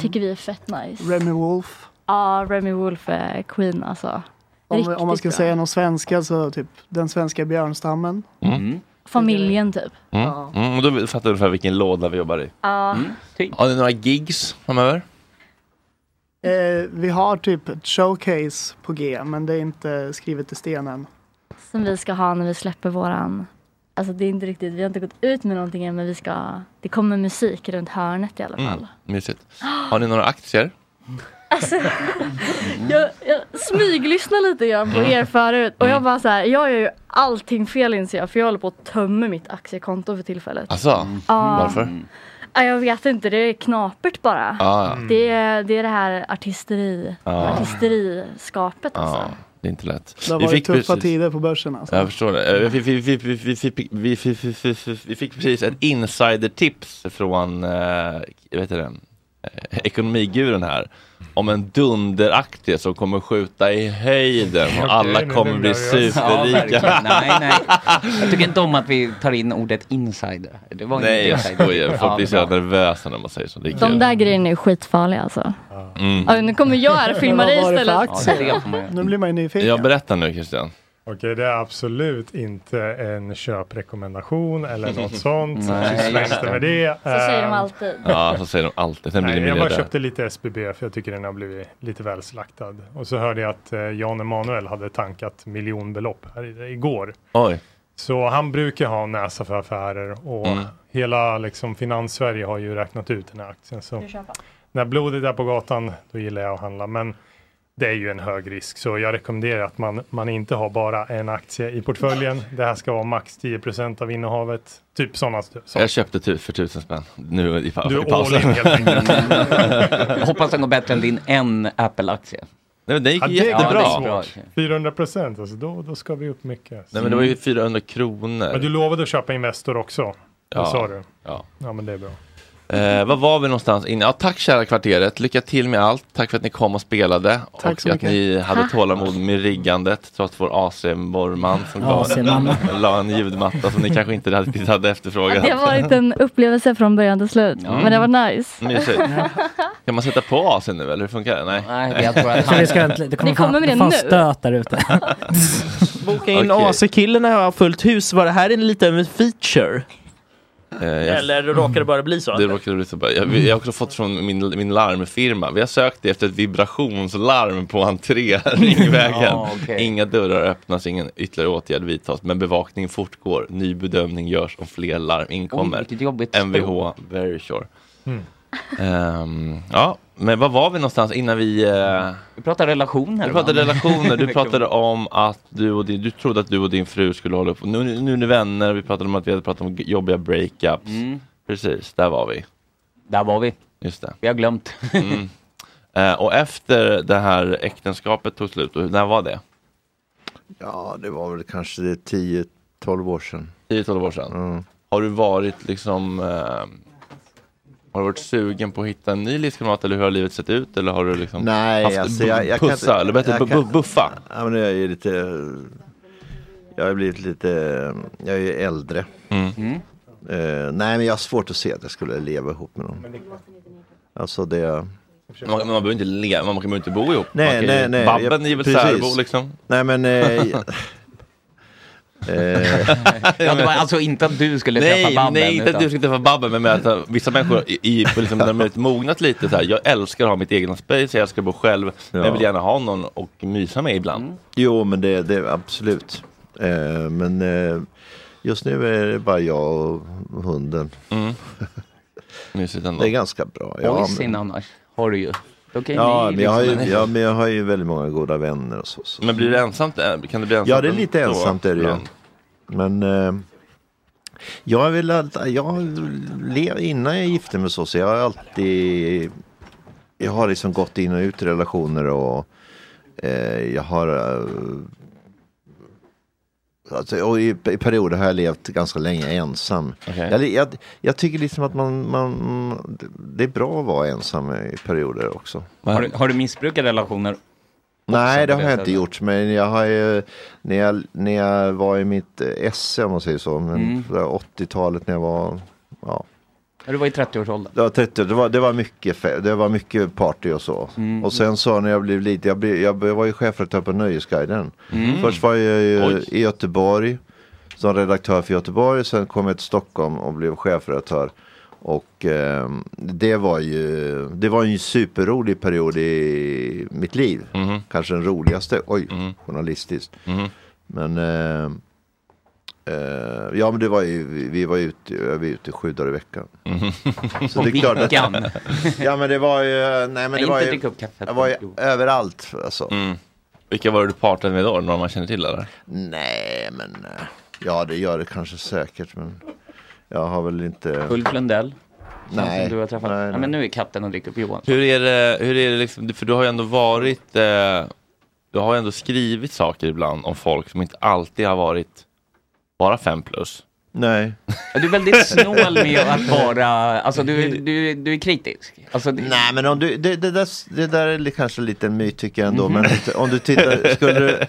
[SPEAKER 15] tycker vi är fett nice.
[SPEAKER 14] Remy Wolf.
[SPEAKER 15] Ja, Remy Wolf är queen alltså.
[SPEAKER 14] Om,
[SPEAKER 15] Riktigt
[SPEAKER 14] om man ska
[SPEAKER 15] bra.
[SPEAKER 14] säga någon svenska så typ den svenska björnstammen.
[SPEAKER 1] Mm.
[SPEAKER 15] Familjen typ.
[SPEAKER 1] Mm. Mm, och då fattar du ungefär vilken låda vi jobbar i.
[SPEAKER 15] Ja.
[SPEAKER 3] Mm. Typ.
[SPEAKER 1] Har ni några gigs framöver?
[SPEAKER 14] Eh, vi har typ ett showcase på G men det är inte skrivet i sten än.
[SPEAKER 15] Som vi ska ha när vi släpper våran... Alltså det är inte riktigt, vi har inte gått ut med någonting än men vi ska... Det kommer musik runt hörnet i alla fall.
[SPEAKER 1] Mm, mysigt. Har ni några aktier?
[SPEAKER 15] Alltså, jag, jag smyglyssnar lite grann på er förut och jag bara så här, jag gör ju allting fel inser jag för jag håller på att tömma mitt aktiekonto för tillfället.
[SPEAKER 1] Alltså,
[SPEAKER 15] Ja.
[SPEAKER 1] varför?
[SPEAKER 15] Ja, Jag vet inte, det är knapert bara.
[SPEAKER 1] Ja, ja.
[SPEAKER 15] Det, är, det är det här artisteri,
[SPEAKER 1] Ja.
[SPEAKER 15] artisteriskapet alltså.
[SPEAKER 1] Ja, det är inte lätt.
[SPEAKER 14] Det har
[SPEAKER 1] Vi
[SPEAKER 14] varit
[SPEAKER 1] fick
[SPEAKER 14] tuffa
[SPEAKER 1] precis-
[SPEAKER 14] tider på börsen alltså.
[SPEAKER 1] Jag förstår det. Eh, Vi, vi, vi, vi, vi, fick- vi, vi, vi, vi, vi- vi fick precis ett insidertips från eh, vet du den, eh, ekonomiguren här om en dunderaktie som kommer skjuta i höjden och alla kommer bli superrika.
[SPEAKER 3] Ja, nej, nej. Jag tycker inte om att vi tar in ordet insider. Det var
[SPEAKER 1] Nej,
[SPEAKER 3] inte
[SPEAKER 1] jag
[SPEAKER 3] insider.
[SPEAKER 1] skojar. Folk blir så
[SPEAKER 3] Ja,
[SPEAKER 1] här nervösa när man säger så. Det är
[SPEAKER 15] De
[SPEAKER 1] kul.
[SPEAKER 15] där grejerna är skitfarliga alltså.
[SPEAKER 1] Mm.
[SPEAKER 15] Ja, nu kommer jag här och filmar dig istället.
[SPEAKER 14] Nu blir man ju nyfiken.
[SPEAKER 1] Jag berättar nu Christian.
[SPEAKER 8] Okej, det är absolut inte en köprekommendation eller något sånt.
[SPEAKER 1] Nej,
[SPEAKER 8] Nej,
[SPEAKER 1] just
[SPEAKER 8] inte
[SPEAKER 1] det.
[SPEAKER 8] med det.
[SPEAKER 15] Så säger de
[SPEAKER 8] Ehm,
[SPEAKER 15] alltid.
[SPEAKER 1] Ja, så säger de alltid. Sen blir ni
[SPEAKER 8] Nej, jag bara
[SPEAKER 1] miljardär.
[SPEAKER 8] köpte lite SBB för jag tycker den har blivit lite väl slaktad. Och så hörde jag att eh, Jan Emanuel hade tankat miljonbelopp här i- igår.
[SPEAKER 1] Oj.
[SPEAKER 8] Så han brukar ha en näsa för affärer och
[SPEAKER 1] Mm.
[SPEAKER 8] hela liksom, Finanssverige har ju räknat ut den här aktien. Så
[SPEAKER 15] Du köper.
[SPEAKER 8] när blodet är på gatan, då gillar jag att handla. Men det är ju en hög risk, så jag rekommenderar att man, man inte har bara en aktie i portföljen. Det här ska vara max 10 av innehavet. Typ sådana saker.
[SPEAKER 1] Jag köpte tu- för tusen spänn. Nu i, pa-
[SPEAKER 8] Du
[SPEAKER 1] i
[SPEAKER 8] är all
[SPEAKER 1] pausen.
[SPEAKER 8] in helt enkelt.
[SPEAKER 3] Jag Hoppas den går bättre än din en Apple-aktie.
[SPEAKER 1] Nej, men den gick
[SPEAKER 8] Ja,
[SPEAKER 1] ju jättebra.
[SPEAKER 8] är svårt. 400 procent, alltså då, då ska vi upp mycket.
[SPEAKER 1] Nej men det var ju 400 kronor.
[SPEAKER 8] Men du lovade att köpa Investor också.
[SPEAKER 1] Ja.
[SPEAKER 8] Vad sa du?
[SPEAKER 1] Ja.
[SPEAKER 8] ja, men det är bra.
[SPEAKER 1] Eh, vad var vi någonstans inne? Ja, tack kära kvarteret. Lycka till med allt. Tack för att ni kom och spelade.
[SPEAKER 8] Tack
[SPEAKER 1] och
[SPEAKER 8] så
[SPEAKER 1] att
[SPEAKER 8] mycket.
[SPEAKER 1] ni hade
[SPEAKER 8] Ha.
[SPEAKER 1] tålamod med riggandet trots vår AC-borrman som
[SPEAKER 15] AC-mamma.
[SPEAKER 1] gav- la en ljudmatta som ni kanske inte hade- precis hade efterfrågat.
[SPEAKER 15] Det har varit en upplevelse från början till slut.
[SPEAKER 1] Ja. Mm,
[SPEAKER 15] Men det var nice.
[SPEAKER 1] Mysigt. Kan man sätta på AC nu eller hur funkar det? Nej,
[SPEAKER 3] Nej jag tror att
[SPEAKER 5] Jag tror vi ska, det kommer,
[SPEAKER 15] Ni kommer
[SPEAKER 5] fan,
[SPEAKER 15] med
[SPEAKER 5] det
[SPEAKER 15] det
[SPEAKER 5] fan
[SPEAKER 15] nu?
[SPEAKER 5] stöt där ute.
[SPEAKER 6] Boka in
[SPEAKER 1] Okej.
[SPEAKER 6] AC-killen har fullt hus. Var det här en liten feature?
[SPEAKER 1] Eh, jag-
[SPEAKER 6] Eller råkar det bara bli så?
[SPEAKER 1] Det råkade bli så bra. Jag, vi- jag har också fått från min, min larmfirma. Vi har sökt efter ett vibrationslarm på entré Ringvägen.
[SPEAKER 6] Ja, okej.
[SPEAKER 1] Inga dörrar öppnas, ingen ytterligare åtgärd vidtas. Men bevakningen fortgår. Ny bedömning görs om fler larm
[SPEAKER 3] Oj,
[SPEAKER 1] inkommer.
[SPEAKER 3] vilket jobbigt
[SPEAKER 1] Mvh,
[SPEAKER 3] språk.
[SPEAKER 1] very sure.
[SPEAKER 3] Mm.
[SPEAKER 1] Ehm, ja, men vad var vi någonstans innan vi... eh,
[SPEAKER 3] Vi pratade relationer.
[SPEAKER 1] Du pratade
[SPEAKER 3] va?
[SPEAKER 1] relationer, du
[SPEAKER 3] Det
[SPEAKER 1] pratade
[SPEAKER 3] kommer-
[SPEAKER 1] om att du och din, du trodde att du och din fru skulle hålla upp. Nu, nu, nu är ni vänner, vi pratade om att vi hade pratat om jobbiga breakups. Precis, där var vi.
[SPEAKER 3] Mm. Där var vi.
[SPEAKER 1] Just det.
[SPEAKER 3] Vi har glömt.
[SPEAKER 1] Mm. Eh, och efter det här äktenskapet tog slut, och när var det?
[SPEAKER 7] Ja, det var väl kanske 10-12 år sedan.
[SPEAKER 1] 10-12 år sedan.
[SPEAKER 7] Mm.
[SPEAKER 1] Har du varit liksom eh, har du varit sugen på att hitta en ny livskamrat eller hur har livet sett ut? Eller har du liksom
[SPEAKER 7] Nej,
[SPEAKER 1] haft
[SPEAKER 7] alltså
[SPEAKER 1] bu-
[SPEAKER 7] jag, jag
[SPEAKER 1] pussa eller bättre bu- bu- buffa?
[SPEAKER 7] Ja, men jag är ju lite... Jag har blivit lite... Jag är ju äldre.
[SPEAKER 1] Mm.
[SPEAKER 3] Mm.
[SPEAKER 7] Eh, nej, men jag har svårt att se att jag skulle leva ihop med någon. Alltså det...
[SPEAKER 1] Man, man behöver inte leva, man behöver inte bo ihop. man
[SPEAKER 7] Nej,
[SPEAKER 1] kan
[SPEAKER 7] nej,
[SPEAKER 1] ju-
[SPEAKER 7] nej.
[SPEAKER 1] Babben
[SPEAKER 7] jag-
[SPEAKER 1] är väl
[SPEAKER 7] precis.
[SPEAKER 1] särbo liksom?
[SPEAKER 7] Nej, men... Eh,
[SPEAKER 3] Ja, det var alltså inte att du skulle
[SPEAKER 1] nej,
[SPEAKER 3] träffa Babben.
[SPEAKER 1] Nej, inte att
[SPEAKER 3] utan-
[SPEAKER 1] du skulle träffa Babben, men med att vissa människor i, i, liksom, när de har mognat lite så här, jag älskar att ha mitt egna space, jag älskar att bo själv, men jag vill gärna ha någon och mysa med ibland.
[SPEAKER 3] Mm.
[SPEAKER 7] Jo, men det, det absolut. Eh, men eh, just nu är det bara jag och hunden.
[SPEAKER 1] Mm. Mysigt ändå.
[SPEAKER 7] Det är ganska bra.
[SPEAKER 3] Boysin annars har du ju. Då kan ju
[SPEAKER 7] ja,
[SPEAKER 3] ni
[SPEAKER 7] men jag, har
[SPEAKER 3] liksom-
[SPEAKER 7] ju, ja, men jag har ju väldigt många goda vänner och så. så.
[SPEAKER 1] Men blir det ensamt? eh, Kan det bli ensamt
[SPEAKER 7] Ja, det är lite
[SPEAKER 1] ändå?
[SPEAKER 7] ensamt är det ju.
[SPEAKER 1] Ibland.
[SPEAKER 7] Men eh, jag har väl alltid, jag lev, innan jag gifte mig så, så jag har alltid, jag har liksom gått in och ut i relationer och eh, jag har eh, Alltså, och i, I perioder har jag levt ganska länge ensam. Jag, jag, jag tycker liksom att man, man, det är bra att vara ensam i perioder också.
[SPEAKER 3] Har du, har du missbrukat relationer?
[SPEAKER 7] Nej, det har
[SPEAKER 3] på det
[SPEAKER 7] jag inte
[SPEAKER 3] sättet.
[SPEAKER 7] gjort. Men jag har ju, när jag, när jag var i mitt eh, esse om man säger så, men
[SPEAKER 3] Mm.
[SPEAKER 7] på det här 80-talet när jag var, ja,
[SPEAKER 3] Ja, Du var i 30-årsåldern.
[SPEAKER 7] det var, 30, det var, det var, mycket, fe- det var mycket party och så.
[SPEAKER 1] Mm.
[SPEAKER 7] Och sen så när jag blev lite, jag, blev, jag var ju chefredaktör på Nöjesguiden.
[SPEAKER 1] Mm.
[SPEAKER 7] Först var jag ju
[SPEAKER 1] Oj.
[SPEAKER 7] i Göteborg som redaktör för Göteborg, sen kom jag till Stockholm och blev chefredaktör. Och eh, det var ju det var en superrolig period i mitt liv.
[SPEAKER 1] Mm-hmm.
[SPEAKER 7] Kanske den roligaste, oj, journalistiskt. Men eh, eh, ja men det var ju, vi- vi var ute, jag var ute sju dagar i veckan. Så
[SPEAKER 3] På
[SPEAKER 7] det är klart att-
[SPEAKER 3] veckan.
[SPEAKER 7] ja men det var ju, nej men
[SPEAKER 3] Nej,
[SPEAKER 7] det var
[SPEAKER 3] inte
[SPEAKER 7] ju,
[SPEAKER 3] dricka upp kaffet.
[SPEAKER 7] jag var ju överallt alltså.
[SPEAKER 1] Mm. Vilka var det du partade med då? Några man känner till eller?
[SPEAKER 7] Nej men, eh, ja det gör det kanske säkert men jag har väl inte.
[SPEAKER 3] Ulf Lundell. Nej.
[SPEAKER 7] Nej.
[SPEAKER 3] Som du har träffat. Ja, men nu är katten och dricker upp Johan.
[SPEAKER 1] Hur är det, hur är det liksom, för du har ju ändå varit, eh, du har ju ändå skrivit saker ibland om folk som inte alltid har varit bara fem plus.
[SPEAKER 7] Nej.
[SPEAKER 3] Ja, Du är väldigt snål med att vara, alltså du, är- du, är- du är kritisk. Alltså, det-
[SPEAKER 7] Nej men om du, det, det, där, det där är li- kanske lite en myt tycker jag ändå. Men lite- om du tittar, skulle du,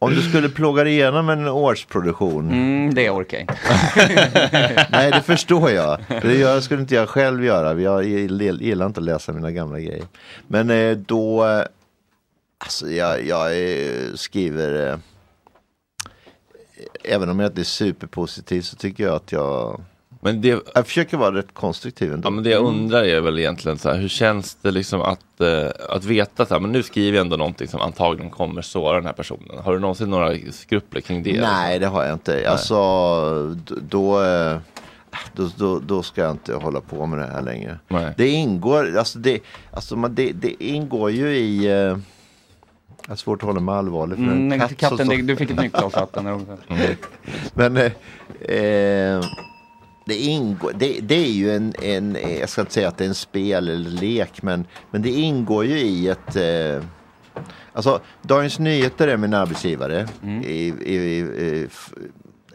[SPEAKER 7] om du skulle plåga dig igenom en årsproduktion.
[SPEAKER 3] Mm, det orkar jag inte.
[SPEAKER 7] Nej det förstår jag. Det gör, jag skulle inte jag själv göra. Jag gill- gillar inte att läsa mina gamla grejer. Men eh, då, eh, alltså jag, jag eh, skriver, eh, även om jag inte är superpositiv så tycker jag att jag
[SPEAKER 1] Men det,
[SPEAKER 7] jag försöker vara rätt konstruktiv ändå.
[SPEAKER 1] Ja, men det jag undrar är väl egentligen så här, hur känns det liksom att, eh, att veta så här, men nu skriver jag ändå någonting som antagligen kommer såra den här personen. Har du någonsin några skrupler kring det? liksom?
[SPEAKER 7] Nej, det har jag inte. Alltså, d- då, eh, då, då, då ska jag inte hålla på med det här längre.
[SPEAKER 1] Nej.
[SPEAKER 7] Det ingår, alltså det, alltså man, det, det ingår ju i... eh, Jag har svårt att hålla mig allvarlig. För
[SPEAKER 3] Mm,
[SPEAKER 7] en katt som
[SPEAKER 3] katten,
[SPEAKER 7] står-
[SPEAKER 3] det- du fick ett nyckglas vatten där också.
[SPEAKER 1] Mm.
[SPEAKER 7] Men eh, eh, det, ingår, det, det är ju en, en, eh, jag ska inte säga att det är en spel eller lek, men, men det ingår ju i ett... Eh, Alltså, Dagens Nyheter är min arbetsgivare.
[SPEAKER 3] Mm.
[SPEAKER 7] I, i, i, f-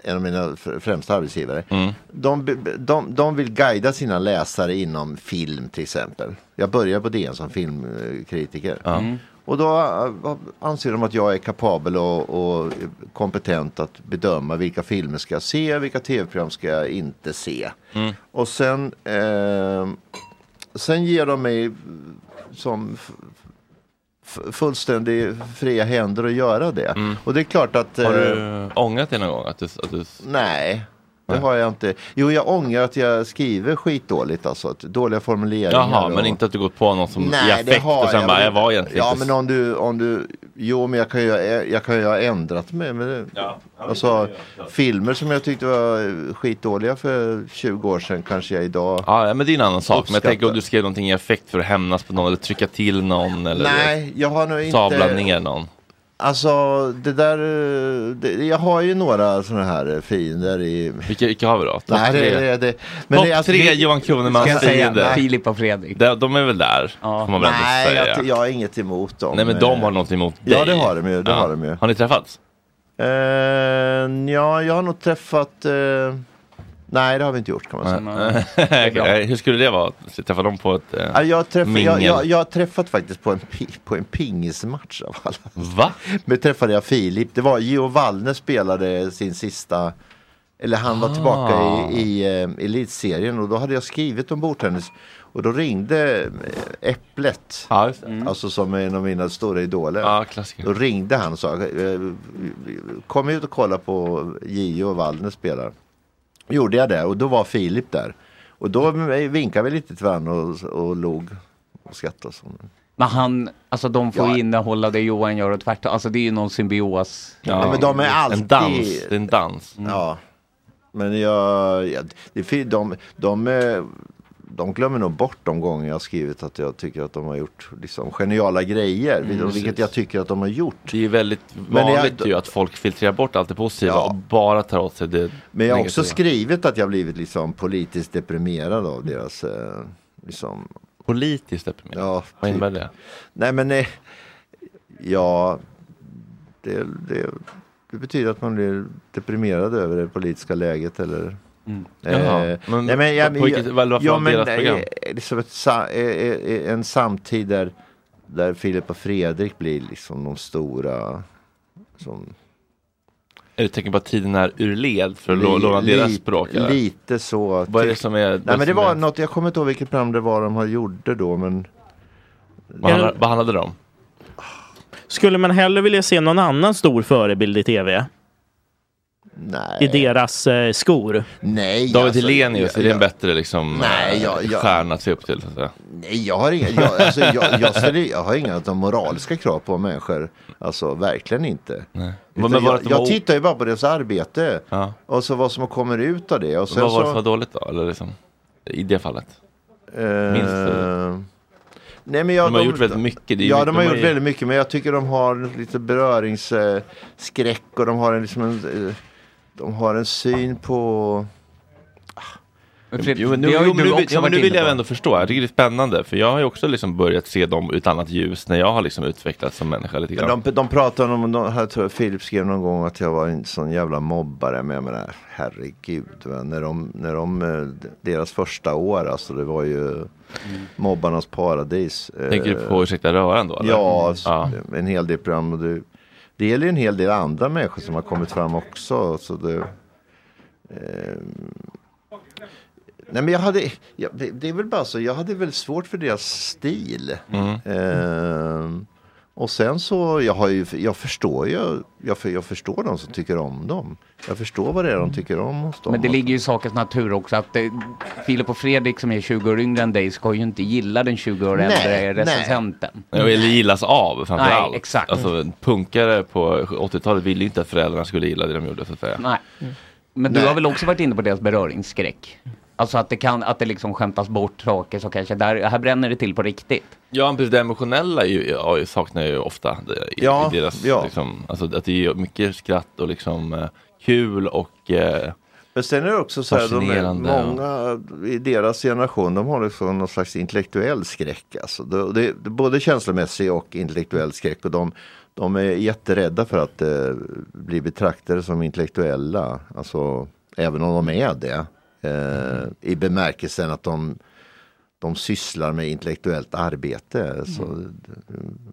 [SPEAKER 7] en av mina fr- främsta arbetsgivare. De, b- de, de vill guida sina läsare inom film till exempel. Jag började på DN som filmkritiker.
[SPEAKER 1] Mm.
[SPEAKER 7] Och då eh, anser de att jag är kapabel och, och kompetent att bedöma vilka filmer ska jag se, vilka tv-program ska jag inte se. Och sen, eh, sen ger de mig som f- f- fullständig fria händer att göra det. Och det är klart att...
[SPEAKER 1] Har
[SPEAKER 7] eh,
[SPEAKER 1] du ångrat det någon gång? Att du, att du...
[SPEAKER 7] Nej, det har jag inte. Jo, jag ångrar att jag skriver skitdåligt alltså. att Dåliga formuleringar.
[SPEAKER 1] Jaha, men
[SPEAKER 7] och-
[SPEAKER 1] inte att du gått på någon som
[SPEAKER 7] Nej,
[SPEAKER 1] i
[SPEAKER 7] det
[SPEAKER 1] affekt
[SPEAKER 7] har
[SPEAKER 1] och sen
[SPEAKER 7] jag
[SPEAKER 1] bara,
[SPEAKER 7] väl
[SPEAKER 1] jag var
[SPEAKER 7] inte.
[SPEAKER 1] egentligen
[SPEAKER 7] Ja,
[SPEAKER 1] inte
[SPEAKER 7] men om du, om du, jo men jag kan ju, ha- jag kan ju ha ändrat mig. Men det, alltså, filmer som jag tyckte var skitdåliga för 20 år sedan kanske jag idag
[SPEAKER 1] Ja, men det är en annan sak. Men jag
[SPEAKER 7] Uppskattar.
[SPEAKER 1] tänker om du skrev någonting i effekt för att hämnas på någon eller trycka till någon eller
[SPEAKER 7] Nej, jag har nog inte-
[SPEAKER 1] sabla ner någon.
[SPEAKER 7] Alltså det där, eh, det, jag har ju några sådana här eh, fiender i...
[SPEAKER 1] Vilka, vilka har vi då? Topp
[SPEAKER 7] Nej, det,
[SPEAKER 1] tre.
[SPEAKER 7] det, det,
[SPEAKER 1] Topp
[SPEAKER 7] det är alltså-
[SPEAKER 1] tre
[SPEAKER 7] det-
[SPEAKER 1] Johan
[SPEAKER 7] Ska
[SPEAKER 1] Kronemans
[SPEAKER 7] jag säga?
[SPEAKER 1] fiender.
[SPEAKER 7] Nej.
[SPEAKER 1] och Fredrik. De, de är väl där, får man väl
[SPEAKER 7] Nej,
[SPEAKER 1] ändå säga.
[SPEAKER 7] jag, jag har inget emot dem. eh.
[SPEAKER 1] Nej, men de har något emot dig.
[SPEAKER 7] Ja, det har de ju, det har de ju.
[SPEAKER 1] Har ni träffats?
[SPEAKER 7] Eh, ja, jag har nog träffat... eh, nej, det har vi inte gjort kan man säga.
[SPEAKER 1] Okej, Hur skulle det vara? att Träffa dem på ett eh,
[SPEAKER 7] Ja, jag, träffade, jag,
[SPEAKER 1] mingel?
[SPEAKER 7] jag, jag har träffat faktiskt på en, pi- på en pingismatch av alla.
[SPEAKER 1] Va?
[SPEAKER 7] Men träffade jag Filip. Det var Gio Wallner spelade sin sista, eller han var tillbaka
[SPEAKER 1] Ah.
[SPEAKER 7] i, i eh, elitserien och då hade jag skrivit om bordtennis. Och då ringde eh, Äpplet, alltså som är en av mina stora idoler. då ringde han och sa, eh, kom ut och kolla på Gio och Wallner spelar gjorde jag det och då var Filip där. Och då vinkade vi lite till varandra och, och log och skrattade. och så.
[SPEAKER 3] Men han, alltså de får
[SPEAKER 7] Ja.
[SPEAKER 3] innehålla det Johan gör och tvärtom. Alltså det är ju någon symbios.
[SPEAKER 7] Ja, men de är alltid...
[SPEAKER 3] Det är
[SPEAKER 1] en dans.
[SPEAKER 7] Mm. Ja. Men jag... jag det, är fi- de, de, eh, de glömmer nog bort de gånger jag har skrivit att jag tycker att de har gjort liksom, geniala grejer.
[SPEAKER 1] Mm,
[SPEAKER 7] vilket
[SPEAKER 1] precis.
[SPEAKER 7] jag tycker att de har gjort.
[SPEAKER 1] Det är ju väldigt
[SPEAKER 7] Men jag-
[SPEAKER 1] vanligt ju att folk filtrerar bort allt det positiva och bara tar åt sig det
[SPEAKER 7] Men jag har också
[SPEAKER 1] negativa.
[SPEAKER 7] skrivit att jag blivit liksom politiskt deprimerad av deras... Eh, liksom...
[SPEAKER 1] Politiskt deprimerad?
[SPEAKER 7] Ja,
[SPEAKER 1] Vad innebär
[SPEAKER 7] typ.
[SPEAKER 1] det?
[SPEAKER 7] Nej men... Eh, ja... Det, det, det betyder att man blir deprimerad över det politiska läget eller...
[SPEAKER 1] Mm.
[SPEAKER 7] Eh,
[SPEAKER 1] Jaha, men på vilket- vad- varför var deras
[SPEAKER 7] nej,
[SPEAKER 1] program?
[SPEAKER 7] eh, liksom ett, sa- eh, eh, en samtid där, där Filip och Fredrik blir liksom de stora... Som,
[SPEAKER 1] Är det ett tecken på att tiden är ur led för att lå-
[SPEAKER 7] Li-
[SPEAKER 1] låna deras
[SPEAKER 7] lite-
[SPEAKER 1] språk? eller?
[SPEAKER 7] lite så.
[SPEAKER 1] Vad är det som är...
[SPEAKER 7] nej men det
[SPEAKER 1] som
[SPEAKER 7] var
[SPEAKER 1] är-
[SPEAKER 7] något, jag kommer inte ihåg vilket program det var de har gjorde då men...
[SPEAKER 1] Vad handlar- vad handlade det om?
[SPEAKER 6] Skulle man hellre vilja se någon annan stor förebild i tv?
[SPEAKER 7] Nej.
[SPEAKER 6] I deras eh, skor?
[SPEAKER 7] Nej. alltså,
[SPEAKER 1] David Hellenius, är det en
[SPEAKER 6] jag-
[SPEAKER 1] bättre liksom,
[SPEAKER 7] Nej,
[SPEAKER 1] eh,
[SPEAKER 7] jag- jag-
[SPEAKER 1] stjärna att se upp till? Så att säga?
[SPEAKER 7] Nej, jag har inga, jag, alltså, jag, jag, ställer, jag har inga de moraliska krav på människor. Alltså verkligen inte.
[SPEAKER 1] Nej.
[SPEAKER 7] Utan
[SPEAKER 1] Men var det
[SPEAKER 7] jag,
[SPEAKER 1] att de
[SPEAKER 7] jag
[SPEAKER 1] var o-
[SPEAKER 7] tittar ju bara på deras arbete.
[SPEAKER 1] Ja.
[SPEAKER 7] Och så vad som kommer ut av det. Och sen
[SPEAKER 1] Vad var det
[SPEAKER 7] så,
[SPEAKER 1] som var dåligt då? Eller liksom, I det fallet?
[SPEAKER 7] Eh,
[SPEAKER 1] Minns du?
[SPEAKER 7] Nej, men jag,
[SPEAKER 1] De har gjort väldigt mycket, det är
[SPEAKER 7] ja,
[SPEAKER 1] mycket-
[SPEAKER 7] de har
[SPEAKER 1] de har
[SPEAKER 7] gjort
[SPEAKER 1] ju-
[SPEAKER 7] väldigt mycket. Men jag tycker de har lite beröringsskräck och de har en, liksom en, eh, de har en syn på...
[SPEAKER 3] Fredrik,
[SPEAKER 1] Jo, men nu,
[SPEAKER 3] det har ju
[SPEAKER 1] jo, men
[SPEAKER 3] du
[SPEAKER 1] nu, vill-
[SPEAKER 3] också
[SPEAKER 1] ja, men
[SPEAKER 3] varit
[SPEAKER 1] nu vill
[SPEAKER 3] inne
[SPEAKER 1] jag
[SPEAKER 3] på.
[SPEAKER 1] ändå förstå. Jag tycker det är spännande. För jag har ju också liksom börjat se dem ur ett annat ljus när jag har liksom utvecklats som människa lite grann.
[SPEAKER 7] Men de, de pratar om, de, här tror jag Filip skrev någon gång att jag var en sån jävla mobbare. Men jag menar, herregud. Men när de, när de, eh, deras första år, alltså det var ju mobbarnas paradis.
[SPEAKER 1] Mm. Tänker du
[SPEAKER 7] Eh,
[SPEAKER 1] på Ursäkta röran då? eller? Mm.
[SPEAKER 7] Ja, s- en hel del program. Och det, det gäller ju en hel del andra människor som har kommit fram också. Så det, ehm, nej men jag hade, jag, det, det är väl bara så, jag hade väl svårt för deras stil.
[SPEAKER 1] Mm.
[SPEAKER 7] Ehm, och sen så, jag, har ju, jag förstår ju, jag, för- jag förstår de som tycker om dem. Jag förstår vad det är de tycker om hos dem.
[SPEAKER 3] Men det ligger ju i sakens natur också att eh, Filip och Fredrik som är 20 år yngre än dig ska ju inte gilla den 20 år
[SPEAKER 7] Nej,
[SPEAKER 3] äldre
[SPEAKER 7] nej.
[SPEAKER 3] recensenten.
[SPEAKER 1] Eller gillas av
[SPEAKER 3] Nej,
[SPEAKER 1] framförallt.
[SPEAKER 3] exakt.
[SPEAKER 1] Alltså, punkare på 80-talet ville ju inte att föräldrarna skulle gilla det de gjorde så att säga.
[SPEAKER 3] Nej. Men du har väl också varit inne på deras beröringsskräck? Alltså att det kan, att det liksom skämtas bort saker så kanske där, här bränner det till på riktigt.
[SPEAKER 1] Ja, men precis, det emotionella är ju, ja, jag saknar jag ju ofta det- i,
[SPEAKER 3] Ja,
[SPEAKER 1] i deras,
[SPEAKER 3] ja.
[SPEAKER 1] liksom, alltså att det är ju mycket skratt och liksom eh, kul och eh,
[SPEAKER 7] Men sen är det också så här, de är,
[SPEAKER 1] Fascinerande, ja.
[SPEAKER 7] många i deras generation, de har liksom någon slags intellektuell skräck. Alltså. Det, det, det, är både känslomässig och intellektuell skräck. Och de, de är jätterädda för att eh, bli betraktade som intellektuella. Alltså, även om de är det. Eh, I bemärkelsen att de, de sysslar med intellektuellt arbete.
[SPEAKER 1] Mm.
[SPEAKER 7] Så,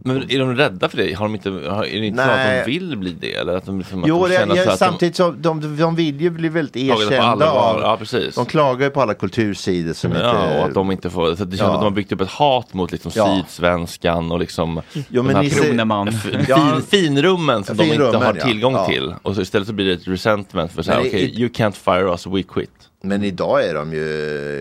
[SPEAKER 1] Men är de rädda för det? Har de inte, har, är det inte så
[SPEAKER 7] Nej.
[SPEAKER 1] att de vill bli det? Eller att de, liksom,
[SPEAKER 7] Jo,
[SPEAKER 1] att de
[SPEAKER 7] det,
[SPEAKER 1] känner så
[SPEAKER 7] jag,
[SPEAKER 1] att de-
[SPEAKER 7] samtidigt så de, de vill ju bli väldigt
[SPEAKER 1] Tagna på
[SPEAKER 7] erkända.
[SPEAKER 1] allvar,
[SPEAKER 7] Av,
[SPEAKER 1] ja, precis.
[SPEAKER 7] De klagar ju på alla kultursidor som
[SPEAKER 1] Ja, och
[SPEAKER 7] inte...
[SPEAKER 1] att de inte får, så att det känns
[SPEAKER 7] Ja.
[SPEAKER 1] att de har byggt upp ett hat mot liksom
[SPEAKER 7] Ja.
[SPEAKER 1] sydsvenskan och liksom
[SPEAKER 7] Jo,
[SPEAKER 1] de
[SPEAKER 7] men ni ser-
[SPEAKER 1] f- fin,
[SPEAKER 7] Ja.
[SPEAKER 1] finrummen som de inte
[SPEAKER 7] Finrummen,
[SPEAKER 1] har
[SPEAKER 7] ja.
[SPEAKER 1] tillgång
[SPEAKER 7] Ja.
[SPEAKER 1] till. Och så istället så blir det ett resentment för så här,
[SPEAKER 7] Men i-
[SPEAKER 1] okej, you can't fire us, we quit.
[SPEAKER 7] Men idag är de ju,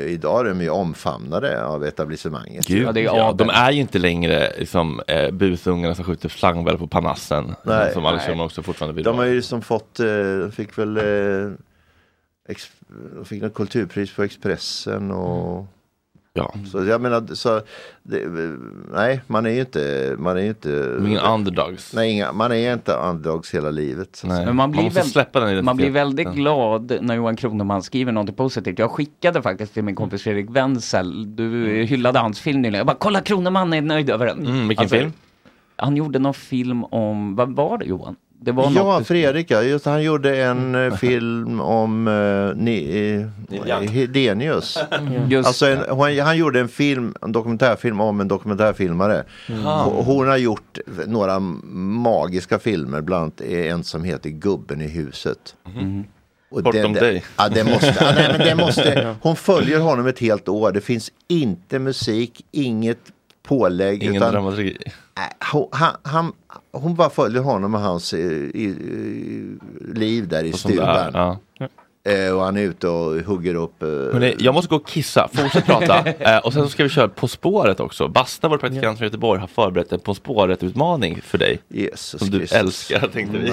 [SPEAKER 7] idag är de ju omfamnade av etablissemanget.
[SPEAKER 1] Gud, ja, de är ju inte längre liksom, eh, busungarna som skjuter slangbäll på panassen.
[SPEAKER 7] Nej.
[SPEAKER 1] som Alex
[SPEAKER 7] Nej.
[SPEAKER 1] Schulman också fortfarande vill
[SPEAKER 7] De har
[SPEAKER 1] vara.
[SPEAKER 7] ju liksom fått, eh, de fick väl eh, ex, de fick något kulturpris på Expressen och
[SPEAKER 1] Ja.
[SPEAKER 7] Så jag menar, så, det, nej man är ju inte, man är ju inte
[SPEAKER 1] Inga underdogs.
[SPEAKER 7] Nej, inga, man är inte underdogs hela livet. så att säga.
[SPEAKER 3] Men man blir, väl, man blir väldigt glad när Johan Kronoman skriver något positivt. Jag skickade faktiskt
[SPEAKER 1] Mm.
[SPEAKER 3] till min kompis Fredrik Wenzel, du hyllade hans film nyligen. Jag bara, kolla Kronoman är nöjd över den. Alltså,
[SPEAKER 1] Mm, vilken film?
[SPEAKER 3] Han gjorde någon film om, vad var det Johan? Det var
[SPEAKER 7] ja,
[SPEAKER 3] något...
[SPEAKER 7] Fredrik, ja, just, han gjorde en eh, film om eh, ni, eh, Hedenius.
[SPEAKER 3] Mm. Just
[SPEAKER 7] Alltså en, han, han gjorde en film, en dokumentärfilm om en dokumentärfilmare.
[SPEAKER 3] Mm.
[SPEAKER 7] Hon, hon har gjort några magiska filmer, bland annat en som heter Gubben i huset. Och
[SPEAKER 1] Mm-hmm. Bortom
[SPEAKER 7] den- den-
[SPEAKER 1] dig.
[SPEAKER 7] Ja, det måste, ja, nej, men det måste, hon följer honom ett helt år. Det finns inte musik, inget pålägg.
[SPEAKER 1] Ingen
[SPEAKER 7] utan-
[SPEAKER 1] dramaturgi.
[SPEAKER 7] Nej, hon, Äh, han, han, hon bara följer honom och hans eh, i, i, liv där i
[SPEAKER 1] Och sånt där,
[SPEAKER 7] stugan. Eh, och han är ute och hugger upp. Eh,
[SPEAKER 1] Hörrni, jag måste gå och kissa, fortsätt prata. Eh, och sen så ska vi köra På spåret också. Basta, vår praktikant från Göteborg, har förberett en På spåret-utmaning för dig.
[SPEAKER 7] Jesus Mm.
[SPEAKER 1] som du
[SPEAKER 3] Kristus.
[SPEAKER 1] älskar, tänkte vi.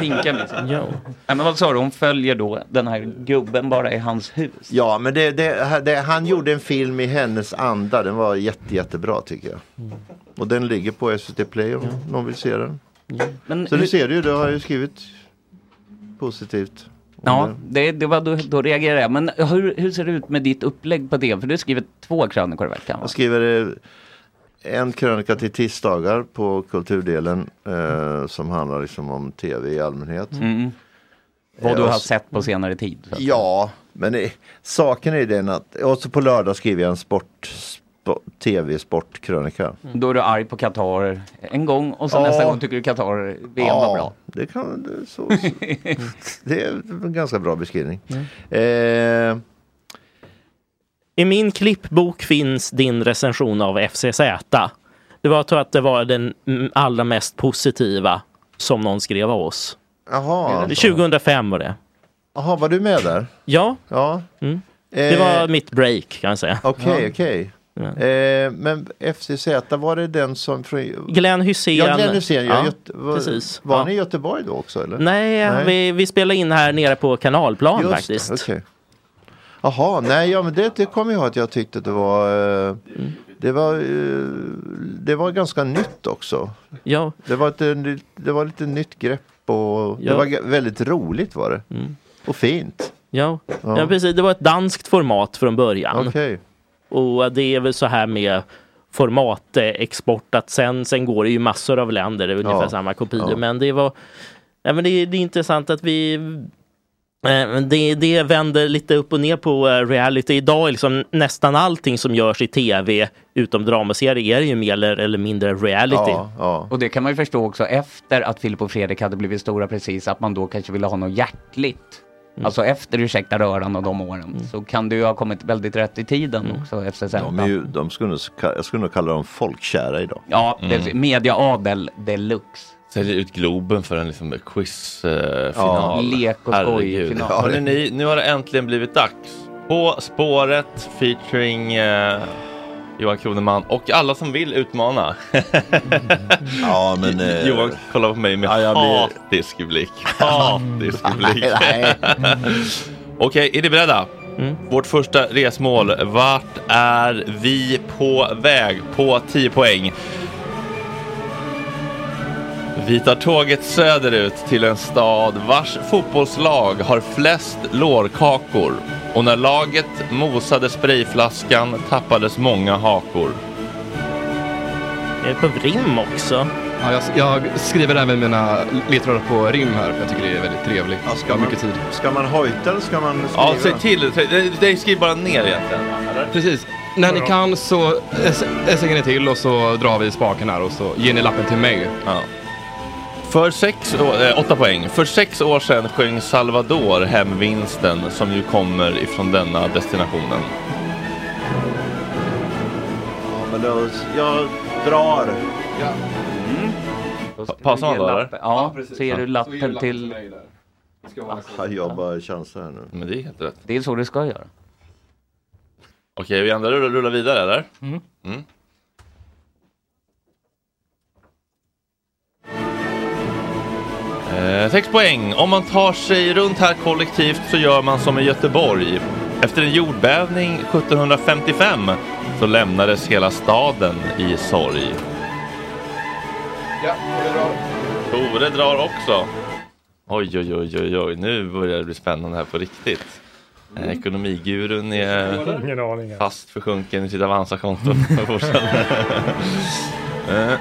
[SPEAKER 3] Pinka liksom. Nej, men vad sa du, hon följer då den här gubben bara i hans hus?
[SPEAKER 7] Ja, men det, det, det, han gjorde en film i hennes anda. Den var jätte, jättebra tycker jag. Och den ligger på SVT Play om någon vill se den.
[SPEAKER 3] Men
[SPEAKER 7] Så
[SPEAKER 3] hur-
[SPEAKER 7] du ser det ju, du har ju skrivit positivt. om
[SPEAKER 3] Ja,
[SPEAKER 7] det.
[SPEAKER 3] det, det var då, då reagerade jag. Men hur, hur ser det ut med ditt upplägg på det? För du skriver två krönikor i veckan. va?
[SPEAKER 7] Jag skriver eh, en krönika till tisdagar på kulturdelen eh, som handlar liksom om tv i allmänhet.
[SPEAKER 3] Mm. Vad du
[SPEAKER 7] Eh, och
[SPEAKER 3] har
[SPEAKER 7] s-
[SPEAKER 3] sett på senare tid. så att-
[SPEAKER 7] Ja, men det, saken är den att, och så på lördag skriver jag en sport, spo- tv-sportkrönika.
[SPEAKER 1] Mm.
[SPEAKER 3] Då är du arg på Qatar en gång och sen
[SPEAKER 7] Ja.
[SPEAKER 3] nästa gång tycker du Qatar-VM var bra.
[SPEAKER 7] det kan det, är så, så. det är en ganska bra beskrivning. Eh,
[SPEAKER 6] I min klippbok finns din recension av FCZ. Det var, jag tror att det var den mm, allra mest positiva som någon skrev av oss.
[SPEAKER 7] Jaha.
[SPEAKER 6] 2005 var det.
[SPEAKER 7] Jaha, var du med där?
[SPEAKER 6] Ja.
[SPEAKER 7] ja.
[SPEAKER 6] Mm. Det var mitt break kan jag säga.
[SPEAKER 7] Okej, okej. Eh, men FCZ, var det den som... Från,
[SPEAKER 6] Glenn Hysén.
[SPEAKER 7] Ja, Glenn Hysén. Ja.
[SPEAKER 6] Ja,
[SPEAKER 7] Göte- var,
[SPEAKER 6] precis.
[SPEAKER 7] var
[SPEAKER 6] Ja.
[SPEAKER 7] ni i Göteborg då också? Eller?
[SPEAKER 6] Nej, Vi, vi spelade in här nere på kanalplan
[SPEAKER 7] Just det,
[SPEAKER 6] faktiskt.
[SPEAKER 7] okej. Jaha, nej, ja, men det, det kommer jag ihåg att jag tyckte att det var... Eh,
[SPEAKER 6] Mm.
[SPEAKER 7] det, var eh, det var ganska nytt också.
[SPEAKER 6] Ja.
[SPEAKER 7] Det var, ett, eh, nytt- det var lite nytt grepp och det
[SPEAKER 6] Ja. Mm.
[SPEAKER 7] var ga- väldigt roligt var det. Och fint.
[SPEAKER 6] Ja.
[SPEAKER 7] Ja.
[SPEAKER 6] Ja. precis. Det var ett danskt format från början.
[SPEAKER 7] Okej.
[SPEAKER 6] Och äh, det är väl så här med formatexport att sen, sen går det ju massor av länder, det är ungefär
[SPEAKER 3] Ja.
[SPEAKER 6] samma kopior.
[SPEAKER 3] Ja.
[SPEAKER 6] Men det var... Nej, men det, är- det är intressant att vi... eh, men Det, det vänder lite upp och ner på eh, reality. Idag är liksom nästan allting som görs i tv, utom dramaserier, är ju mer eller- eller mindre reality.
[SPEAKER 3] Och det kan man ju förstå också efter att Filip och Fredrik hade blivit stora precis, att man då kanske ville ha något hjärtligt. Alltså efter Ursäkta röran och de åren så kan du ju ha kommit väldigt rätt i tiden också efter
[SPEAKER 7] De, är ju, de skulle, nog s- ka- jag skulle nog kalla dem folkkära idag. Mm.
[SPEAKER 3] Ja, det, mediaadel deluxe.
[SPEAKER 1] Säljer ut Globen för en liksom
[SPEAKER 7] eh,
[SPEAKER 1] quizfinal.
[SPEAKER 3] Ja, lek och skoj i final.
[SPEAKER 1] Ja, ni, nu har det äntligen blivit dags. På spåret featuring eh, Johan Kroneman och alla som vill utmana.
[SPEAKER 7] ja, men, eh,
[SPEAKER 1] Johan kollar på mig med
[SPEAKER 7] ja, jag blir- Mm.
[SPEAKER 1] hatisk blick. Hatisk blick.
[SPEAKER 7] Nej,
[SPEAKER 1] Okej, är ni beredda?
[SPEAKER 6] Mm.
[SPEAKER 1] Vårt första resmål. Vart är vi på väg på 10 poäng? Vi tar tåget söderut till en stad vars fotbollslag har flest lårkakor. Och när laget mosade sprayflaskan tappades många hakor.
[SPEAKER 6] Är det på rim också?
[SPEAKER 4] Ja, jag, jag skriver även mina ledtrådar på rim här för jag tycker det är väldigt trevligt. Ja, ska jag har mycket tid.
[SPEAKER 7] Ska man hojta eller ska man skriva?
[SPEAKER 1] Ja, säg till. Det- Det skriv bara ner egentligen.
[SPEAKER 4] Precis. När ni kan så eh, s- eh, säger ni till och så drar vi spaken här och så ger ni lappen till mig.
[SPEAKER 1] För sex år, eh, åtta poäng. För sex år sedan sjöng Salvador hem vinsten som ju kommer ifrån denna destinationen.
[SPEAKER 7] Ja, men då, jag drar. Mm. Ja.
[SPEAKER 1] Pa- Passar man då eller?
[SPEAKER 3] Ja, så ger du lappen till...
[SPEAKER 7] Ah, Jag bara chansar här nu.
[SPEAKER 1] Men det är helt rätt.
[SPEAKER 3] Det är så det ska göra.
[SPEAKER 1] Okej, vi andra rullar, rullar vidare eller?
[SPEAKER 5] Mm.
[SPEAKER 1] Eh, sex poäng. Om man tar sig runt här kollektivt så gör man som i Göteborg. Efter en jordbävning 1755 så lämnades hela staden i sorg.
[SPEAKER 4] Ja,
[SPEAKER 1] Tore drar också. Oj, oj, oj, oj, oj. Nu börjar det bli spännande här på riktigt. Eh, Ekonomigurun
[SPEAKER 8] Ingen aning.
[SPEAKER 1] är fast försjunken i sitt Avanza-konto. Fortsätt. Eh, eh, eh,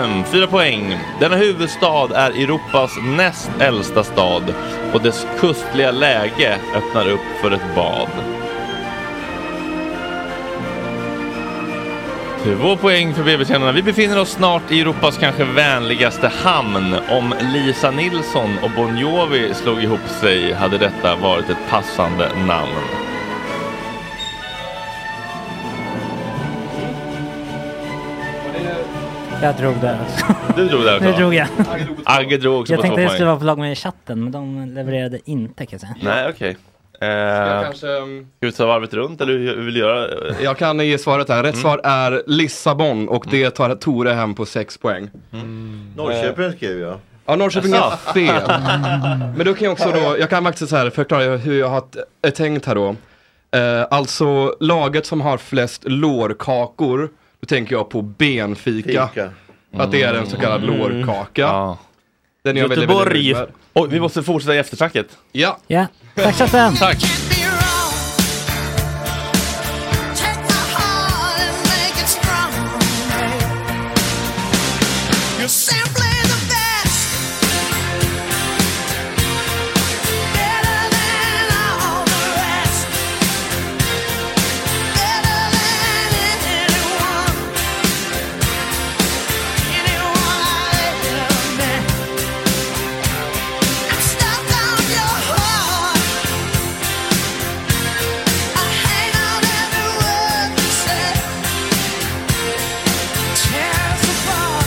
[SPEAKER 1] eh, eh. Fyra poäng. Denna huvudstad är Europas näst äldsta stad och dess kustliga läge öppnar upp för ett bad. Två poäng för BB-tränarna. Vi befinner oss snart i Europas kanske vänligaste hamn. Om Lisa Nilsson och Bon Jovi slog ihop sig hade detta varit ett passande namn. Mm.
[SPEAKER 5] Jag drog där också.
[SPEAKER 1] Du drog där också.
[SPEAKER 5] Nu drog jag.
[SPEAKER 1] Agge drog också
[SPEAKER 5] Jag
[SPEAKER 1] på två
[SPEAKER 5] tänkte det
[SPEAKER 1] poäng.
[SPEAKER 5] skulle vara på lag med i chatten, men de levererade inte kan jag säga.
[SPEAKER 1] Nej, okej.
[SPEAKER 4] jag
[SPEAKER 1] Eh,
[SPEAKER 4] kanske,
[SPEAKER 1] Ska
[SPEAKER 4] ehm,
[SPEAKER 1] vi ta varvet runt eller hur hur vill du göra?
[SPEAKER 4] Jag kan ge svaret här. Rätt
[SPEAKER 1] Mm.
[SPEAKER 4] svar är Lissabon och det tar Tore hem på sex poäng.
[SPEAKER 1] Mm.
[SPEAKER 7] Norrköpen skrev jag.
[SPEAKER 4] Ja, Norrköping är
[SPEAKER 7] Jaså?
[SPEAKER 4] fel. Eh, Men då kan jag också då, jag kan faktiskt så här förklara hur jag har t- eh, tänkt här då. Eh, alltså laget som har flest lårkakor, då tänker jag på benfika.
[SPEAKER 1] Fika.
[SPEAKER 4] Att det är en så kallad
[SPEAKER 1] Mm.
[SPEAKER 4] lårkaka. Den är jag väldigt, väldigt
[SPEAKER 1] Göteborg!
[SPEAKER 4] nöjd med.
[SPEAKER 1] Oj, vi måste fortsätta i eftersnacket.
[SPEAKER 4] Ja.
[SPEAKER 5] Ja, tack chatten!
[SPEAKER 1] Tack!
[SPEAKER 13] You're simply the best. Better than all the rest. Better than anyone. Anyone I ever met. I stepped on your heart. I hang on every word you say. Tears apart.